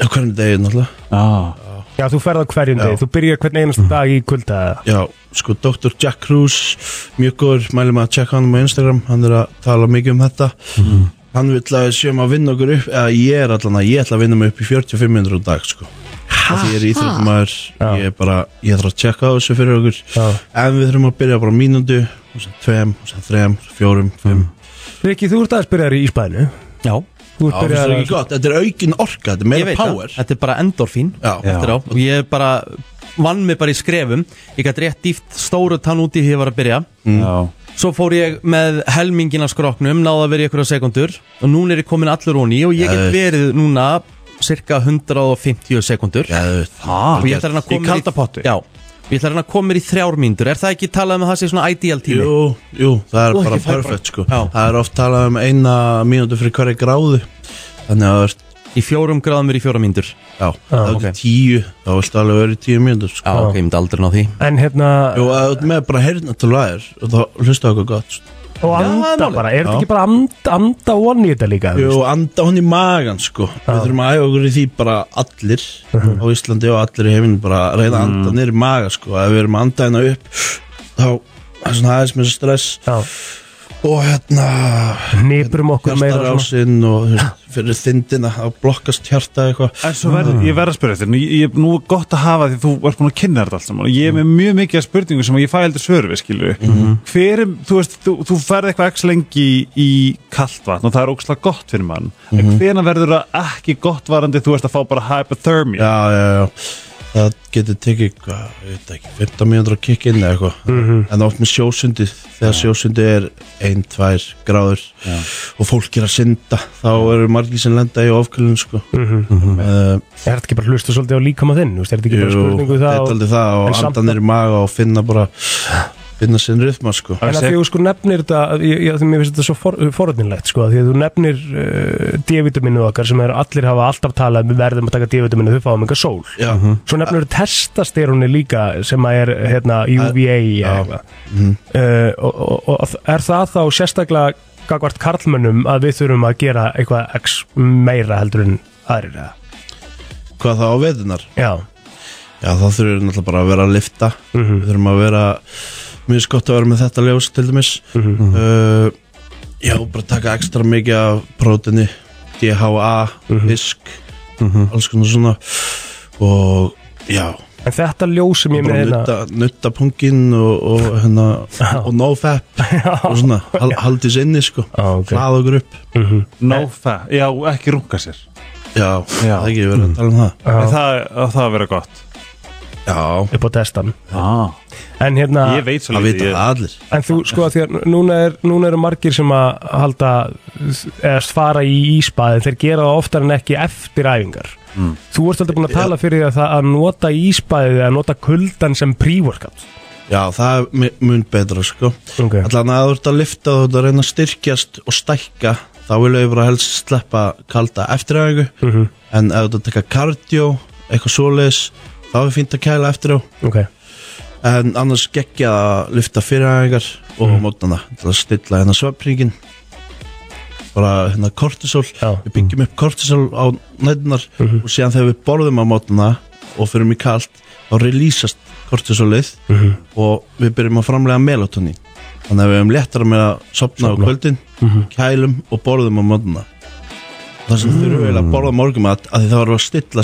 Speaker 10: Já, Hvernig degi náttúrulega
Speaker 5: Já,
Speaker 3: Já, þú ferð á hverjum degi, þú byrjar hvern
Speaker 10: Mhm.
Speaker 3: einasta dag í kulda eða?
Speaker 10: Já, sko, Dr. Jack Cruz mjög góður, mælum að checka hann á Instagram hann er að tala mikið um þetta hann vil að við séum að vinna okkur upp eða ég er allan að ég ætla að vinna mig upp í 45 minnur á dag, sko Af því ég er íþróttumæður, ég er bara ég þarf að checka á þessu fyrir okkur
Speaker 3: Já.
Speaker 10: en við þurfum að byrja bara á mínútu og sem tveim, og sem þreim, fjórum, fimm
Speaker 3: Riki, þú ert aðeins byrjar í Ísbæðinu
Speaker 1: Já,
Speaker 3: Þú ert
Speaker 10: Já, finnst
Speaker 3: byrjar
Speaker 10: það ekki gott, þetta er aukin orka, þetta er
Speaker 1: ég
Speaker 10: meira
Speaker 1: veit
Speaker 10: power
Speaker 1: það Þetta er bara endorfín
Speaker 10: Já.
Speaker 1: eftir á Og ég bara vann mig bara í skrefum Ég gæti rétt dýft stóru tann úti þegar ég var að byrja
Speaker 5: já
Speaker 1: Svo fór ég með helmingin af skróknum Náða að vera í einhverja sekundur Og núna er ég komin allur onni Og ég get verið núna Cirka 150 sekundur
Speaker 10: Geðveikt.
Speaker 1: Og ég ætla að reyna að
Speaker 5: Í
Speaker 1: koma mér
Speaker 5: kalda potti?
Speaker 1: Já Ég ætla að reyna að koma mér í þrjár mínútur Er það ekki talað um að það sé svona ideal tími?
Speaker 10: Jú, jú, það er
Speaker 1: Og
Speaker 10: bara
Speaker 1: ekki færa.
Speaker 10: perfect sko.
Speaker 1: Já.
Speaker 10: Það er oft talað um eina mínútu fyrir hverja gráðu Þannig að það er
Speaker 1: Í fjórum gráðum er í fjóra mínútur Já,
Speaker 10: Já, það er
Speaker 1: ok.
Speaker 10: tíu Þá viltu alveg verið tíu mínútur sko.
Speaker 1: ok, ég myndi aldrei ná því
Speaker 3: En hérna,
Speaker 10: Jú, að þú ert með bara heyrna til aðeir Og þá hlusta okkur gott sko.
Speaker 3: og
Speaker 1: það er
Speaker 3: anda
Speaker 1: málið.
Speaker 3: bara, er þetta
Speaker 10: Já.
Speaker 3: ekki bara and- anda von í þetta líka? þú
Speaker 10: Jú,
Speaker 3: veist?
Speaker 10: anda hún í magan sko Við þurfum að æfa okkur í því bara allir Á Íslandi og allir í heiminn Bara að reyna að anda niður í maga sko Ef við erum að anda hérna upp Þá það er svona aðeins með þessu stress
Speaker 3: Já,
Speaker 10: Og hérna
Speaker 3: nýpurum okkur meira svona.
Speaker 10: Hjartarásinn og þú veist, fyrir þindina Að blokkast hjarta eitthvað
Speaker 5: En svo verð,
Speaker 10: Ah.
Speaker 5: ég verð að spyrja þetta, ég, ég, nú er gott að hafa því þú ert búin að kynna þetta allt saman og ég er með
Speaker 10: Mm.
Speaker 5: mjög mikið af spurningum sem ég fæ heldur svör við, skilju
Speaker 10: Mhm.
Speaker 5: Hver er, þú veist, þú, þú ferð eitthvað ekki lengi í kalt vatn og það er ógslag gott fyrir mann
Speaker 10: Mhm.
Speaker 5: En hvena verður það ekki gott varandi þú veist að fá bara hypothermia
Speaker 10: Já, já, já Það getur tekið, hvað, ég veit ekki 15 mínútur að kikka inn eða eitthvað En oft með sjósundið Þegar sjósundið er 1-2 gráður Og fólk er að synda Þá eru margir sem lenda í ofkjölun sko. mm
Speaker 3: Er þetta ekki bara hlusta svolítið á líkama þinn? þú veist, Er þetta ekki bara spurningu
Speaker 10: Þetta
Speaker 3: það?
Speaker 10: er
Speaker 3: og-
Speaker 10: aldrei það
Speaker 3: en
Speaker 10: Og
Speaker 3: samt-
Speaker 10: andan er í maga og finna bara Finna sinn rytma sko.
Speaker 3: En að því þú sko nefnir þetta, að ég, ég, því mér finnst þetta svo for, foröðninlegt sko, að því að þú nefnir uh, D-vitaminu okkar sem er, allir hafa alltaf talað um við verðum að taka D-vitaminu þau fáum enga sól.
Speaker 10: Já,
Speaker 3: Svo nefnir þú testasterunni líka sem að er hérna UVA eða eitthvað.
Speaker 10: Mhm.
Speaker 3: Uh, og, og, og er það þá sérstaklega gagvart karlmönnum að við þurfum að gera eitthvað x meira heldur en aðrir eða?
Speaker 1: hvað það á veðunar
Speaker 3: Já
Speaker 1: Já, þá þurfum við náttúrulega bara að vera að lifta Við þurfum að vera Mjög eins gott að vera með þetta ljós til dæmis uh, Já, bara taka ekstra mikið af prótini DHA, visk Alls konar svona Og já
Speaker 3: En þetta ljós sem ég er
Speaker 1: Bara
Speaker 3: með hérna
Speaker 1: nutta, nutta pungin og, og, hérna, og nofap og svona, hal, haldis inni sko okay. hlaða okkur upp
Speaker 3: mm -hmm.
Speaker 5: Nofap, já, ekki runga sér
Speaker 1: Já, það er ekki verið að tala um það
Speaker 5: En það, að það vera gott
Speaker 1: Já,
Speaker 3: upp á testan
Speaker 5: ah.
Speaker 3: En hérna
Speaker 5: Ég veit svo
Speaker 1: það
Speaker 5: lítið
Speaker 1: vita
Speaker 5: ég-
Speaker 1: það allir
Speaker 3: En þú sko því að núna, er, núna eru margir sem að halda eða fara í ísbaði þeir gera það oftar en ekki eftir æfingar
Speaker 1: Mm.
Speaker 3: Þú ert alltaf búin að tala fyrir því að, það- að nota ísbaðið eða nota kuldan sem prívorkat
Speaker 1: Já, það er mi- mun betra sko
Speaker 3: Ok.
Speaker 1: Allan að þú ert að lifta þú ert að reyna að styrkjast og stækka þá vil ég bara helst sleppa kalda eftiræfingu
Speaker 3: Mhm.
Speaker 1: en ef þú ert að taka kardió, eitthvað svoleiðis þá er fínt að kæla eftir á
Speaker 3: Ok,
Speaker 1: en annars geggja að lifta fyriræðingar og mm. mótana til að stilla hérna svefnringin bara hérna kortisol
Speaker 3: Já.
Speaker 1: við byggjum upp kortisol á nætunar og síðan þegar við borðum á mótana og fyrir mig kalt þá releasast kortisolið
Speaker 3: Mhm.
Speaker 1: og við byrjum að framlega melatonin þannig að við hefum léttara með að sopna á kvöldin kælum og borðum á mótana þar sem þurfum við eiginlega að borða morgumat að því það var að stilla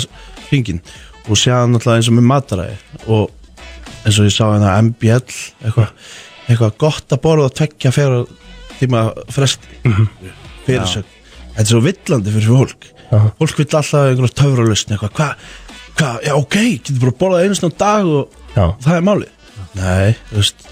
Speaker 1: hringin og séðan náttúrulega eins og með mataræði og eins og ég sá hérna MBL eitthvað eitthva gott að borða að tvekja fyrir tíma fresti fyrir sig þetta er svo villandi fyrir fólk
Speaker 3: Aha.
Speaker 1: fólk vill alltaf einhverja töfralösni eitthvað, hvað, hva, já ok, getur bara að borða einu svona dag og
Speaker 3: já,
Speaker 1: það er málið nei, þú veist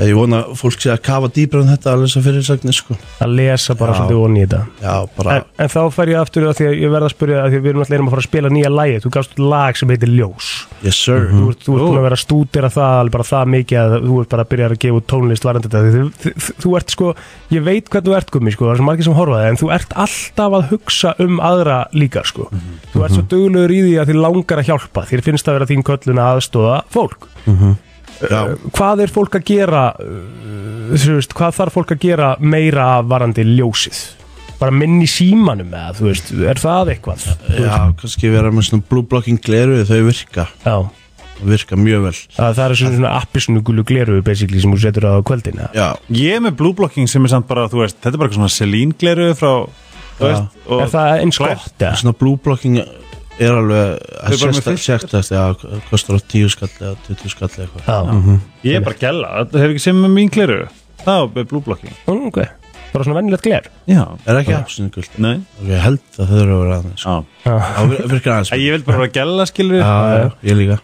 Speaker 1: ég vona að fólk sé að kafa dýbra en þetta alveg svo fyrir sagni sko
Speaker 3: að lesa bara
Speaker 1: Já.
Speaker 3: svolítið onni í þetta
Speaker 1: já, bara
Speaker 3: en, en þá fer ég aftur að því að ég verða að spyrja að því að við erum alltaf erum að fara að spila nýja lagi þú gafst út lag sem heitir Ljós
Speaker 1: yes sir
Speaker 3: þú ert, þú ert búin að vera að stúdera það alveg bara það mikið að þú ert bara að byrja að gefa út tónlist varandi þetta þú, þú, þú, þú ert sko, ég veit hvað þú ert gummi sko, það er svo margir sem horfa á það en þú ert alltaf að hugsa um aðra líka sko
Speaker 1: Mhm.
Speaker 3: þú ert svo duglegur í því að þið langar að hjálpa þér finnst það vera þín köllun að aðstóða fólk
Speaker 1: Mhm.
Speaker 3: Eh,
Speaker 1: já,
Speaker 3: hvað er fólk að gera uh, þú veist, hvað þarf fólk að gera meira af varandi ljósið bara minni símanum eða þú veist, er það eitthvað
Speaker 1: já, kannski vera með svona blue blocking gleru þau virka,
Speaker 3: já,
Speaker 1: virka mjög vel
Speaker 3: að það er svona, svona appisunu gulu gleru basically sem þú setur á kvöldin eða?
Speaker 1: já,
Speaker 5: Ég er með blue blocking sem er samt bara, þú veist, þetta er bara eitthvað svona Celine gleru frá, þú
Speaker 1: Já.
Speaker 5: veist og-
Speaker 3: er það eins
Speaker 5: Glært.
Speaker 3: gott eða?
Speaker 1: svona blue blocking er alveg
Speaker 5: Þau bara með filter?
Speaker 1: sérstast já, kostar á 10 skall eða 20 skall eða eitthvað
Speaker 3: Já,
Speaker 5: Ég er bara að gæla, það hefur ekki sem með mín gleru Það er blue blocking
Speaker 3: Mm, ok Bara svona vennilegt gler
Speaker 5: Já,
Speaker 1: er ekki hafsinu guld
Speaker 5: nei
Speaker 1: ég held að það þurfa að vera aðeins
Speaker 5: Já.
Speaker 1: það vir- virkar aðeins sko.
Speaker 5: Æ, Ég vil bara vera að gæla, skilur
Speaker 1: já, já, ég líka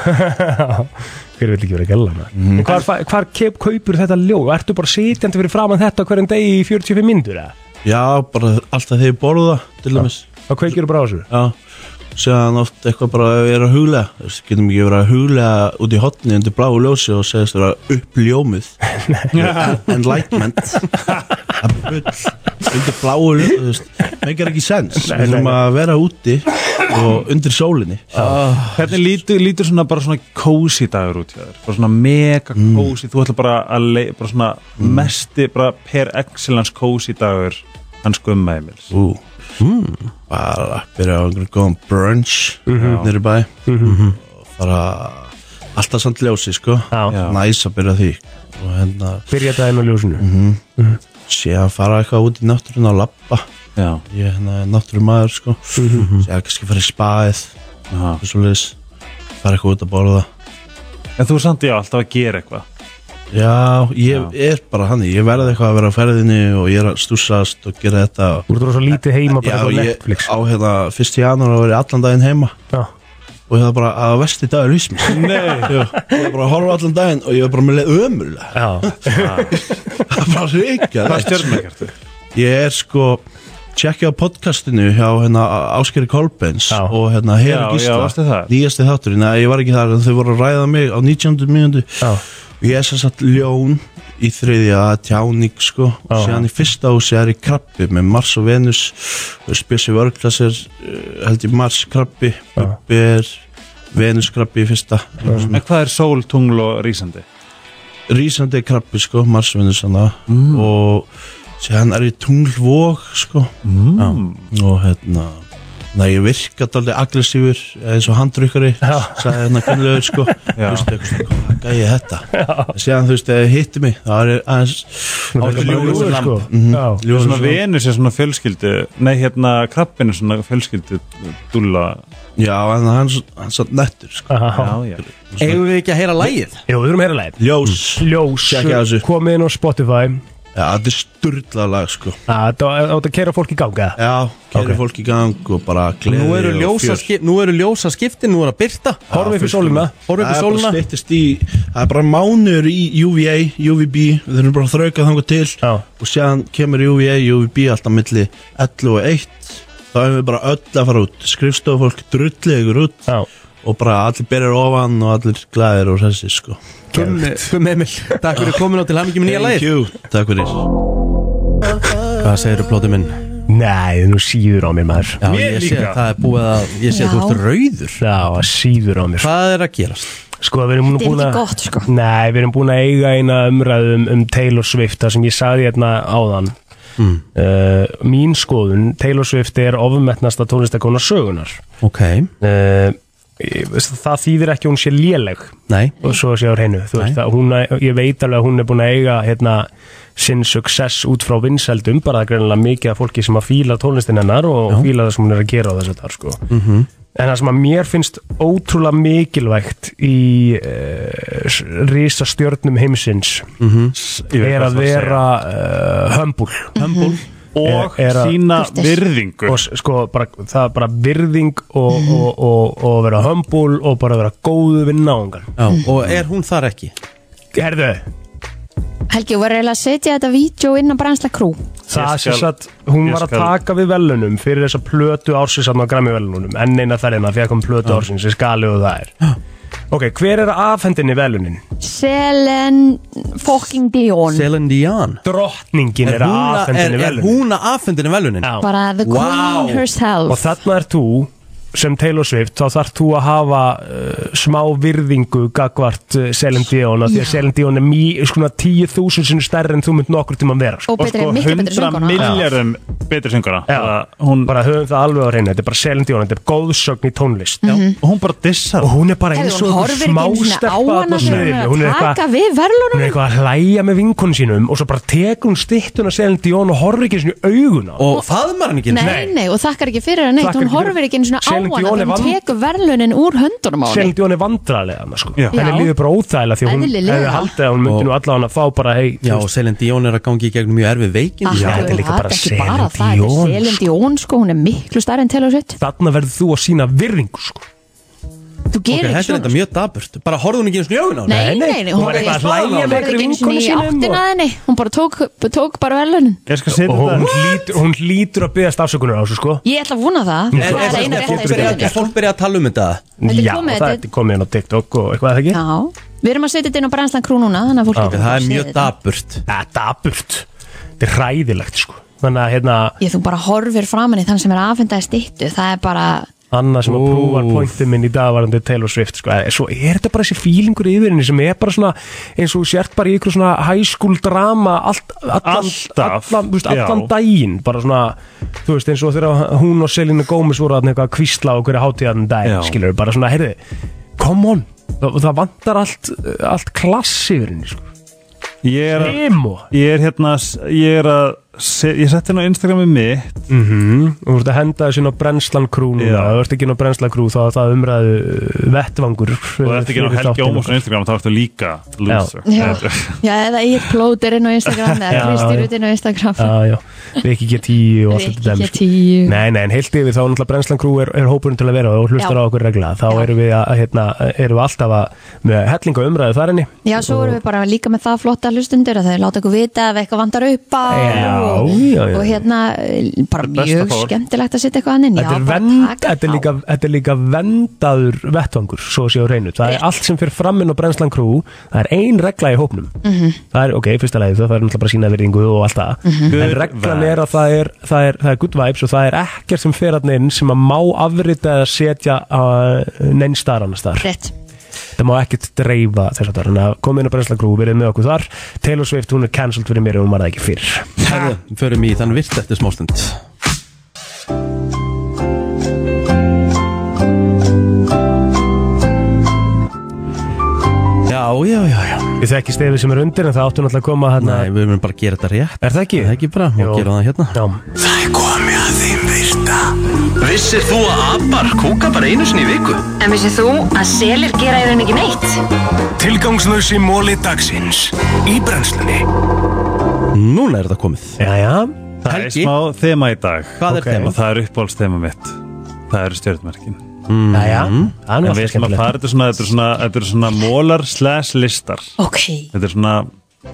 Speaker 3: Hver vil ekki vera gæla maður mm. Hvar, fa- hvar kep, kaupur þetta ljó? Ertu bara sitjandi fyrir framan þetta hverjum degi í 45 myndur eða?
Speaker 1: já, bara alltaf þegar ég borða til dæmis
Speaker 3: Þá kveikir þú bara á þessu
Speaker 1: já, séðan oft eitthvað bara ef ég er að huglega, Þú veist, getum ekki verið að huglega út í hotni undir bláu ljósi og segist vera uppljómið enlightenment það er bull undir bláu ljósi, þú veist, meikar ekki sens við þurfum að vera úti og undir sólinni
Speaker 5: Hvernig lítur, lítur svona bara svona cozy dagur út hjá þér? Bara svona mega cozy, þú ætlar bara að leið, bara svona mesti, bara per excellence cozy dagur hans gumma Emils
Speaker 1: Ú, bara að byrja á einhverjum góðum brunch nýri bæ og fara alltaf samt ljósi sko
Speaker 3: Já.
Speaker 5: Já.
Speaker 1: næs að byrja á því og hérna
Speaker 3: Byrja þetta inn á ljósinu
Speaker 1: Mhm. sé að fara eitthvað út í náttúrun og lappa
Speaker 5: Já,
Speaker 1: ég er hérna náttúrum maður sko
Speaker 3: Mhm.
Speaker 1: sé að kannski fara í spaðið
Speaker 5: já
Speaker 1: og svo leis fara eitthvað út að borða
Speaker 5: En þú er samt já alltaf að gera eitthvað
Speaker 1: já, ég er bara hann ég verði eitthvað að vera á ferðinni og ég er að stúsast og gera þetta og
Speaker 3: Þú ert rosa lítið heima bara
Speaker 1: Já,
Speaker 3: eitthvað á
Speaker 1: ég
Speaker 3: Netflix
Speaker 1: á hérna fyrst í janúar að vera allan daginn heima
Speaker 3: Já,
Speaker 1: og það bara að vesti dag er vísmið
Speaker 5: Nei
Speaker 1: Jú, ég var bara að horfa allan daginn og ég var bara með leið ömurlega
Speaker 3: já,
Speaker 1: það var bara reykja
Speaker 5: Hvað stjörnmækert þú?
Speaker 1: ég er sko tjekkja á podcastinu hjá hérna Áskeri Kolbens
Speaker 3: Já.
Speaker 1: og hérna
Speaker 5: Já,
Speaker 1: Heri
Speaker 5: já, varstu
Speaker 1: Gísla
Speaker 5: þar?
Speaker 1: nýjasti þáttur, neða ég var ekki þar en þau voru að ræða mig á 19. mínútu
Speaker 3: já,
Speaker 1: og ég er sér satt ljón í þriðja tjáning sko og
Speaker 3: Já.
Speaker 1: séðan í fyrsta húsi er ég krabbi með Mars og Venus Spessi Vörglas er uh, held ég Mars krabbi Bubbi er Venus krabbi í fyrsta
Speaker 3: Mm.
Speaker 5: En hvað er sól, tungl og rísandi?
Speaker 1: rísandi krabbi sko, marsvinnus hann mm. og sér hann er í tunglvók sko
Speaker 5: Mm.
Speaker 1: og hérna
Speaker 10: Nei, ég virka dálítið aggressífur eins og handrykkari, sagði hérna kynlegur sko, þú veist, eitthvað svona, hvað gæði þetta En síðan þú veist, eða hitti mig það er aðeins
Speaker 5: Átti ljúfur sko
Speaker 1: Mhm.
Speaker 5: Það er
Speaker 10: Ljúfur
Speaker 5: svona
Speaker 10: lamb.
Speaker 5: venur sem svona fjölskyldu Nei hérna krabbin er svona fjölskyldu Dúlla
Speaker 10: Já en hann, hann satt nettur sko
Speaker 5: Já já
Speaker 3: Mhm.
Speaker 1: Eigum við ekki að heyra lægið?
Speaker 3: Jú, við erum að heyra lægið
Speaker 10: Ljós
Speaker 3: Ljós
Speaker 10: Tjekkið á þessu.
Speaker 3: Komið inn á Spotify
Speaker 10: Já, þetta er sturla lag sko
Speaker 3: Það átt að kera fólk í ganga
Speaker 10: Já, kæri
Speaker 3: Ok.
Speaker 10: fólk í gang og bara gleði
Speaker 1: Nú eru ljósa, skip, nú eru ljósa skiptin, nú er að byrta
Speaker 3: Horfum við fyrir sólina
Speaker 1: Horfum við
Speaker 10: Það er bara
Speaker 1: sóluna
Speaker 10: styttist í Það er bara mánur í UVA, UVB Við þurfum bara að þrauka þangu til
Speaker 3: Já.
Speaker 10: Og séðan kemur UVA, UVB alltaf milli 11 og 1 Þá erum við bara öll að fara út Skrifstofafólk drullið ykkur út
Speaker 3: Já.
Speaker 10: Og bara allir berir ofan og allir glæðir og þessi sko
Speaker 1: Gummi Gummi Emil, takk fyrir komin á til hamingi minn nýja lægið
Speaker 10: you Takk fyrir
Speaker 1: Hvað segirðu plóti minn?
Speaker 3: Nei, nú síður á mér maður
Speaker 1: Já, ég sé að það er búið að Ég sé að þú
Speaker 2: Já.
Speaker 1: ert rauður
Speaker 3: Já, það síður á mér
Speaker 1: Hvað er að gerast?
Speaker 3: Sko, við erum nú
Speaker 2: Þetta er
Speaker 3: búin
Speaker 2: ekki
Speaker 3: að
Speaker 2: gott, sko.
Speaker 3: Nei, við erum búin að eiga eina umræðu um, um Taylor Swift Það sem ég saði hérna áðan mm. Mín skoðun, Taylor Swift er ofmetnasta tónlistakona sögunar
Speaker 1: Ok,
Speaker 3: uh, Það þýðir ekki að hún sé léleg
Speaker 1: nei
Speaker 3: og svo sé á hreinu þú veist, að hún, ég veit alveg að hún er búin að eiga hérna, sinn success út frá vinsældum, bara það er greinilega mikið af fólki sem að fíla tónlistin hennar og fíla það sem hún er að gera á þessu þar sko.
Speaker 5: Mhm.
Speaker 3: -hmm. en það sem að mér finnst ótrúlega mikilvægt í uh, risastjörnum heimsins
Speaker 5: Mhm. Ég veit
Speaker 3: er
Speaker 5: hvað
Speaker 3: að
Speaker 5: þú ert að
Speaker 3: vera uh, humble
Speaker 5: Humble Og
Speaker 3: Er- er að-
Speaker 5: sína
Speaker 2: Kurteis.
Speaker 5: virðingu
Speaker 3: og s- sko, bara, það er bara virðing og, og, og, og vera humble og bara vera góðu við náungan
Speaker 1: Já, og er hún þar ekki?
Speaker 3: Herðu,
Speaker 2: Helgi, þú verður eiginlega að setja þetta vídeo inn á brænsla krú
Speaker 3: Það
Speaker 5: Ég
Speaker 3: sem
Speaker 5: skal-
Speaker 3: sagt, hún
Speaker 5: ég
Speaker 3: var að
Speaker 5: skal-
Speaker 3: taka við velunum fyrir þessa plötu ársins að græmi velunum, enn eina þærina því að kom plötu ársins, ég skali og það er Ok, hver er að afhenda henni velunin?
Speaker 2: Selen fucking Dion
Speaker 1: Celine Dion
Speaker 3: Drottningin
Speaker 1: Er
Speaker 3: er að
Speaker 1: hún að- er-
Speaker 3: afhenda henni
Speaker 1: er
Speaker 3: velunin
Speaker 1: hún að afhendinu velunin?
Speaker 3: Já.
Speaker 2: bara the
Speaker 1: Wow.
Speaker 2: queen herself
Speaker 3: Og þarna er þú sem Taylor Swift, þá þarf þú að hafa uh, smá virðingu gagvart uh, Selin Dion, af því að Selin Dion er mý, skona 10.000 sinni stærri en þú mynd nokkur tíma vera, sko.
Speaker 2: og betri, miklu betri sönguna
Speaker 5: miljardum betri sönguna
Speaker 3: Já.
Speaker 5: Bara Hún
Speaker 3: bara höfum það alveg á reyna, þetta er bara Selin Dion þetta er góðsögn í tónlist
Speaker 5: Já,
Speaker 2: Mhm.
Speaker 5: og hún bara dissar
Speaker 3: og hún er bara
Speaker 2: Hefði,
Speaker 3: eins
Speaker 2: hún
Speaker 3: og
Speaker 2: horfir ekki einu sinni
Speaker 3: smástelpa
Speaker 2: á hana þegar hún
Speaker 3: hún
Speaker 2: er
Speaker 3: er
Speaker 2: að taka
Speaker 3: eitthvað
Speaker 2: við
Speaker 3: hún er
Speaker 2: verðlunum
Speaker 3: eitthvað að hlæja með vinkun sínum og svo bara tekur hún stittuna Selin Dion og horfir ekki einu sinni í augun á hana.
Speaker 1: Og faðmar hann ekki?
Speaker 2: Nei, nei, og þakkar ekki fyrir hann neitt,
Speaker 3: Þakkar
Speaker 2: hún
Speaker 3: ekki fyrir-
Speaker 2: horfir ekki einu svona á hana
Speaker 3: Celine Dion
Speaker 2: þegar
Speaker 3: er
Speaker 2: hún
Speaker 3: vand-
Speaker 2: tekur verðlunin úr höndunum á
Speaker 3: Selin
Speaker 2: hann
Speaker 3: Dion er vandrarlega hana sko
Speaker 5: Já.
Speaker 3: henni
Speaker 2: Já.
Speaker 3: líður bara óþægilega því að hún
Speaker 2: Eðlilega.
Speaker 3: hefði haldið að hún myndi nú allan að fá bara hei
Speaker 1: Já, og Celine Dion er að gangi í gegnum mjög erfið veikin
Speaker 3: Já, þetta er líka bara
Speaker 2: ekki
Speaker 3: Celine
Speaker 2: bara það, þetta
Speaker 3: Dion,
Speaker 2: er Selin Dion sko, hún er miklu starri en Taylor Swift
Speaker 3: þarna verður þú að sína virðingu sko
Speaker 2: Þú
Speaker 1: Ok,
Speaker 2: gerir
Speaker 1: þetta
Speaker 2: ekki
Speaker 1: er þetta
Speaker 2: svona
Speaker 1: mjög daburt Bara horfðu hún ekki eins og njóðun á hana
Speaker 2: Nei,
Speaker 3: Nei,
Speaker 2: nei, nei,
Speaker 3: hún var eitthvað að hlæja með
Speaker 2: hún horfði
Speaker 3: einhverjum
Speaker 2: ekki einu sinni í
Speaker 3: vinkonum
Speaker 2: áttina
Speaker 3: sínum og-
Speaker 2: að henni Hún bara tók, tók bara verðlunin
Speaker 5: Ég skal setja
Speaker 3: og hún
Speaker 5: þetta
Speaker 3: hlýtur, hún hlýtur að byggast afsökunar á þessu sko
Speaker 2: Ég ætla að vona það
Speaker 3: Nei,
Speaker 2: Það
Speaker 1: Er-
Speaker 2: er
Speaker 1: er-
Speaker 2: eina
Speaker 1: er
Speaker 2: rétt
Speaker 1: fólk
Speaker 2: að
Speaker 1: byrja-
Speaker 2: verðlunin
Speaker 1: Er fólk byrja að tala um þetta?
Speaker 2: Þetta er
Speaker 3: Já,
Speaker 2: komið,
Speaker 3: og það
Speaker 2: þetta-
Speaker 3: er komið inn á TikTok og eitthvað er það ekki
Speaker 2: Já, við erum að setja þetta inn á brænslan krú núna Þannig að fólk
Speaker 1: Ok,
Speaker 2: getur
Speaker 1: Það
Speaker 2: bara
Speaker 1: er
Speaker 2: séð
Speaker 1: mjög
Speaker 2: þetta.
Speaker 1: daburt
Speaker 3: Þetta er aburt, þetta er hræðilegt sko þannig að hérna
Speaker 2: Ég þú bara horfir framan í þann sem er aðfendaði stýttu Það er bara,
Speaker 3: annað sem að
Speaker 1: Úff.
Speaker 3: prúfa pointið minn í dag varandi Taylor Swift sko. Eh, svo er þetta bara þessi fílingur yfir henni sem er bara svona eins og þú sért bara í ykkur svona high school drama allt, allan,
Speaker 5: Alltaf,
Speaker 3: allan, þú veist, allan
Speaker 5: já.
Speaker 3: daginn bara svona þú veist eins og þegar hún og Selina Gómez voru þarna eitthvað að kvísla á hverju hátíðan
Speaker 5: Já.
Speaker 3: daginn skilur bara svona heyrðu come on það, það vantar allt, allt klass yfir henni sko.
Speaker 5: Ég er að
Speaker 3: emo
Speaker 5: Ég er hérna, ég er að se- ég setti hérna á Instagramið mitt
Speaker 3: mm -hmm. þú ert að henda þessu inn á brennslan krú núna
Speaker 5: Já.
Speaker 3: ef þú ert ekki inn á brennslan krú þá er það umræðu eh, vettvangur
Speaker 5: og þetta ekki á Helgi Ómarsson Instagram þá ertu líka loser
Speaker 2: Já. já, eða ég plótir inn á Instagram
Speaker 3: Já,
Speaker 2: Eða
Speaker 3: já.
Speaker 2: Kristi út inn á Instagram
Speaker 3: Já, já, Rikki G10 og allt þetta
Speaker 2: Rikki
Speaker 3: dæmi, sko.
Speaker 2: G10.
Speaker 3: Nei, nei, en heilt yfir þá er náttúrulega brennslan krú er, er hópurinn til að vera og hlustar
Speaker 2: Já.
Speaker 3: á okkur regla þá
Speaker 2: Já.
Speaker 3: erum við, að, hérna, erum við alltaf að með hellinga umræðu þar henni
Speaker 2: Já, svo erum við bara líka með það flotta hlustundur að þau láta okkur vita ef eitthvað vantar upp á
Speaker 3: Já,
Speaker 2: og,
Speaker 3: já, já.
Speaker 2: og hérna eh, bara
Speaker 5: Þetta er besta
Speaker 2: mjög
Speaker 5: fólk.
Speaker 2: skemmtilegt að setja eitthvað hann inn
Speaker 3: Þetta er,
Speaker 2: Já, bara
Speaker 3: vend,
Speaker 2: taka
Speaker 3: þetta, er
Speaker 2: þá.
Speaker 3: líka, þetta er líka vendaður vettvangur, svo séu reynu. Það er allt sem fyrir framinn á brennslan krú, það er ein regla í hópnum.
Speaker 2: Mhm.
Speaker 3: Það er, ok, fyrsta lagi, það er náttúrulega bara sína virðingu og allt það. En
Speaker 5: Good
Speaker 3: reglan
Speaker 5: vibes.
Speaker 3: er að það er, það, er, það er good vibes og það er ekkert sem fyrir hann inn sem að má afrita eða setja uh, neinn star annars þar.
Speaker 2: Rétt,
Speaker 3: Það má ekkert dreifa þess að það. Þannig að koma inn á brennslan krú, verið með okkur þar. Taylor Swift, hún er cancelled fyrir mér og hún var það ekki fyrr.
Speaker 1: Herðu, förum í þann virt eftir smástund
Speaker 3: Já, já, já, já Ég þekki stefið sem er undir en það áttu náttúrulega að koma hérna Nei,
Speaker 1: við erum bara að gera þetta rétt
Speaker 3: Er það ekki? Það
Speaker 1: ekki bara, má gera það hérna
Speaker 3: Já
Speaker 4: Það er komið að þeim virta Vissir þú að abar kúka bara einu sinni í viku?
Speaker 6: En vissið þú að selir gera í raun ekki neitt?
Speaker 4: Tilgangslösi móli dagsins Í brennslunni
Speaker 1: Núna er þetta komið
Speaker 3: Jæja
Speaker 5: Það
Speaker 1: Helgi.
Speaker 5: er smá þema í dag
Speaker 1: Hvað er
Speaker 5: Ok.
Speaker 1: þemað?
Speaker 5: Og það er uppáhaldstema mitt Það eru stjórnmerkin
Speaker 1: Mm.
Speaker 3: Jæja, það er nú
Speaker 5: Mhm. En við
Speaker 3: alltaf
Speaker 5: ætlum að
Speaker 3: skemmtilegt.
Speaker 5: fara þetta er svona Þetta er svona, þetta er svona mólar slash listar
Speaker 2: Ok
Speaker 5: Þetta er svona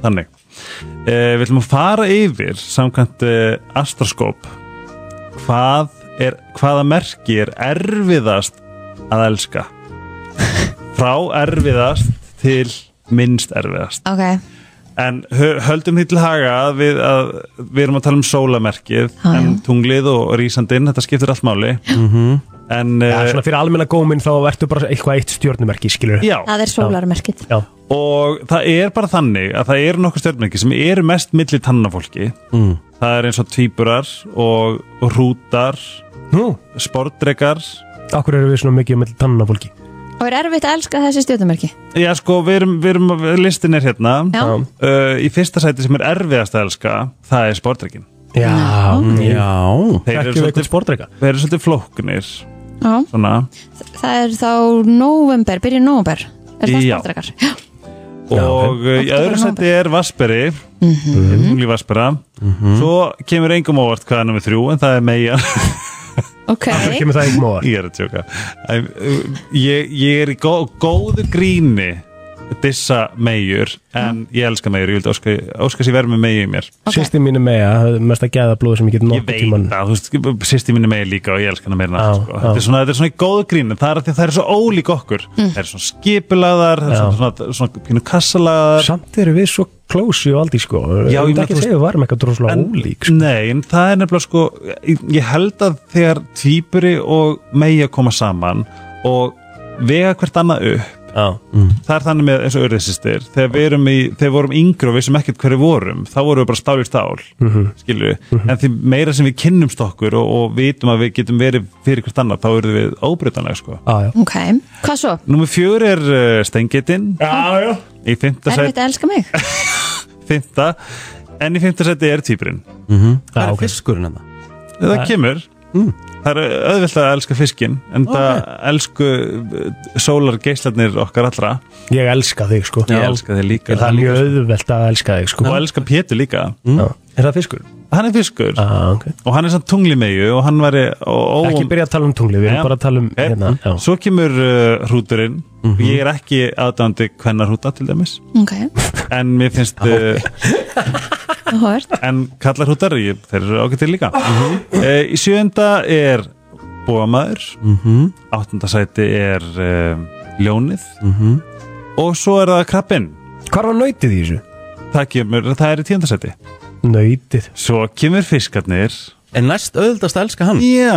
Speaker 5: þannig uh, Við ætlum að fara yfir samkvæmt uh, Astroskop Hvað er, hvaða merki er erfiðast að elska Frá erfiðast til minnst erfiðast
Speaker 2: Ok,
Speaker 5: En hö- höldum því til haga að við, að við erum að tala um sólamerkið en tunglið og rísandinn, þetta skiptir allt máli
Speaker 3: Mhm.
Speaker 5: en,
Speaker 3: Já,
Speaker 5: eh,
Speaker 3: svona fyrir almenna góminn þá ertu bara eitthvað eitt stjórnumerki, skilur
Speaker 5: Já.
Speaker 2: það er sólarmerkið
Speaker 3: Já,
Speaker 5: og það er bara þannig að það eru nokkuð stjörnmerki sem eru mest milli tannafólki
Speaker 1: mm.
Speaker 5: það er eins og tvíburar og og hrútar
Speaker 3: Nú.
Speaker 5: sportdrekar
Speaker 3: Akkur eru við svona mikið með tannana fólki
Speaker 2: Og er erfitt að elska þessi stjórnumerki
Speaker 5: Já, sko, við erum, við erum listin er hérna
Speaker 2: Já.
Speaker 5: uh, í fyrsta sæti sem er erfiðast að elska það er sportdrekin
Speaker 3: Já,
Speaker 1: mm, já
Speaker 5: Þeir eru
Speaker 3: Þekkjum við
Speaker 5: svolítið-
Speaker 3: eitthvað sportreika
Speaker 5: Þeir eru svolítið flóknir
Speaker 2: Já,
Speaker 5: svona
Speaker 2: það er þá november, byrjun november Er það
Speaker 5: Já.
Speaker 2: spaldrakar? Já,
Speaker 5: og uh, í öðru seti er Vasperi
Speaker 3: Mhm.
Speaker 5: Tungli Vaspera svo kemur engum óvart hvað er nummið þrjú en það er meia
Speaker 2: ok
Speaker 3: Akkur kemur það einhver móðar
Speaker 5: ég er að tjóka Æ, uh, ég, ég er í gó, góðu gríni dissa meiur
Speaker 3: Mhm.
Speaker 5: en ég elska meiur, ég vildi óska, óska sér verð með meiu í mér
Speaker 2: Ok.
Speaker 3: Sýstir mínu meja, hafði mest að geða blóð sem ég get
Speaker 5: ég
Speaker 3: nokkuð tíman
Speaker 5: veit það, þú veist, sýsti mínu meiu líka og ég elska hana meira en allt
Speaker 3: Já,
Speaker 5: sko.
Speaker 3: já.
Speaker 5: þetta, er svona- þetta er svona í góðu gríni, það er að því að það er svo ólík okkur það er svona skipulaðar það
Speaker 3: Mhm.
Speaker 5: er
Speaker 3: Já.
Speaker 5: svona, svona, svona, svona kassalagaðar
Speaker 3: Samt eru við svo klósi og aldrei sko
Speaker 5: Já, ég
Speaker 3: Ég veit
Speaker 5: meina,
Speaker 3: ekki
Speaker 5: þú
Speaker 3: að segja við varum eitthvað droslega
Speaker 5: En-
Speaker 3: ólík sko.
Speaker 5: Nei, en það er nefnilega sko ég ég held að þegar týpuri og megi að koma saman og vega hvert annað upp
Speaker 3: Já,
Speaker 5: það er þannig með eins og örðisistir þegar við erum í, þegar við vorum yngri og við sem ekkert hverju vorum þá vorum við bara stál í stál mm -hmm. en því meira sem við kynnumst okkur og, og vitum að við getum verið fyrir hvert annað þá erum við óbreytanlega sko
Speaker 3: Ah, já, já
Speaker 2: Ok, hvað svo?
Speaker 5: Númer fjör er uh, stengitin
Speaker 3: Já, já
Speaker 5: í fymta
Speaker 2: Erfitt
Speaker 5: sæti
Speaker 2: að elska mig?
Speaker 5: fymta, en í fymta sæti er týpurinn
Speaker 1: Það er
Speaker 3: ok.
Speaker 1: fiskurinn enna
Speaker 5: það
Speaker 3: Það- Mm.
Speaker 5: kemur það er auðvilt að elska fiskinn en það elsku uh, sólar geislarnir okkar allra
Speaker 3: Ég elska þig sko
Speaker 5: ég elska þig líka
Speaker 3: Það er mjög auðvelt að elska þig sko
Speaker 5: og elska Pétur líka
Speaker 3: Já. Er það fiskur?
Speaker 5: hann Mm. er fiskur
Speaker 3: Já, ok
Speaker 5: og hann er samt tunglimegju og hann væri og,
Speaker 3: Ah. Ekki byrja að tala um tunglið, við
Speaker 5: Nei,
Speaker 3: erum bara að tala um
Speaker 5: Eh,
Speaker 3: hérna já. Mhm.
Speaker 5: svo kemur uh, hrúturinn og ég er ekki aðdæmandi hvenna hrúta til dæmis
Speaker 2: Ok,
Speaker 5: en mér finnst uh,
Speaker 2: áhört
Speaker 5: en kallar hrútar ég, þeir eru ágættir líka uh, í sjönda er bóamæður
Speaker 1: Mhm,
Speaker 5: áttunda sæti er uh, ljónið
Speaker 1: mhm.
Speaker 5: og svo er það krabbinn
Speaker 3: Hvar var nöytið í þessu?
Speaker 5: það, kemur, það er í tíundasæti
Speaker 3: Nöytið
Speaker 5: svo kemur fiskarnir
Speaker 1: En næst auðvitaðst að elska hann
Speaker 5: já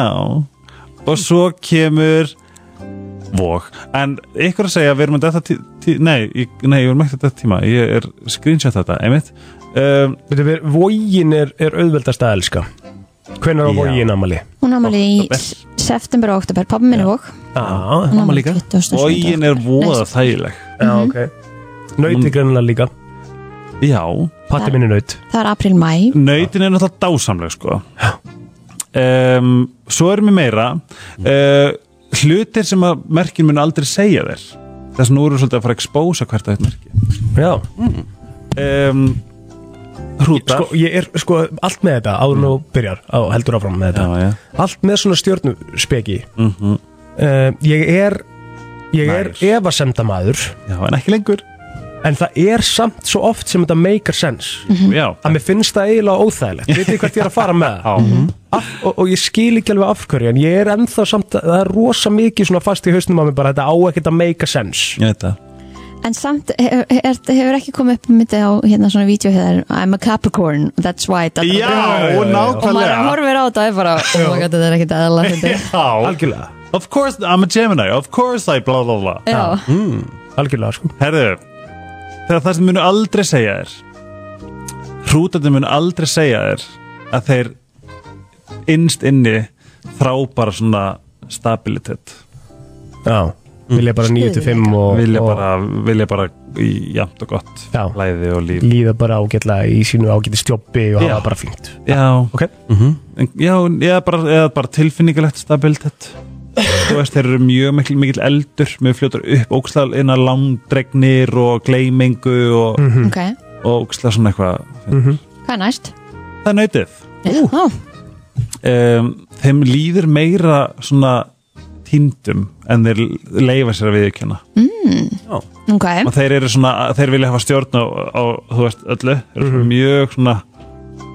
Speaker 5: og svo kemur vók en ykkur að segja við erum að detta tí- tí- nei, ég- nei, ég erum ekki að detta tíma ég er screenshot þetta, einmitt um,
Speaker 3: Veitum við, vógin er, er auðveldast að elska Hvenær á
Speaker 5: Já.
Speaker 3: vógin amali?
Speaker 2: Hún ámali í
Speaker 5: Október.
Speaker 2: s- september og oktober, pabbi minn er vók
Speaker 5: Ah.
Speaker 3: Já,
Speaker 2: Hún
Speaker 1: Mamma
Speaker 2: ámali
Speaker 1: líka.
Speaker 2: 27.
Speaker 5: bógin er voða þægileg
Speaker 3: já, Ah, ok Nöytið greinlega líka
Speaker 5: já,
Speaker 3: Patti minni nöyt
Speaker 2: Það er april, mæ
Speaker 5: nautin er náttúrulega dásamleg sko um, svo erum við meira uh, hlutir sem að merkin mun aldrei segja þér þess að nú erum við svolítið að fara að expósa hvert að þetta merki
Speaker 3: Já,
Speaker 5: um, hrútar
Speaker 3: sko, ég er sko allt með þetta áður nú byrjar á, heldur áfram með þetta
Speaker 5: Mm. já. Mhm.
Speaker 3: allt með svona stjórnuspeki mm ég er ég
Speaker 5: Nær.
Speaker 3: er efasemdamaður
Speaker 5: já, en ekki lengur
Speaker 3: en það er samt svo oft sem þetta make sense
Speaker 5: já,
Speaker 3: að mér finnst það eiginlega óþægilegt veit ég hvert ég er að fara með það
Speaker 5: Mhm.
Speaker 3: Af, og, og ég skil ekki alveg af hverju en ég er ennþá samt, það er rosa mikið svona fast í hausnum á mig bara þetta á ekkert að make sense
Speaker 5: ég veit það
Speaker 2: En samt hefur, hefur- hefur ekki komið upp myndi á hérna svona vídeo hér I'm a Capricorn, that's why that's
Speaker 5: Já,
Speaker 2: Og maður
Speaker 5: nákvæmlega
Speaker 2: horfir á þetta og er bara Oh my god, þetta er ekkit aðla þetta
Speaker 5: Já,
Speaker 3: algjörlega,
Speaker 5: of course I'm a Gemini Of course I blah blah blah
Speaker 2: Já,
Speaker 3: algjörlega sko
Speaker 5: Herðu, þegar það sem munu aldrei segja þér Hrútandi munu aldrei segja þér Að þeir innst inni Þrá bara svona stabilitet
Speaker 3: já, Vilja bara 9 til 5 og,
Speaker 5: vilja
Speaker 3: og
Speaker 5: bara, vilja bara í jamt og gott
Speaker 3: Já. Mm.
Speaker 5: læði og líf
Speaker 3: líða bara ágætlega í sínu ágæti stjoppi og
Speaker 5: Já.
Speaker 3: hafa bara fínt
Speaker 5: já,
Speaker 3: Ok.
Speaker 5: En- já, já bara, eða bara tilfinningalegt stabilitet þú veist, þeir eru mjög mikil, mikil eldur mjög fljótur upp, ógslag inn að langdregnir og gleymingu og,
Speaker 3: Mm.
Speaker 2: ok,
Speaker 5: og ógslag svona eitthvað
Speaker 2: hvað er næst?
Speaker 5: það er nautið
Speaker 2: Já,
Speaker 5: um, þeim líður meira svona týndum en þeir leifa sér að viðkjöna
Speaker 2: Mm. ok,
Speaker 5: og þeir eru svona, þeir vilja hafa stjórn á, á þú veist, öllu þeir eru
Speaker 3: Mhm.
Speaker 5: svona mjög svona,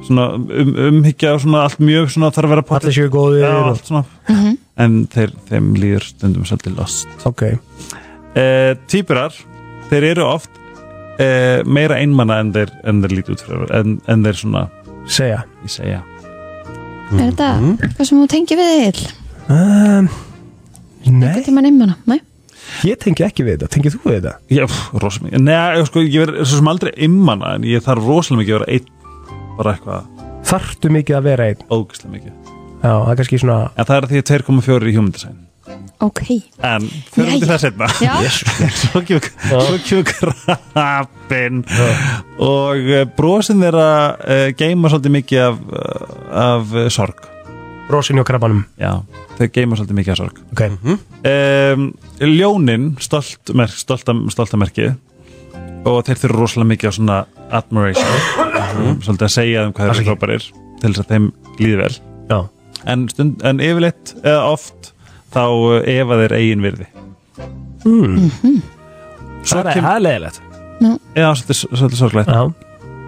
Speaker 5: svona um, umhyggja og svona allt mjög svona þarf að vera pottþétt.
Speaker 3: Allir séu góðir
Speaker 5: Já,
Speaker 3: og,
Speaker 5: allt svona
Speaker 2: Mhm.
Speaker 5: en þeir, þeim líður stundum svolítið lost
Speaker 3: Ok,
Speaker 5: uh, Týpurar, þeir eru oft uh, meira einmanna en þeir, en þeir lítið út fyrir en, en þeir svona,
Speaker 3: segja
Speaker 5: ég segja
Speaker 2: er þetta hvað sem þú tengir við þig
Speaker 3: um, Nei,
Speaker 2: til mann einmann Nei,
Speaker 3: ég tengi ekki við þetta, tengið þú við þetta?
Speaker 5: Já, rosalega mikið. Nei, sko, ég er svo sem aldrei immanna en ég þarf rosalega mikið að vera einn bara eitthvað
Speaker 3: Þarftu mikið að vera einn
Speaker 5: ógislega mikið
Speaker 3: Já, það er kannski svona
Speaker 5: En það er því 2,4 í human design
Speaker 2: ok
Speaker 5: En fyrir út í
Speaker 2: Jæja.
Speaker 5: það setna
Speaker 2: Já,
Speaker 5: Svo kemur svo kemur krabbin Og eh, brosin þeirra uh, geima svolítið mikið af, eh, af eh, sorg
Speaker 3: rosinni og krabbanum
Speaker 5: Já, þau geima svolítið mikið af sorg
Speaker 3: Ok,
Speaker 5: um, Ljónin stolt, mer, stolta, stolta merki og þeir þurfa rosalega mikið á svona admiration
Speaker 3: Mhm.
Speaker 5: um, svolítið að segja um hvað þeir eru
Speaker 3: Afsakið.
Speaker 5: frábærir til þess að þeim líði vel
Speaker 3: já
Speaker 5: en, stund, en yfirleitt eða oft þá eh, efa þeir eigin virði
Speaker 3: Hmm. Svo er það leðilegt
Speaker 5: Já, svolítið, svolítið sorglegt
Speaker 3: Já,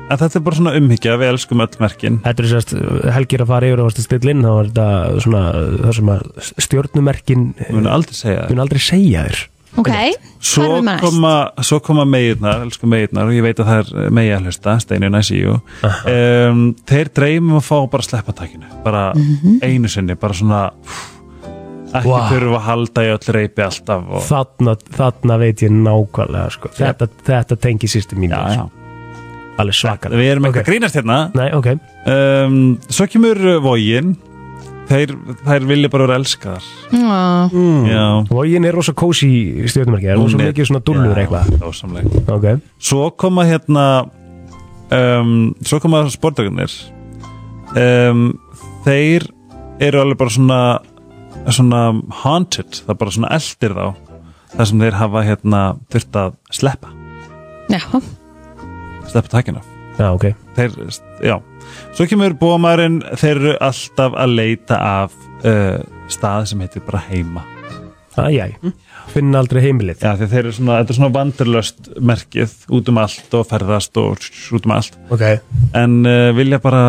Speaker 5: en þetta er bara svona umhyggja, við elskum öll merkin
Speaker 3: þetta er sérst helgir að fara yfir og varst að stilla inn þá var þetta svona það sem að stjórnumerkin
Speaker 5: við munum aldrei segja það
Speaker 3: mun aldrei segja þér
Speaker 2: ok, hvað
Speaker 5: Svo
Speaker 2: erum við með næst?
Speaker 5: koma, svo koma meginnar, elsku meginnar og ég veit að það er eh, megi að hlusta, Steinu Næsíu um, þeir dreymum að fá bara sleppa takinu, bara einu sinni bara svona pff, ekki
Speaker 3: Vá.
Speaker 5: þurfa að halda í öll reypi alltaf og,
Speaker 3: þarna, þarna veit ég nákvæmlega sko. þetta, þetta tengi sýstu mín
Speaker 5: já, já.
Speaker 3: alveg svakar
Speaker 5: við erum ekki
Speaker 3: Ok.
Speaker 5: að grínast hérna
Speaker 3: Nei, ok,
Speaker 5: um, svo kemur vógin þeir, þeir vilja bara vera elskaðar
Speaker 2: Já,
Speaker 5: já,
Speaker 3: vógin er rosa kósi stjórnumerki, það Mm. er rosa mikið svona dullur eitthvað
Speaker 5: dásamleg
Speaker 3: Ok,
Speaker 5: svo koma hérna um, svo koma sportökunir um, þeir eru alveg bara svona svona haunted það er bara svona eldir þá þar sem þeir hafa hérna þurft að sleppa
Speaker 2: já,
Speaker 5: sleppa takina
Speaker 3: já ok
Speaker 5: þeir, já svo kemur bómarinn, þeir eru alltaf að leita af uh, stað sem heitir bara heima
Speaker 3: Æjæ,
Speaker 5: Hm?
Speaker 3: finna aldrei heimilið
Speaker 5: já, því að þeir eru svona, þetta er svona vandurlöst merkið út um allt og ferðast og út um allt
Speaker 3: Ok,
Speaker 5: en uh, vilja bara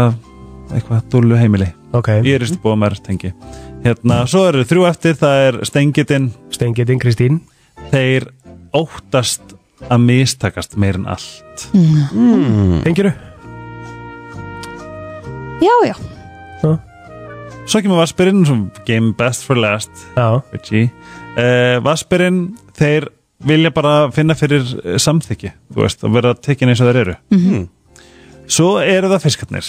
Speaker 5: eitthvað dúllu heimili
Speaker 3: ok,
Speaker 5: ég er istbúið að mér tengi hérna, svo eru þrjú eftir, það er stengitinn
Speaker 3: stengitin Kristín
Speaker 5: þeir óttast að mistakast meir en allt
Speaker 3: Tengiru?
Speaker 2: já, já
Speaker 3: Hm?
Speaker 5: svo kemur Vaspirinn, sem game best for last
Speaker 3: Já,
Speaker 5: Richie uh, Vaspirinn, þeir vilja bara finna fyrir eh, samþykki þú veist, að vera tekin eins og þeir eru -hmm. svo eru það fiskarnir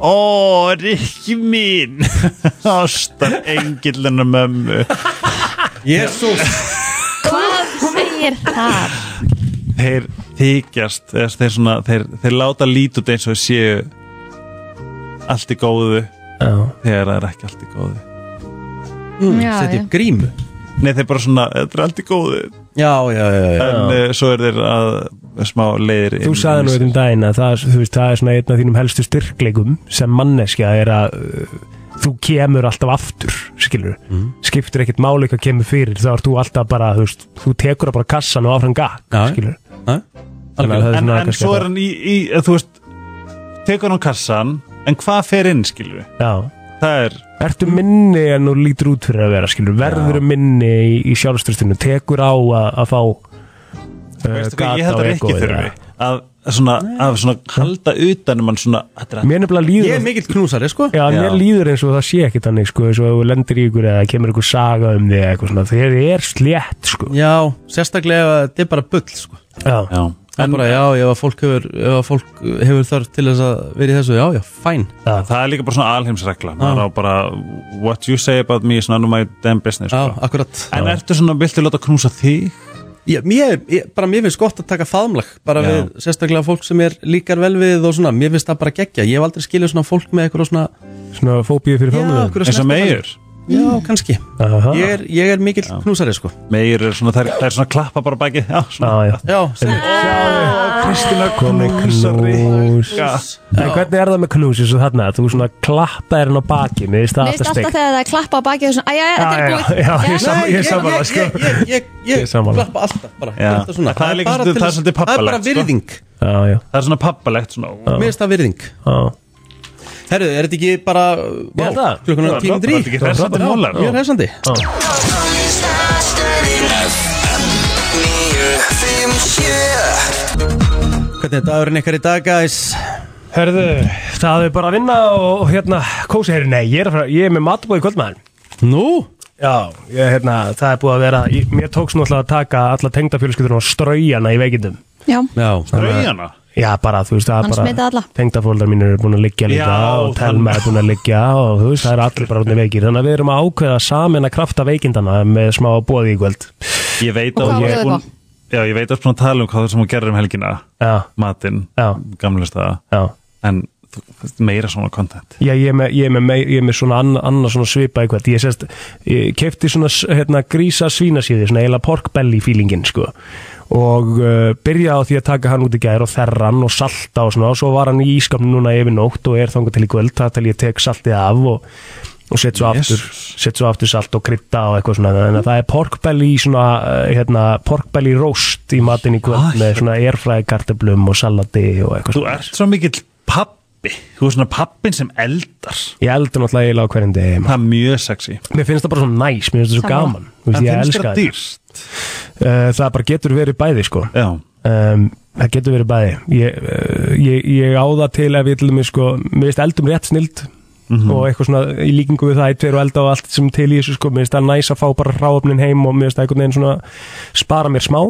Speaker 5: Ó, Rikki mín Ástar engillinu mömmu
Speaker 1: Jésús
Speaker 2: Hvað segir það?
Speaker 5: þeir þykjast eða þeir, svona, þeir, þeir láta lít út eins og þeir séu allt í góðu
Speaker 3: já,
Speaker 5: þegar það er ekki allt í góðu
Speaker 2: Já,
Speaker 1: Setja
Speaker 2: já.
Speaker 1: Mm, upp grímu
Speaker 5: Nei, þeir bara svona, þetta er allt í góðu
Speaker 1: Já, já, já, já.
Speaker 5: en uh, svo er þeir að eh, smá leiðir
Speaker 3: Þú
Speaker 5: inn í
Speaker 3: sagði nú
Speaker 5: sig.
Speaker 3: eitt um daginn að það, þú veist, það er svona einn af þínum helstu styrkleikum sem manneskja er að uh, þú kemur alltaf aftur, skilur skiptir ekkert máli hvað kemur fyrir þá ert þú alltaf bara, þú veist, þú tekur bara kassan og áfram gakk,
Speaker 1: Já, já.
Speaker 3: skilur
Speaker 1: Alveg.
Speaker 3: Þannig að það er
Speaker 5: en,
Speaker 3: svona
Speaker 5: en
Speaker 3: kannski
Speaker 5: svo
Speaker 3: að
Speaker 5: er hann í, í eða, þú veist, tekur hann kassan en hvað fer inn, skilur við
Speaker 3: það- Já,
Speaker 5: það er,
Speaker 3: ertu minni en þú lítur út fyrir að vera, skilur verður minni í, í sjálfstöðstinu tekur á að, að fá uh,
Speaker 5: veistu hvað, ég held að ekki þurfi að svona, að svona halda utan um hann svona, þetta er
Speaker 3: Mér nefnilega
Speaker 1: Ég
Speaker 3: líður
Speaker 1: er mikill knúsari, sko
Speaker 3: Já, mér
Speaker 5: Já.
Speaker 3: líður eins og það sé ekki þannig sko, eins og ef þú lendir í ykkur eða kemur ykkur saga um þig eða eitthvað svona, þeir er slétt sko.
Speaker 1: Já, sérstaklega ef þetta er bara bull, sko
Speaker 3: Já,
Speaker 5: Já,
Speaker 10: en, bara, já, ef að fólk hefur, ef að fólk hefur þarf til þess að vera í þessu, já, já, fæn
Speaker 5: Já, það er líka bara svona alheimsregla maður á bara, what you say about me is none of my damn business
Speaker 1: Já,
Speaker 5: sko.
Speaker 1: akkurat
Speaker 5: en ertu svona, viltu láta knúsa þig?
Speaker 1: Já, mér, ég, bara mér finnst gott að taka faðmlag bara
Speaker 5: Já.
Speaker 1: við sérstaklega fólk sem er líkar vel við og svona, mér finnst það bara geggja ég hef aldrei skilið svona fólk með eitthvað svona
Speaker 3: Svona fóbíu fyrir
Speaker 1: Já,
Speaker 3: framöðum
Speaker 1: einhverja
Speaker 5: eins
Speaker 1: snerta-
Speaker 5: og meir
Speaker 1: Já, kannski
Speaker 3: Aha.
Speaker 1: Ég er, ég er mikill knúsari sko
Speaker 5: meir er svona, það er, það er svona klappa bara baki já, svona,
Speaker 3: Já, já.
Speaker 1: Já, sem,
Speaker 5: Kristina
Speaker 3: Komið
Speaker 5: knúsari
Speaker 3: knús.
Speaker 5: Já.
Speaker 3: En hvernig er það með knús eins og þarna? Þú svona klappa þér hann á baki Mér finnst það
Speaker 2: Mér finnst alltaf
Speaker 3: alltaf steikt
Speaker 2: þegar það er klappa á baki og svona, æja, þetta
Speaker 3: Já,
Speaker 2: er
Speaker 3: já,
Speaker 2: búið
Speaker 3: já, ég sam-
Speaker 1: Nei,
Speaker 3: ég sammála, sko.
Speaker 1: ég, ég, ég, ég,
Speaker 3: Ég
Speaker 1: ég
Speaker 3: sammála.
Speaker 1: klappa alltaf bara,
Speaker 5: Já.
Speaker 1: alltaf svona.
Speaker 5: Það er líka
Speaker 1: bara
Speaker 5: svolítið-
Speaker 1: til
Speaker 5: það er
Speaker 1: þess-
Speaker 5: svolítið
Speaker 1: Það er bara
Speaker 5: pappalegt, sko.
Speaker 1: virðing,
Speaker 3: Já, já,
Speaker 5: það er svona pappalegt svona,
Speaker 1: mér finnst það virðing
Speaker 3: já
Speaker 1: Herru, er þetta ekki bara
Speaker 3: Ég held það.
Speaker 1: Klukkunar
Speaker 5: Það er
Speaker 1: tíminn
Speaker 5: frábært,
Speaker 1: drí
Speaker 5: þetta er ekki hressandi málar.
Speaker 1: Mjög hressandi Hvernig er dagurinn ykkar í dag, guys?
Speaker 3: Herðu, það er bara að vinna og hérna, kósi, herri, nei, ég er, að fara, ég er með matbúið kvöldmaður.
Speaker 1: Nú?
Speaker 3: Já, ég, hérna, það er búið að vera, ég, mér tókst náttúrulega að taka alla tengdafjölskyldurinn og straujana í veikindum.
Speaker 2: Já,
Speaker 1: Já
Speaker 5: rauðana
Speaker 3: Já, bara, þú veist, það
Speaker 2: Hann
Speaker 3: er
Speaker 2: smitaði alla.
Speaker 3: bara, tengdafóldar mínir eru búin að liggja líka
Speaker 5: Já,
Speaker 3: og
Speaker 5: þann-
Speaker 3: telma er búin að liggja og þú veist, það eru allir bara orðinir veikir. Þannig að við erum að ákveða samin að krafta veikindana með smá bóði í kvöld.
Speaker 5: ég veit
Speaker 2: Og
Speaker 5: að
Speaker 2: hvað
Speaker 5: ég,
Speaker 2: var
Speaker 5: hún,
Speaker 2: það?
Speaker 5: já, ég veit að svona tala um hvað það sem hún gerir um helgina
Speaker 3: Já,
Speaker 5: matinn,
Speaker 3: Já.
Speaker 5: gamlega staða
Speaker 3: já.
Speaker 5: en þú- meira svona content
Speaker 3: Já, ég er með, ég er með, mei- ég er með svona annað anna svona svipa eitthvað Ég, sest, ég kefti svona s- hérna, grísa svínasíði, svona eiginlega pork belly feelingin sko. og uh, byrjaði á því að taka hann út í gær og þerra hann og salta og svona og svo var hann í ískapnum núna yfir nótt og er þangur til í kvöld þar til ég tek saltið af og, og set svo, aftur, set svo aftur salt og krydda og eitthvað svona en það er pork belly svona, uh, hérna, pork belly roast í matinn í kvöld með svona erfræði kartöblum og salati og eitthvað
Speaker 5: Ah, þú ert svo mikill pappi þú er svona pappin sem eldar
Speaker 3: Ég eldur náttúrulega eiginlega á hverjum degi
Speaker 5: það er mjög sexy
Speaker 3: Mér finnst það bara svo næs, mér finnst það svo
Speaker 2: Sammála.
Speaker 3: gaman Þú veist,
Speaker 5: en
Speaker 3: Ég
Speaker 5: finnst
Speaker 3: elska
Speaker 5: þér
Speaker 3: það
Speaker 5: dýrst
Speaker 3: Uh, Það bara getur verið bæði sko
Speaker 5: já,
Speaker 3: um, Það getur verið bæði Ég, uh, ég, ég á það til ef ég til mig sko Mér finnst eldum rétt snild Og eitthvað svona í líkingu við það Tver og elda og allt sem til í þessu sko Mér finnst það næs að fá bara ráöfnin heim Og mér finnst það einhvern veginn svona Spara mér smá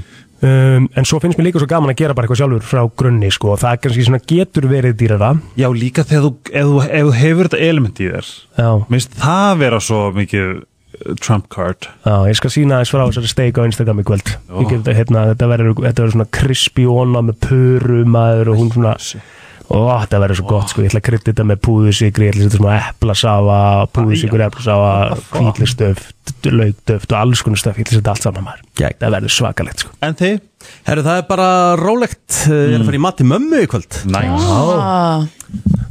Speaker 3: um, En svo finnst mér líka svo gaman að gera bara eitthvað sjálfur Frá grunni sko Og það kannski svona getur verið dýrara
Speaker 5: já líka þegar þú, ef, þú- ef þú hefur þetta element í þér
Speaker 3: Já,
Speaker 5: Mér finnst það vera svo mikið uh, trump card
Speaker 3: Já, ég skal sína aðeins frá þessari steik á Instagram í kvöld Ég get, hérna, Þetta verður þetta verður svona krispi óna með pörum aður og hún svona Ó, þetta verður svo gott sko, ég ætla að krydda þetta með púðusikri, ég ætla að setja svona eplasafa, púðusikur, eplasafa, hvítlistöft, laugdöft og alls konar stöf, ég ætla að setja allt saman maður.
Speaker 1: Gegn.
Speaker 3: Það verður svakalegt sko.
Speaker 5: En þið?
Speaker 1: Herru, það er bara rólegt Ég er að fara í mati mömmu í kvöld
Speaker 5: Nice
Speaker 2: Ah,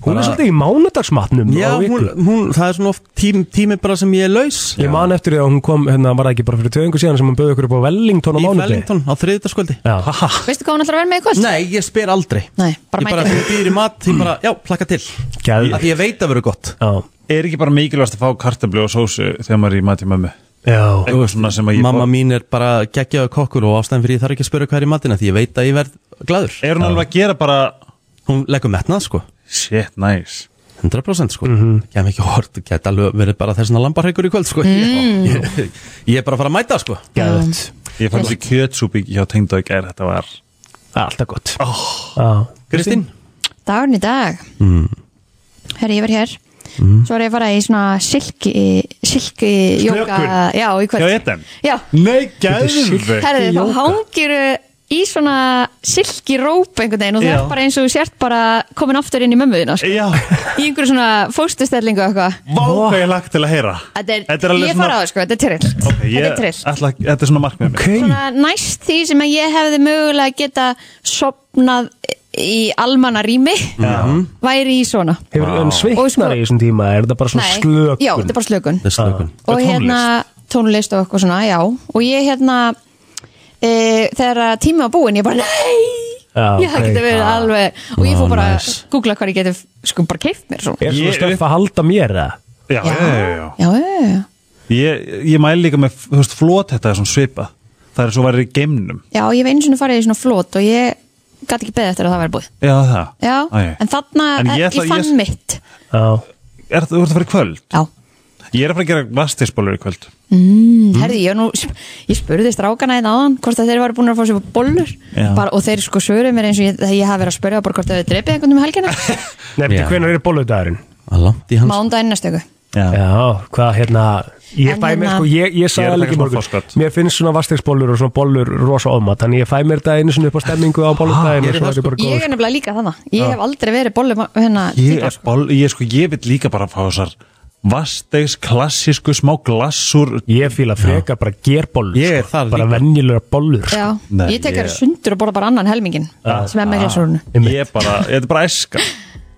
Speaker 3: Hún er svolítið í mánudagsmatnum
Speaker 1: Já,
Speaker 3: á viku.
Speaker 1: hún, hún, það er svona oft tím, tími bara sem ég er laus
Speaker 3: Ég man eftir því að hún kom, hérna var það ekki bara fyrir tvöðingu síðan sem hún bauði okkur upp á Wellington á
Speaker 1: Í
Speaker 3: mánudegi.
Speaker 1: Wellington á þriðutaskvöldi
Speaker 3: Já,
Speaker 2: veistu hvað hún ætlar að vera með í kvöld?
Speaker 1: Nei, ég spyr aldrei
Speaker 2: Nei, bara
Speaker 1: Ég bara,
Speaker 2: mæti
Speaker 1: þegar býður í mat, ég bara, já, plakka til
Speaker 3: Geðveikt.
Speaker 1: Af Því ég veit að vera gott
Speaker 3: já,
Speaker 5: Er ekki bara mikilvægast að fá kartabli og sósu þegar maður er í mati mömmu?
Speaker 3: já.
Speaker 5: Eitthvað svona sem að ég
Speaker 1: Mamma mín er bara geggjaðu kokkur og ástæðan fyrir ég þarf ekki að spyrja hvað er í matina Því ég veit að ég verð gladur
Speaker 5: Er hún alveg að gera bara
Speaker 1: Hún leggur metnað, sko
Speaker 5: Shit, nice
Speaker 1: 100% sko, mm kem ekki hort Gæti alveg verið bara þessna lambarhaukur í kvöld, sko ég, ég, ég er bara að fara að mæta, sko
Speaker 3: Gæðvögt.
Speaker 5: Ég fann þessi kjötsúpi hjá tengd og ekki er þetta var
Speaker 3: Alltaf gott. Já.
Speaker 1: Kristín?
Speaker 2: Dagurinn í dag
Speaker 5: Mm.
Speaker 2: Herri, ég verð hér Svo er ég að fara í svona silki Silki jóka
Speaker 5: Snökkur.
Speaker 2: Já, í
Speaker 5: Hjá
Speaker 2: kvöld
Speaker 5: Eden?
Speaker 2: Já,
Speaker 5: Nei, gæður
Speaker 2: herri, þá hangir í svona silki róp einhvern veginn og það
Speaker 5: Já.
Speaker 2: er bara eins og þú sért bara komin aftur inn í mömmuðina sko.
Speaker 5: Já,
Speaker 2: í einhverju svona fóstustellingu og eitthvað
Speaker 5: vá hvað ég lagt til að heyra
Speaker 2: Þetta er,
Speaker 5: alveg
Speaker 2: ég fara á það sko, þetta er trill
Speaker 5: Ok, ég-
Speaker 2: Þetta er trill
Speaker 5: ætla, Þetta er svona markmið okay.
Speaker 2: Svona næst því sem að ég hefði mögulega geta sopnað í almanna rými
Speaker 5: Mhm.
Speaker 2: væri í svona
Speaker 3: Hefur hann
Speaker 2: Og sko-
Speaker 3: sveiknar í þessum tíma? Er þetta bara svona
Speaker 2: Nei,
Speaker 3: slökun? Ah.
Speaker 2: Já, þetta er bara slökun
Speaker 1: Það er slökun
Speaker 2: Og hérna tónlist og eitthvað svona, já Og ég hérna e, Þegar að tími var búinn, ég bara nei
Speaker 3: Já,
Speaker 2: Ég hafði
Speaker 3: ok.
Speaker 2: getið verið
Speaker 3: Ah.
Speaker 2: alveg Og ég
Speaker 1: Ah,
Speaker 2: fór bara að
Speaker 1: nice.
Speaker 2: googla hvað ég geti Sko bara keift mér svona
Speaker 3: Er svona
Speaker 5: Ég-
Speaker 3: stöf að halda mér eða?
Speaker 5: já, já, já, já.
Speaker 2: Já, já, já,
Speaker 5: Ég, ég mæli líka með, þú veist, flót þetta er svona svipað Það er svo værið í geimnum
Speaker 2: já, ég hef eins og farið í svona flót Og ég gat ekki beðið eftir að það væri búið
Speaker 5: Já, það
Speaker 2: Já,
Speaker 5: Æ.
Speaker 2: en þarna
Speaker 5: En ég
Speaker 2: ég,
Speaker 5: ætla-
Speaker 2: fann
Speaker 5: ég-
Speaker 2: mitt
Speaker 3: Já.
Speaker 5: Er það, þú ert að fara í kvöld?
Speaker 2: Já,
Speaker 5: Ég er að fara að gera vasteisbólur í kvöld
Speaker 2: Mm, herði, ég, var nú, ég spurði strákana einn áðan hvort að þeir væri búin að fá sér bollur
Speaker 5: Já.
Speaker 2: bara, og þeir sko svöruðu mér eins og ég, þegar ég hafi verið að spurja bara hvort að þau drepið einhvern um helgina
Speaker 3: Nei, betur,
Speaker 1: Já.
Speaker 3: hvenær er bóludagurinn?
Speaker 1: Langt í hans
Speaker 2: mándaginn næstu ykkur
Speaker 5: Já.
Speaker 3: hvað hérna Ég
Speaker 2: En
Speaker 3: fæ mér
Speaker 2: hérna-
Speaker 3: sko, ég, ég
Speaker 5: Ég
Speaker 3: sagði
Speaker 5: er að
Speaker 3: alveg
Speaker 5: taka
Speaker 3: ekki
Speaker 5: smá
Speaker 3: morgun
Speaker 5: forskot.
Speaker 3: Mér finnst svona vastegsbólur og svona bólur rosa ofma Þannig ég fæ mér þetta einu svona upp á stemmingu á bóludaginn
Speaker 1: gerir
Speaker 3: Og svo
Speaker 1: það
Speaker 3: er ég bara
Speaker 2: Ég
Speaker 3: góð
Speaker 2: er nefnilega líka þannig Ég hef aldrei verið bollum hérna,
Speaker 5: Ég
Speaker 2: típa,
Speaker 5: er ból, ég sko, ég vil líka bara fá þessar vasteis, klassísku, smá glassur
Speaker 3: Ég fíla freka bara gerbólur
Speaker 1: Ég er þar
Speaker 3: Bara
Speaker 1: líka.
Speaker 3: venjulega bólur
Speaker 2: sko. Já,
Speaker 5: Nei,
Speaker 2: Ég tek
Speaker 5: ég-
Speaker 2: þeirra sundur og borða bara annan helmingin sem er með glasrúrunu
Speaker 5: Ég er bara, þetta er bara eska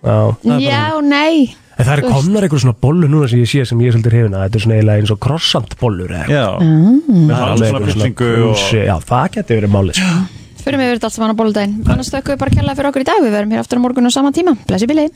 Speaker 3: Já
Speaker 2: Já, nei
Speaker 3: En það er
Speaker 2: Þú veist.
Speaker 3: komnar einhver svona bollur núna sem ég sé sem ég er svolítið hrifin að þetta er svona eiginlega eins og krossant bollur eða
Speaker 5: Já, með það alveg
Speaker 3: eitthvað
Speaker 5: svona
Speaker 3: svona
Speaker 5: fyllingu og
Speaker 3: krúsi. Já, það geti verið málið sko.
Speaker 2: Fyrir mig verið allt saman á bolludaginn Annars þökkum við bara kærlega fyrir okkur í dag Við verum hér aftur á morgun á sama tíma Blessi bílið